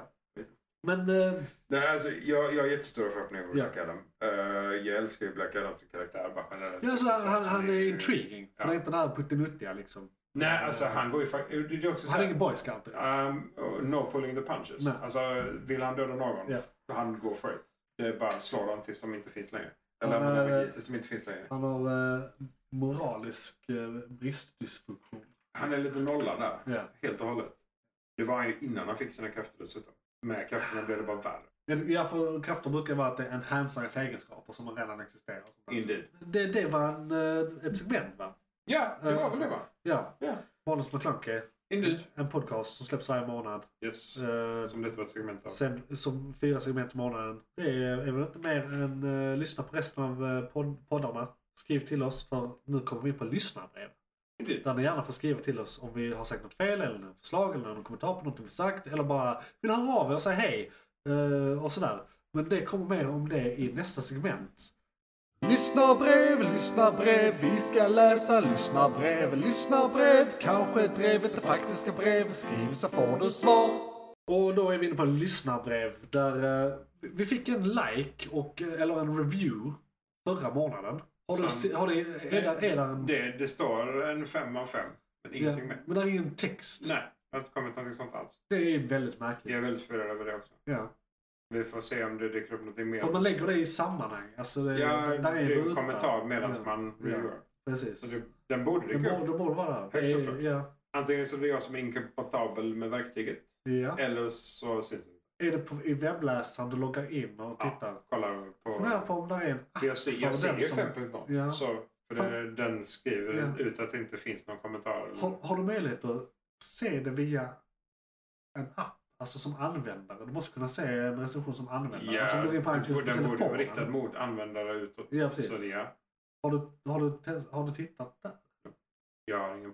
Speaker 3: Men eh,
Speaker 4: Nej, alltså, jag, jag har jättestora förhoppningar på
Speaker 3: Ja.
Speaker 4: Black Adam. Eh, jag älskar ju Black Adam som karaktär bara generellt.
Speaker 3: ja, så, han, han är
Speaker 4: ju-
Speaker 3: intriguing. För
Speaker 4: Ja.
Speaker 3: det är inte det här puttinuttiga liksom.
Speaker 4: Nej, alltså han går ju faktiskt... Det är också så
Speaker 3: Han är
Speaker 4: här,
Speaker 3: ingen boy scout direkt.
Speaker 4: um, No pulling the punches.
Speaker 3: Nej.
Speaker 4: Alltså, vill han döda någon,
Speaker 3: Ja.
Speaker 4: han går for it. Det är bara slå dem tills de inte finns längre.
Speaker 3: Han
Speaker 4: Eller
Speaker 3: är-
Speaker 4: använda magi tills de inte finns längre.
Speaker 3: Han har eh, moralisk eh, bristdysfunktion.
Speaker 4: Han är lite nollad där,
Speaker 3: Ja.
Speaker 4: helt och hållet. Det var han ju innan han fick sina krafter dessutom. Med krafterna blev det bara värre.
Speaker 3: Ja, för krafter brukar vara att det enhancerar ens egenskaper som redan existerar. och sånt där.
Speaker 4: Indeed.
Speaker 3: Det, det var en, eh, ett segment va?
Speaker 4: Ja, det var väl det va?
Speaker 3: Ja.
Speaker 4: Ja.
Speaker 3: Manus McClunky.
Speaker 4: Indeed.
Speaker 3: En podcast som släpps varje månad.
Speaker 4: Yes.
Speaker 3: Eh,
Speaker 4: Som detta var ett segment av.
Speaker 3: sen, som fyra segment i månaden. Det är, är väl inte mer än eh, lyssna på resten av eh, podd, poddarna. Skriv till oss för nu kommer vi in på lyssnarbrev.
Speaker 4: Indeed.
Speaker 3: Där ni gärna får skriva till oss om vi har sagt något fel eller något förslag eller någon kommentar på något vi sagt. Eller bara vill höra av er och säga hej. eh, och sådär. Men det kommer mer om det i nästa segment.
Speaker 5: Lyssna brev, lyssna brev, vi ska läsa lyssna brev, lyssna brev. Kanske drevet det faktiska brev, skriv så får du svar.
Speaker 3: Och då är vi inne på lyssnarbrev där eh, vi fick en like och, eh, eller en review förra månaden. Har du,
Speaker 4: Som- Eh,
Speaker 3: se- har du, är, där, är där en...
Speaker 4: Det, det står en fem av fem, men
Speaker 3: ja,
Speaker 4: ingenting mer.
Speaker 3: men där är ingen text.
Speaker 4: Nej, Det har inte kommit någonting sånt alls.
Speaker 3: Det är ju väldigt märkligt.
Speaker 4: Jag är väldigt förvirrad över det också.
Speaker 3: Ja.
Speaker 4: Vi får se om det dyker upp någonting mer.
Speaker 3: För man lägger det i sammanhang. Alltså det,
Speaker 4: Ja,
Speaker 3: där
Speaker 4: det är
Speaker 3: ruta.
Speaker 4: en kommentar medan
Speaker 3: Ja,
Speaker 4: man
Speaker 3: ja.
Speaker 4: gör. Så
Speaker 3: Precis.
Speaker 4: det, den borde
Speaker 3: Det
Speaker 4: dyka
Speaker 3: borde,
Speaker 4: upp.
Speaker 3: det borde vara där.
Speaker 4: Högst
Speaker 3: Det är-
Speaker 4: upplagt.
Speaker 3: ja.
Speaker 4: Antingen så är det jag som är inkompatibel med verktyget.
Speaker 3: ja.
Speaker 4: Eller så syns det.
Speaker 3: Är det på, i webbläsaren du loggar in och
Speaker 4: Ja.
Speaker 3: tittar?
Speaker 4: Kolla
Speaker 3: Fundera
Speaker 4: på...
Speaker 3: på om det är en app
Speaker 4: Jag ser,
Speaker 3: för
Speaker 4: jag ser
Speaker 3: den
Speaker 4: ju
Speaker 3: som-
Speaker 4: 5.0.
Speaker 3: Ja.
Speaker 4: Så, för
Speaker 3: Fan.
Speaker 4: det, den skriver
Speaker 3: Ja.
Speaker 4: ut att det inte finns någon kommentar. eller-
Speaker 3: Har, alltså, har du möjlighet att se det via en app? Alltså som användare. Du måste kunna se en recension som användare.
Speaker 4: Ja,
Speaker 3: alltså om du går in på
Speaker 4: den
Speaker 3: iTunes
Speaker 4: borde-
Speaker 3: på
Speaker 4: den borde vara riktad
Speaker 3: telefonen.
Speaker 4: mot användare utåt.
Speaker 3: Ja, precis.
Speaker 4: Så det, ja,
Speaker 3: Har, du, har, du, te- har du tittat där?
Speaker 4: jag har ingen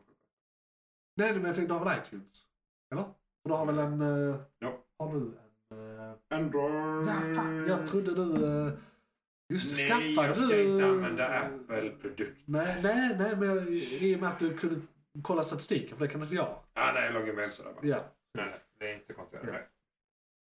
Speaker 3: Nej, men jag tänkte du har väl iTunes? Eller? För du har väl en... eh,
Speaker 4: Ja.
Speaker 3: Har du en... eh,
Speaker 4: Android.
Speaker 3: ja, fan. Jag trodde du... eh, just det,
Speaker 4: Nej,
Speaker 3: skaffade
Speaker 4: jag ska
Speaker 3: du...
Speaker 4: inte använda Apple-produkter.
Speaker 3: Nej, nej, nej, men jag- i och med att du kunde kolla statistiken, för det kan inte jag.
Speaker 4: Ah, nej, jag loggar mig hemsida bara.
Speaker 3: Ja,
Speaker 4: Nej, nej, det är inte konstigt.
Speaker 3: Ja.
Speaker 4: Nej.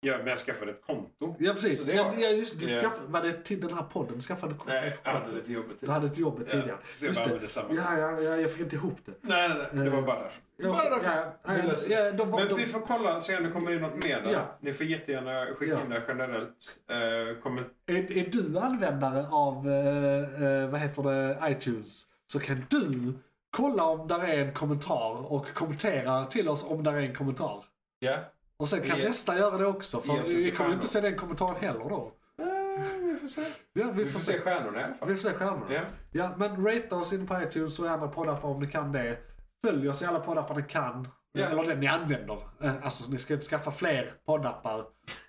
Speaker 4: Ja, men jag skaffade ett konto.
Speaker 3: ja precis.
Speaker 4: Så det
Speaker 3: ja,
Speaker 4: var-
Speaker 3: ja, just, det. du
Speaker 4: Ja.
Speaker 3: skaffade, var det till den här podden? Du skaffade ett
Speaker 4: Nej, jag
Speaker 3: konto.
Speaker 4: hade lite typ. jobbigt.
Speaker 3: Du hade ett jobb tidigare.
Speaker 4: Så jag
Speaker 3: Just
Speaker 4: bara
Speaker 3: det.
Speaker 4: använde samma.
Speaker 3: Ja, ja, ja, jag fick inte ihop det.
Speaker 4: Nej, nej, nej. Det var bara därför. Det var bara
Speaker 3: ja,
Speaker 4: därför.
Speaker 3: ja,
Speaker 4: Det
Speaker 3: ja,
Speaker 4: löser
Speaker 3: ja, då var
Speaker 4: Men
Speaker 3: de-
Speaker 4: vi får kolla och se om det kommer in något mer där.
Speaker 3: Ja.
Speaker 4: Ni får jättegärna skicka
Speaker 3: Ja.
Speaker 4: in det generellt. Eh, komment-
Speaker 3: är, är du användare av, eh, eh, vad heter det, iTunes, så kan du kolla om där är en kommentar och kommentera till oss om där är en kommentar.
Speaker 4: ja.
Speaker 3: Och sen kan
Speaker 4: Ge-
Speaker 3: nästa göra det också,
Speaker 4: ge
Speaker 3: för
Speaker 4: oss
Speaker 3: vi
Speaker 4: lite
Speaker 3: kommer ju inte se
Speaker 4: stjärnor.
Speaker 3: den kommentaren heller då.
Speaker 4: Eh, vi får se.
Speaker 3: Ja,
Speaker 4: Vi får se stjärnorna i alla
Speaker 3: Vi
Speaker 4: fall.
Speaker 3: får se stjärnorna.
Speaker 4: Ja.
Speaker 3: Ja, men ratea oss in på iTunes och i andra poddappar om ni kan det. Följ oss i alla poddappar ni kan.
Speaker 4: Ja.
Speaker 3: Eller den ni använder. Eh, Alltså, ni ska inte skaffa fler poddappar.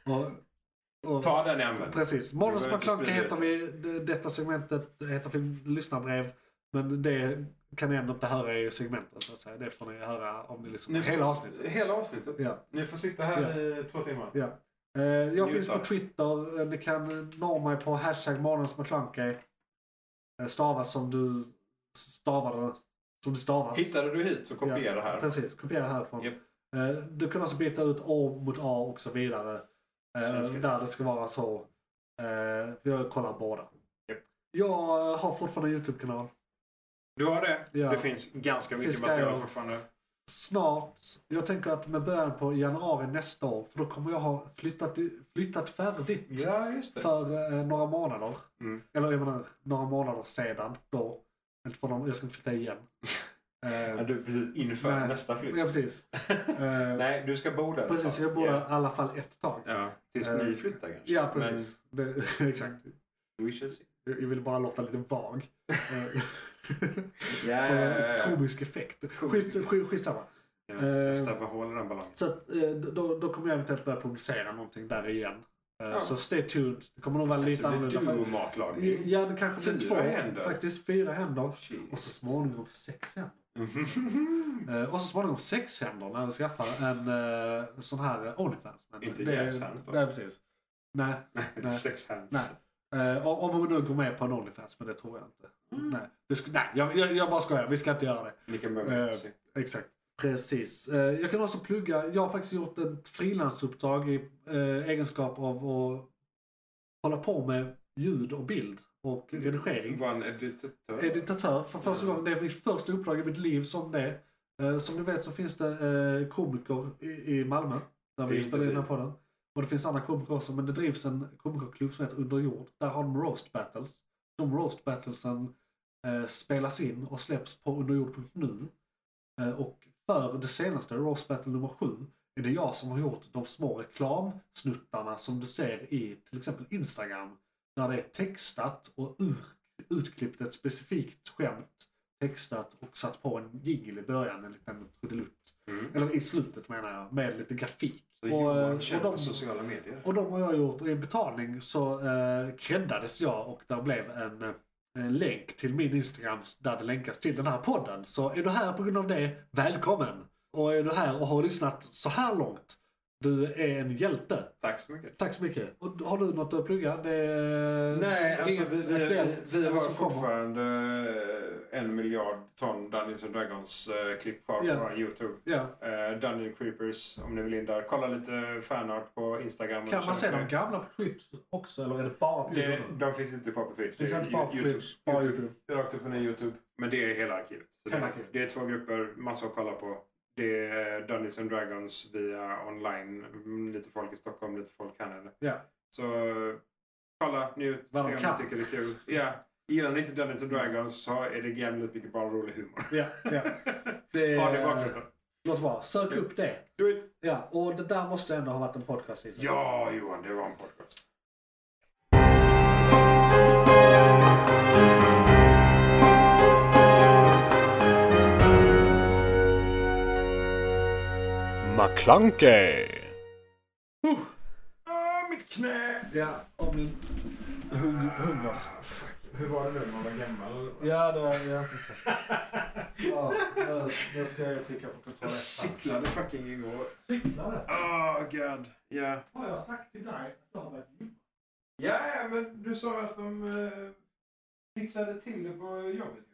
Speaker 3: Och, och,
Speaker 4: Ta den i användning.
Speaker 3: Precis. Månadens
Speaker 4: behöver inte
Speaker 3: McClunky
Speaker 4: sprida
Speaker 3: heter vi. Det- Detta segmentet heter film lyssnarbrev. Men det kan ni ändå inte höra i segmentet. Så att säga. Det får ni höra om ni lyssnar
Speaker 4: Ni
Speaker 3: på
Speaker 4: får-
Speaker 3: hela avsnittet.
Speaker 4: Hela avsnittet.
Speaker 3: Ja.
Speaker 4: Ni får sitta här
Speaker 3: Ja.
Speaker 4: i två timmar.
Speaker 3: Ja. Eh, Jag
Speaker 4: Njuta.
Speaker 3: finns på Twitter. Eh, Ni kan nå mig på hashtag Månadens McClunky. Eh, Stavas som du stavar det. Som det stavas.
Speaker 4: Hittade du hit så kopiera
Speaker 3: Ja,
Speaker 4: här.
Speaker 3: Precis, kopiera härifrån.
Speaker 4: Japp.
Speaker 3: Eh, Du kan också byta ut Å mot A och så vidare. Eh,
Speaker 4: Svenska.
Speaker 3: Där det ska vara så. Eh, Jag kollar båda.
Speaker 4: Japp.
Speaker 3: Jag eh, har fortfarande en YouTube-kanal.
Speaker 4: Du har det.
Speaker 3: Ja.
Speaker 4: Det finns ganska mycket
Speaker 3: Fiskar
Speaker 4: material
Speaker 3: jag.
Speaker 4: fortfarande.
Speaker 3: Snart, jag tänker att med början på januari nästa år, för då kommer jag ha flyttat, i- flyttat färdigt.
Speaker 4: Ja, just det.
Speaker 3: För eh, några månader.
Speaker 4: Mm.
Speaker 3: Eller jag menar, några månader sedan då. Inte för någon, jag ska flytta igen. Eh,
Speaker 4: Ja, du, precis, inför
Speaker 3: Nej.
Speaker 4: nästa flytt.
Speaker 3: Ja, precis. Eh,
Speaker 4: Nej, du ska bo där. ett
Speaker 3: Precis,
Speaker 4: tag.
Speaker 3: jag bor där i
Speaker 4: Ja.
Speaker 3: alla fall ett tag.
Speaker 4: Ja, tills
Speaker 3: Eh,
Speaker 4: ni flyttar kanske.
Speaker 3: Ja, precis. Det, exakt.
Speaker 4: Men we shall see.
Speaker 3: Jag jag ville bara låta lite vag. Eh,
Speaker 4: Ja,
Speaker 3: för
Speaker 4: ja, ja, ja.
Speaker 3: Komisk effekt. Skits, skit, skitsamma.
Speaker 4: Ja,
Speaker 3: Eh,
Speaker 4: jag stappar hål i den balansen.
Speaker 3: Så att, eh, då, då kommer jag eventuellt börja publicera någonting där igen. Eh,
Speaker 4: Ja.
Speaker 3: Så stay tuned. Det kommer nog vara lite
Speaker 4: Kanske blir
Speaker 3: annorlunda.
Speaker 4: Alltså, du
Speaker 3: för-
Speaker 4: och matlagning.
Speaker 3: Ja, det kanske blir
Speaker 4: Fyra
Speaker 3: två.
Speaker 4: händer.
Speaker 3: Faktiskt fyra händer.
Speaker 4: Shit.
Speaker 3: Och så småningom sex händer. Eh, Och så småningom sex händer när vi skaffar en eh, sån här eh, Onlyfans. Men
Speaker 4: Inte
Speaker 3: det-
Speaker 4: yes hands då.
Speaker 3: Nej, precis. Nej, Nej.
Speaker 4: Sex hands.
Speaker 3: Nej. Eh, om om hon nu går med på en Onlyfans, men det tror jag inte.
Speaker 4: Mm.
Speaker 3: Nej, det sk- nej jag, jag, jag bara skojar. Vi ska inte göra det.
Speaker 4: Ni kan börja
Speaker 3: Eh,
Speaker 4: med Etsy.
Speaker 3: Exakt. Precis. Eh, jag kan också plugga. Jag har faktiskt gjort ett frilansuppdrag i eh, egenskap av att hålla på med ljud och bild och redigering.
Speaker 4: Var en editor.
Speaker 3: Editatör för första gången. Det är mitt första uppdrag i mitt liv som det. Eh, som ni vet så finns det eh, komiker i, i Malmö. Där
Speaker 4: Det är
Speaker 3: vi
Speaker 4: inte
Speaker 3: spelar in den här
Speaker 4: vi.
Speaker 3: podden. Och det finns andra komiker också. Men det drivs en komikerklubb som heter Under jord. Där har de roast battles. De roast battlesen eh, spelas in och släpps på underjord.nu. Eh, och för det senaste, roast battle nummer sju, är det jag som har gjort de små reklamsnuttarna som du ser i till exempel Instagram. Där det är textat och ur, utklippt ett specifikt skämt, textat och satt på en jingel i början, en liten trudelutt.
Speaker 4: Mm.
Speaker 3: Eller i slutet menar jag, med lite grafik.
Speaker 4: Så
Speaker 3: Och, eh,
Speaker 4: Johan känd
Speaker 3: och de-
Speaker 4: på sociala medier.
Speaker 3: och de har jag gjort och i betalning så eh, creddades jag och där blev en, eh, en länk till min Instagram där det länkas till den här podden. Så är du här på grund av det, välkommen! Och är du här och har lyssnat så här långt, du är en hjälte.
Speaker 4: Tack så mycket.
Speaker 3: Tack så mycket. Och har du något att plugga? Det är
Speaker 4: Nej, alltså vi,
Speaker 3: Eh, inget
Speaker 4: vi, vi,
Speaker 3: aktuellt
Speaker 4: vi
Speaker 3: eller
Speaker 4: har
Speaker 3: som kommer.
Speaker 4: fortfarande eh, en miljard ton Dungeons and Dragons eh, klipp kvar
Speaker 3: Ja.
Speaker 4: på vår Youtube.
Speaker 3: Ja.
Speaker 4: Eh, Dungeon Creepers, om ni vill in där. Kolla lite fanart på Instagram.
Speaker 3: Kan man se
Speaker 4: Känner
Speaker 3: de
Speaker 4: ni-
Speaker 3: gamla på Twitch också eller är det bara på
Speaker 4: det,
Speaker 3: Youtube?
Speaker 4: de finns inte kvar på Twitch.
Speaker 3: Finns
Speaker 4: Det är
Speaker 3: inte bara på
Speaker 4: Youtube.
Speaker 3: Twitch, bara
Speaker 4: YouTube.
Speaker 3: Youtube.
Speaker 4: Rakt upp och ner Youtube. Men det är hela arkivet. Så
Speaker 3: Hela
Speaker 4: det,
Speaker 3: arkivet.
Speaker 4: det är två grupper, massor att kolla på. Det är Dungeons and Dragons via online. Mm, Lite folk i Stockholm, lite folk här nere.
Speaker 3: Ja.
Speaker 4: Så eh, kolla, njut, se
Speaker 3: Vad
Speaker 4: om
Speaker 3: de
Speaker 4: ni
Speaker 3: kan.
Speaker 4: tycker det är kul. Ja. Gillar ni inte Dungeons and Dragons så är det jämligt mycket bara rolig humor.
Speaker 3: Ja, ja. Det
Speaker 4: ha
Speaker 3: är-
Speaker 4: det i bakgrunden.
Speaker 3: Låt vara, sök
Speaker 4: Ja.
Speaker 3: upp det.
Speaker 4: Do it!
Speaker 3: Ja, och det där måste ändå ha varit en podcast Isak.
Speaker 4: Ja, Johan, det var en podcast.
Speaker 2: McClunkey!
Speaker 4: Ah, mitt knä!
Speaker 3: Ja, om ni hung- hungrar.
Speaker 4: Hur var det nu när man var gammal?
Speaker 3: Ja, det var... Ja, exakt. Ja, nu- nu ska jag trycka på kontroll
Speaker 4: Jag cyklade fucking igår.
Speaker 3: Cyklade?
Speaker 4: Oh god. Ja.
Speaker 3: Har jag sagt till dig att jag har varit gym?
Speaker 4: Ja, ja, men du sa att de eh, fixade till det på jobbet.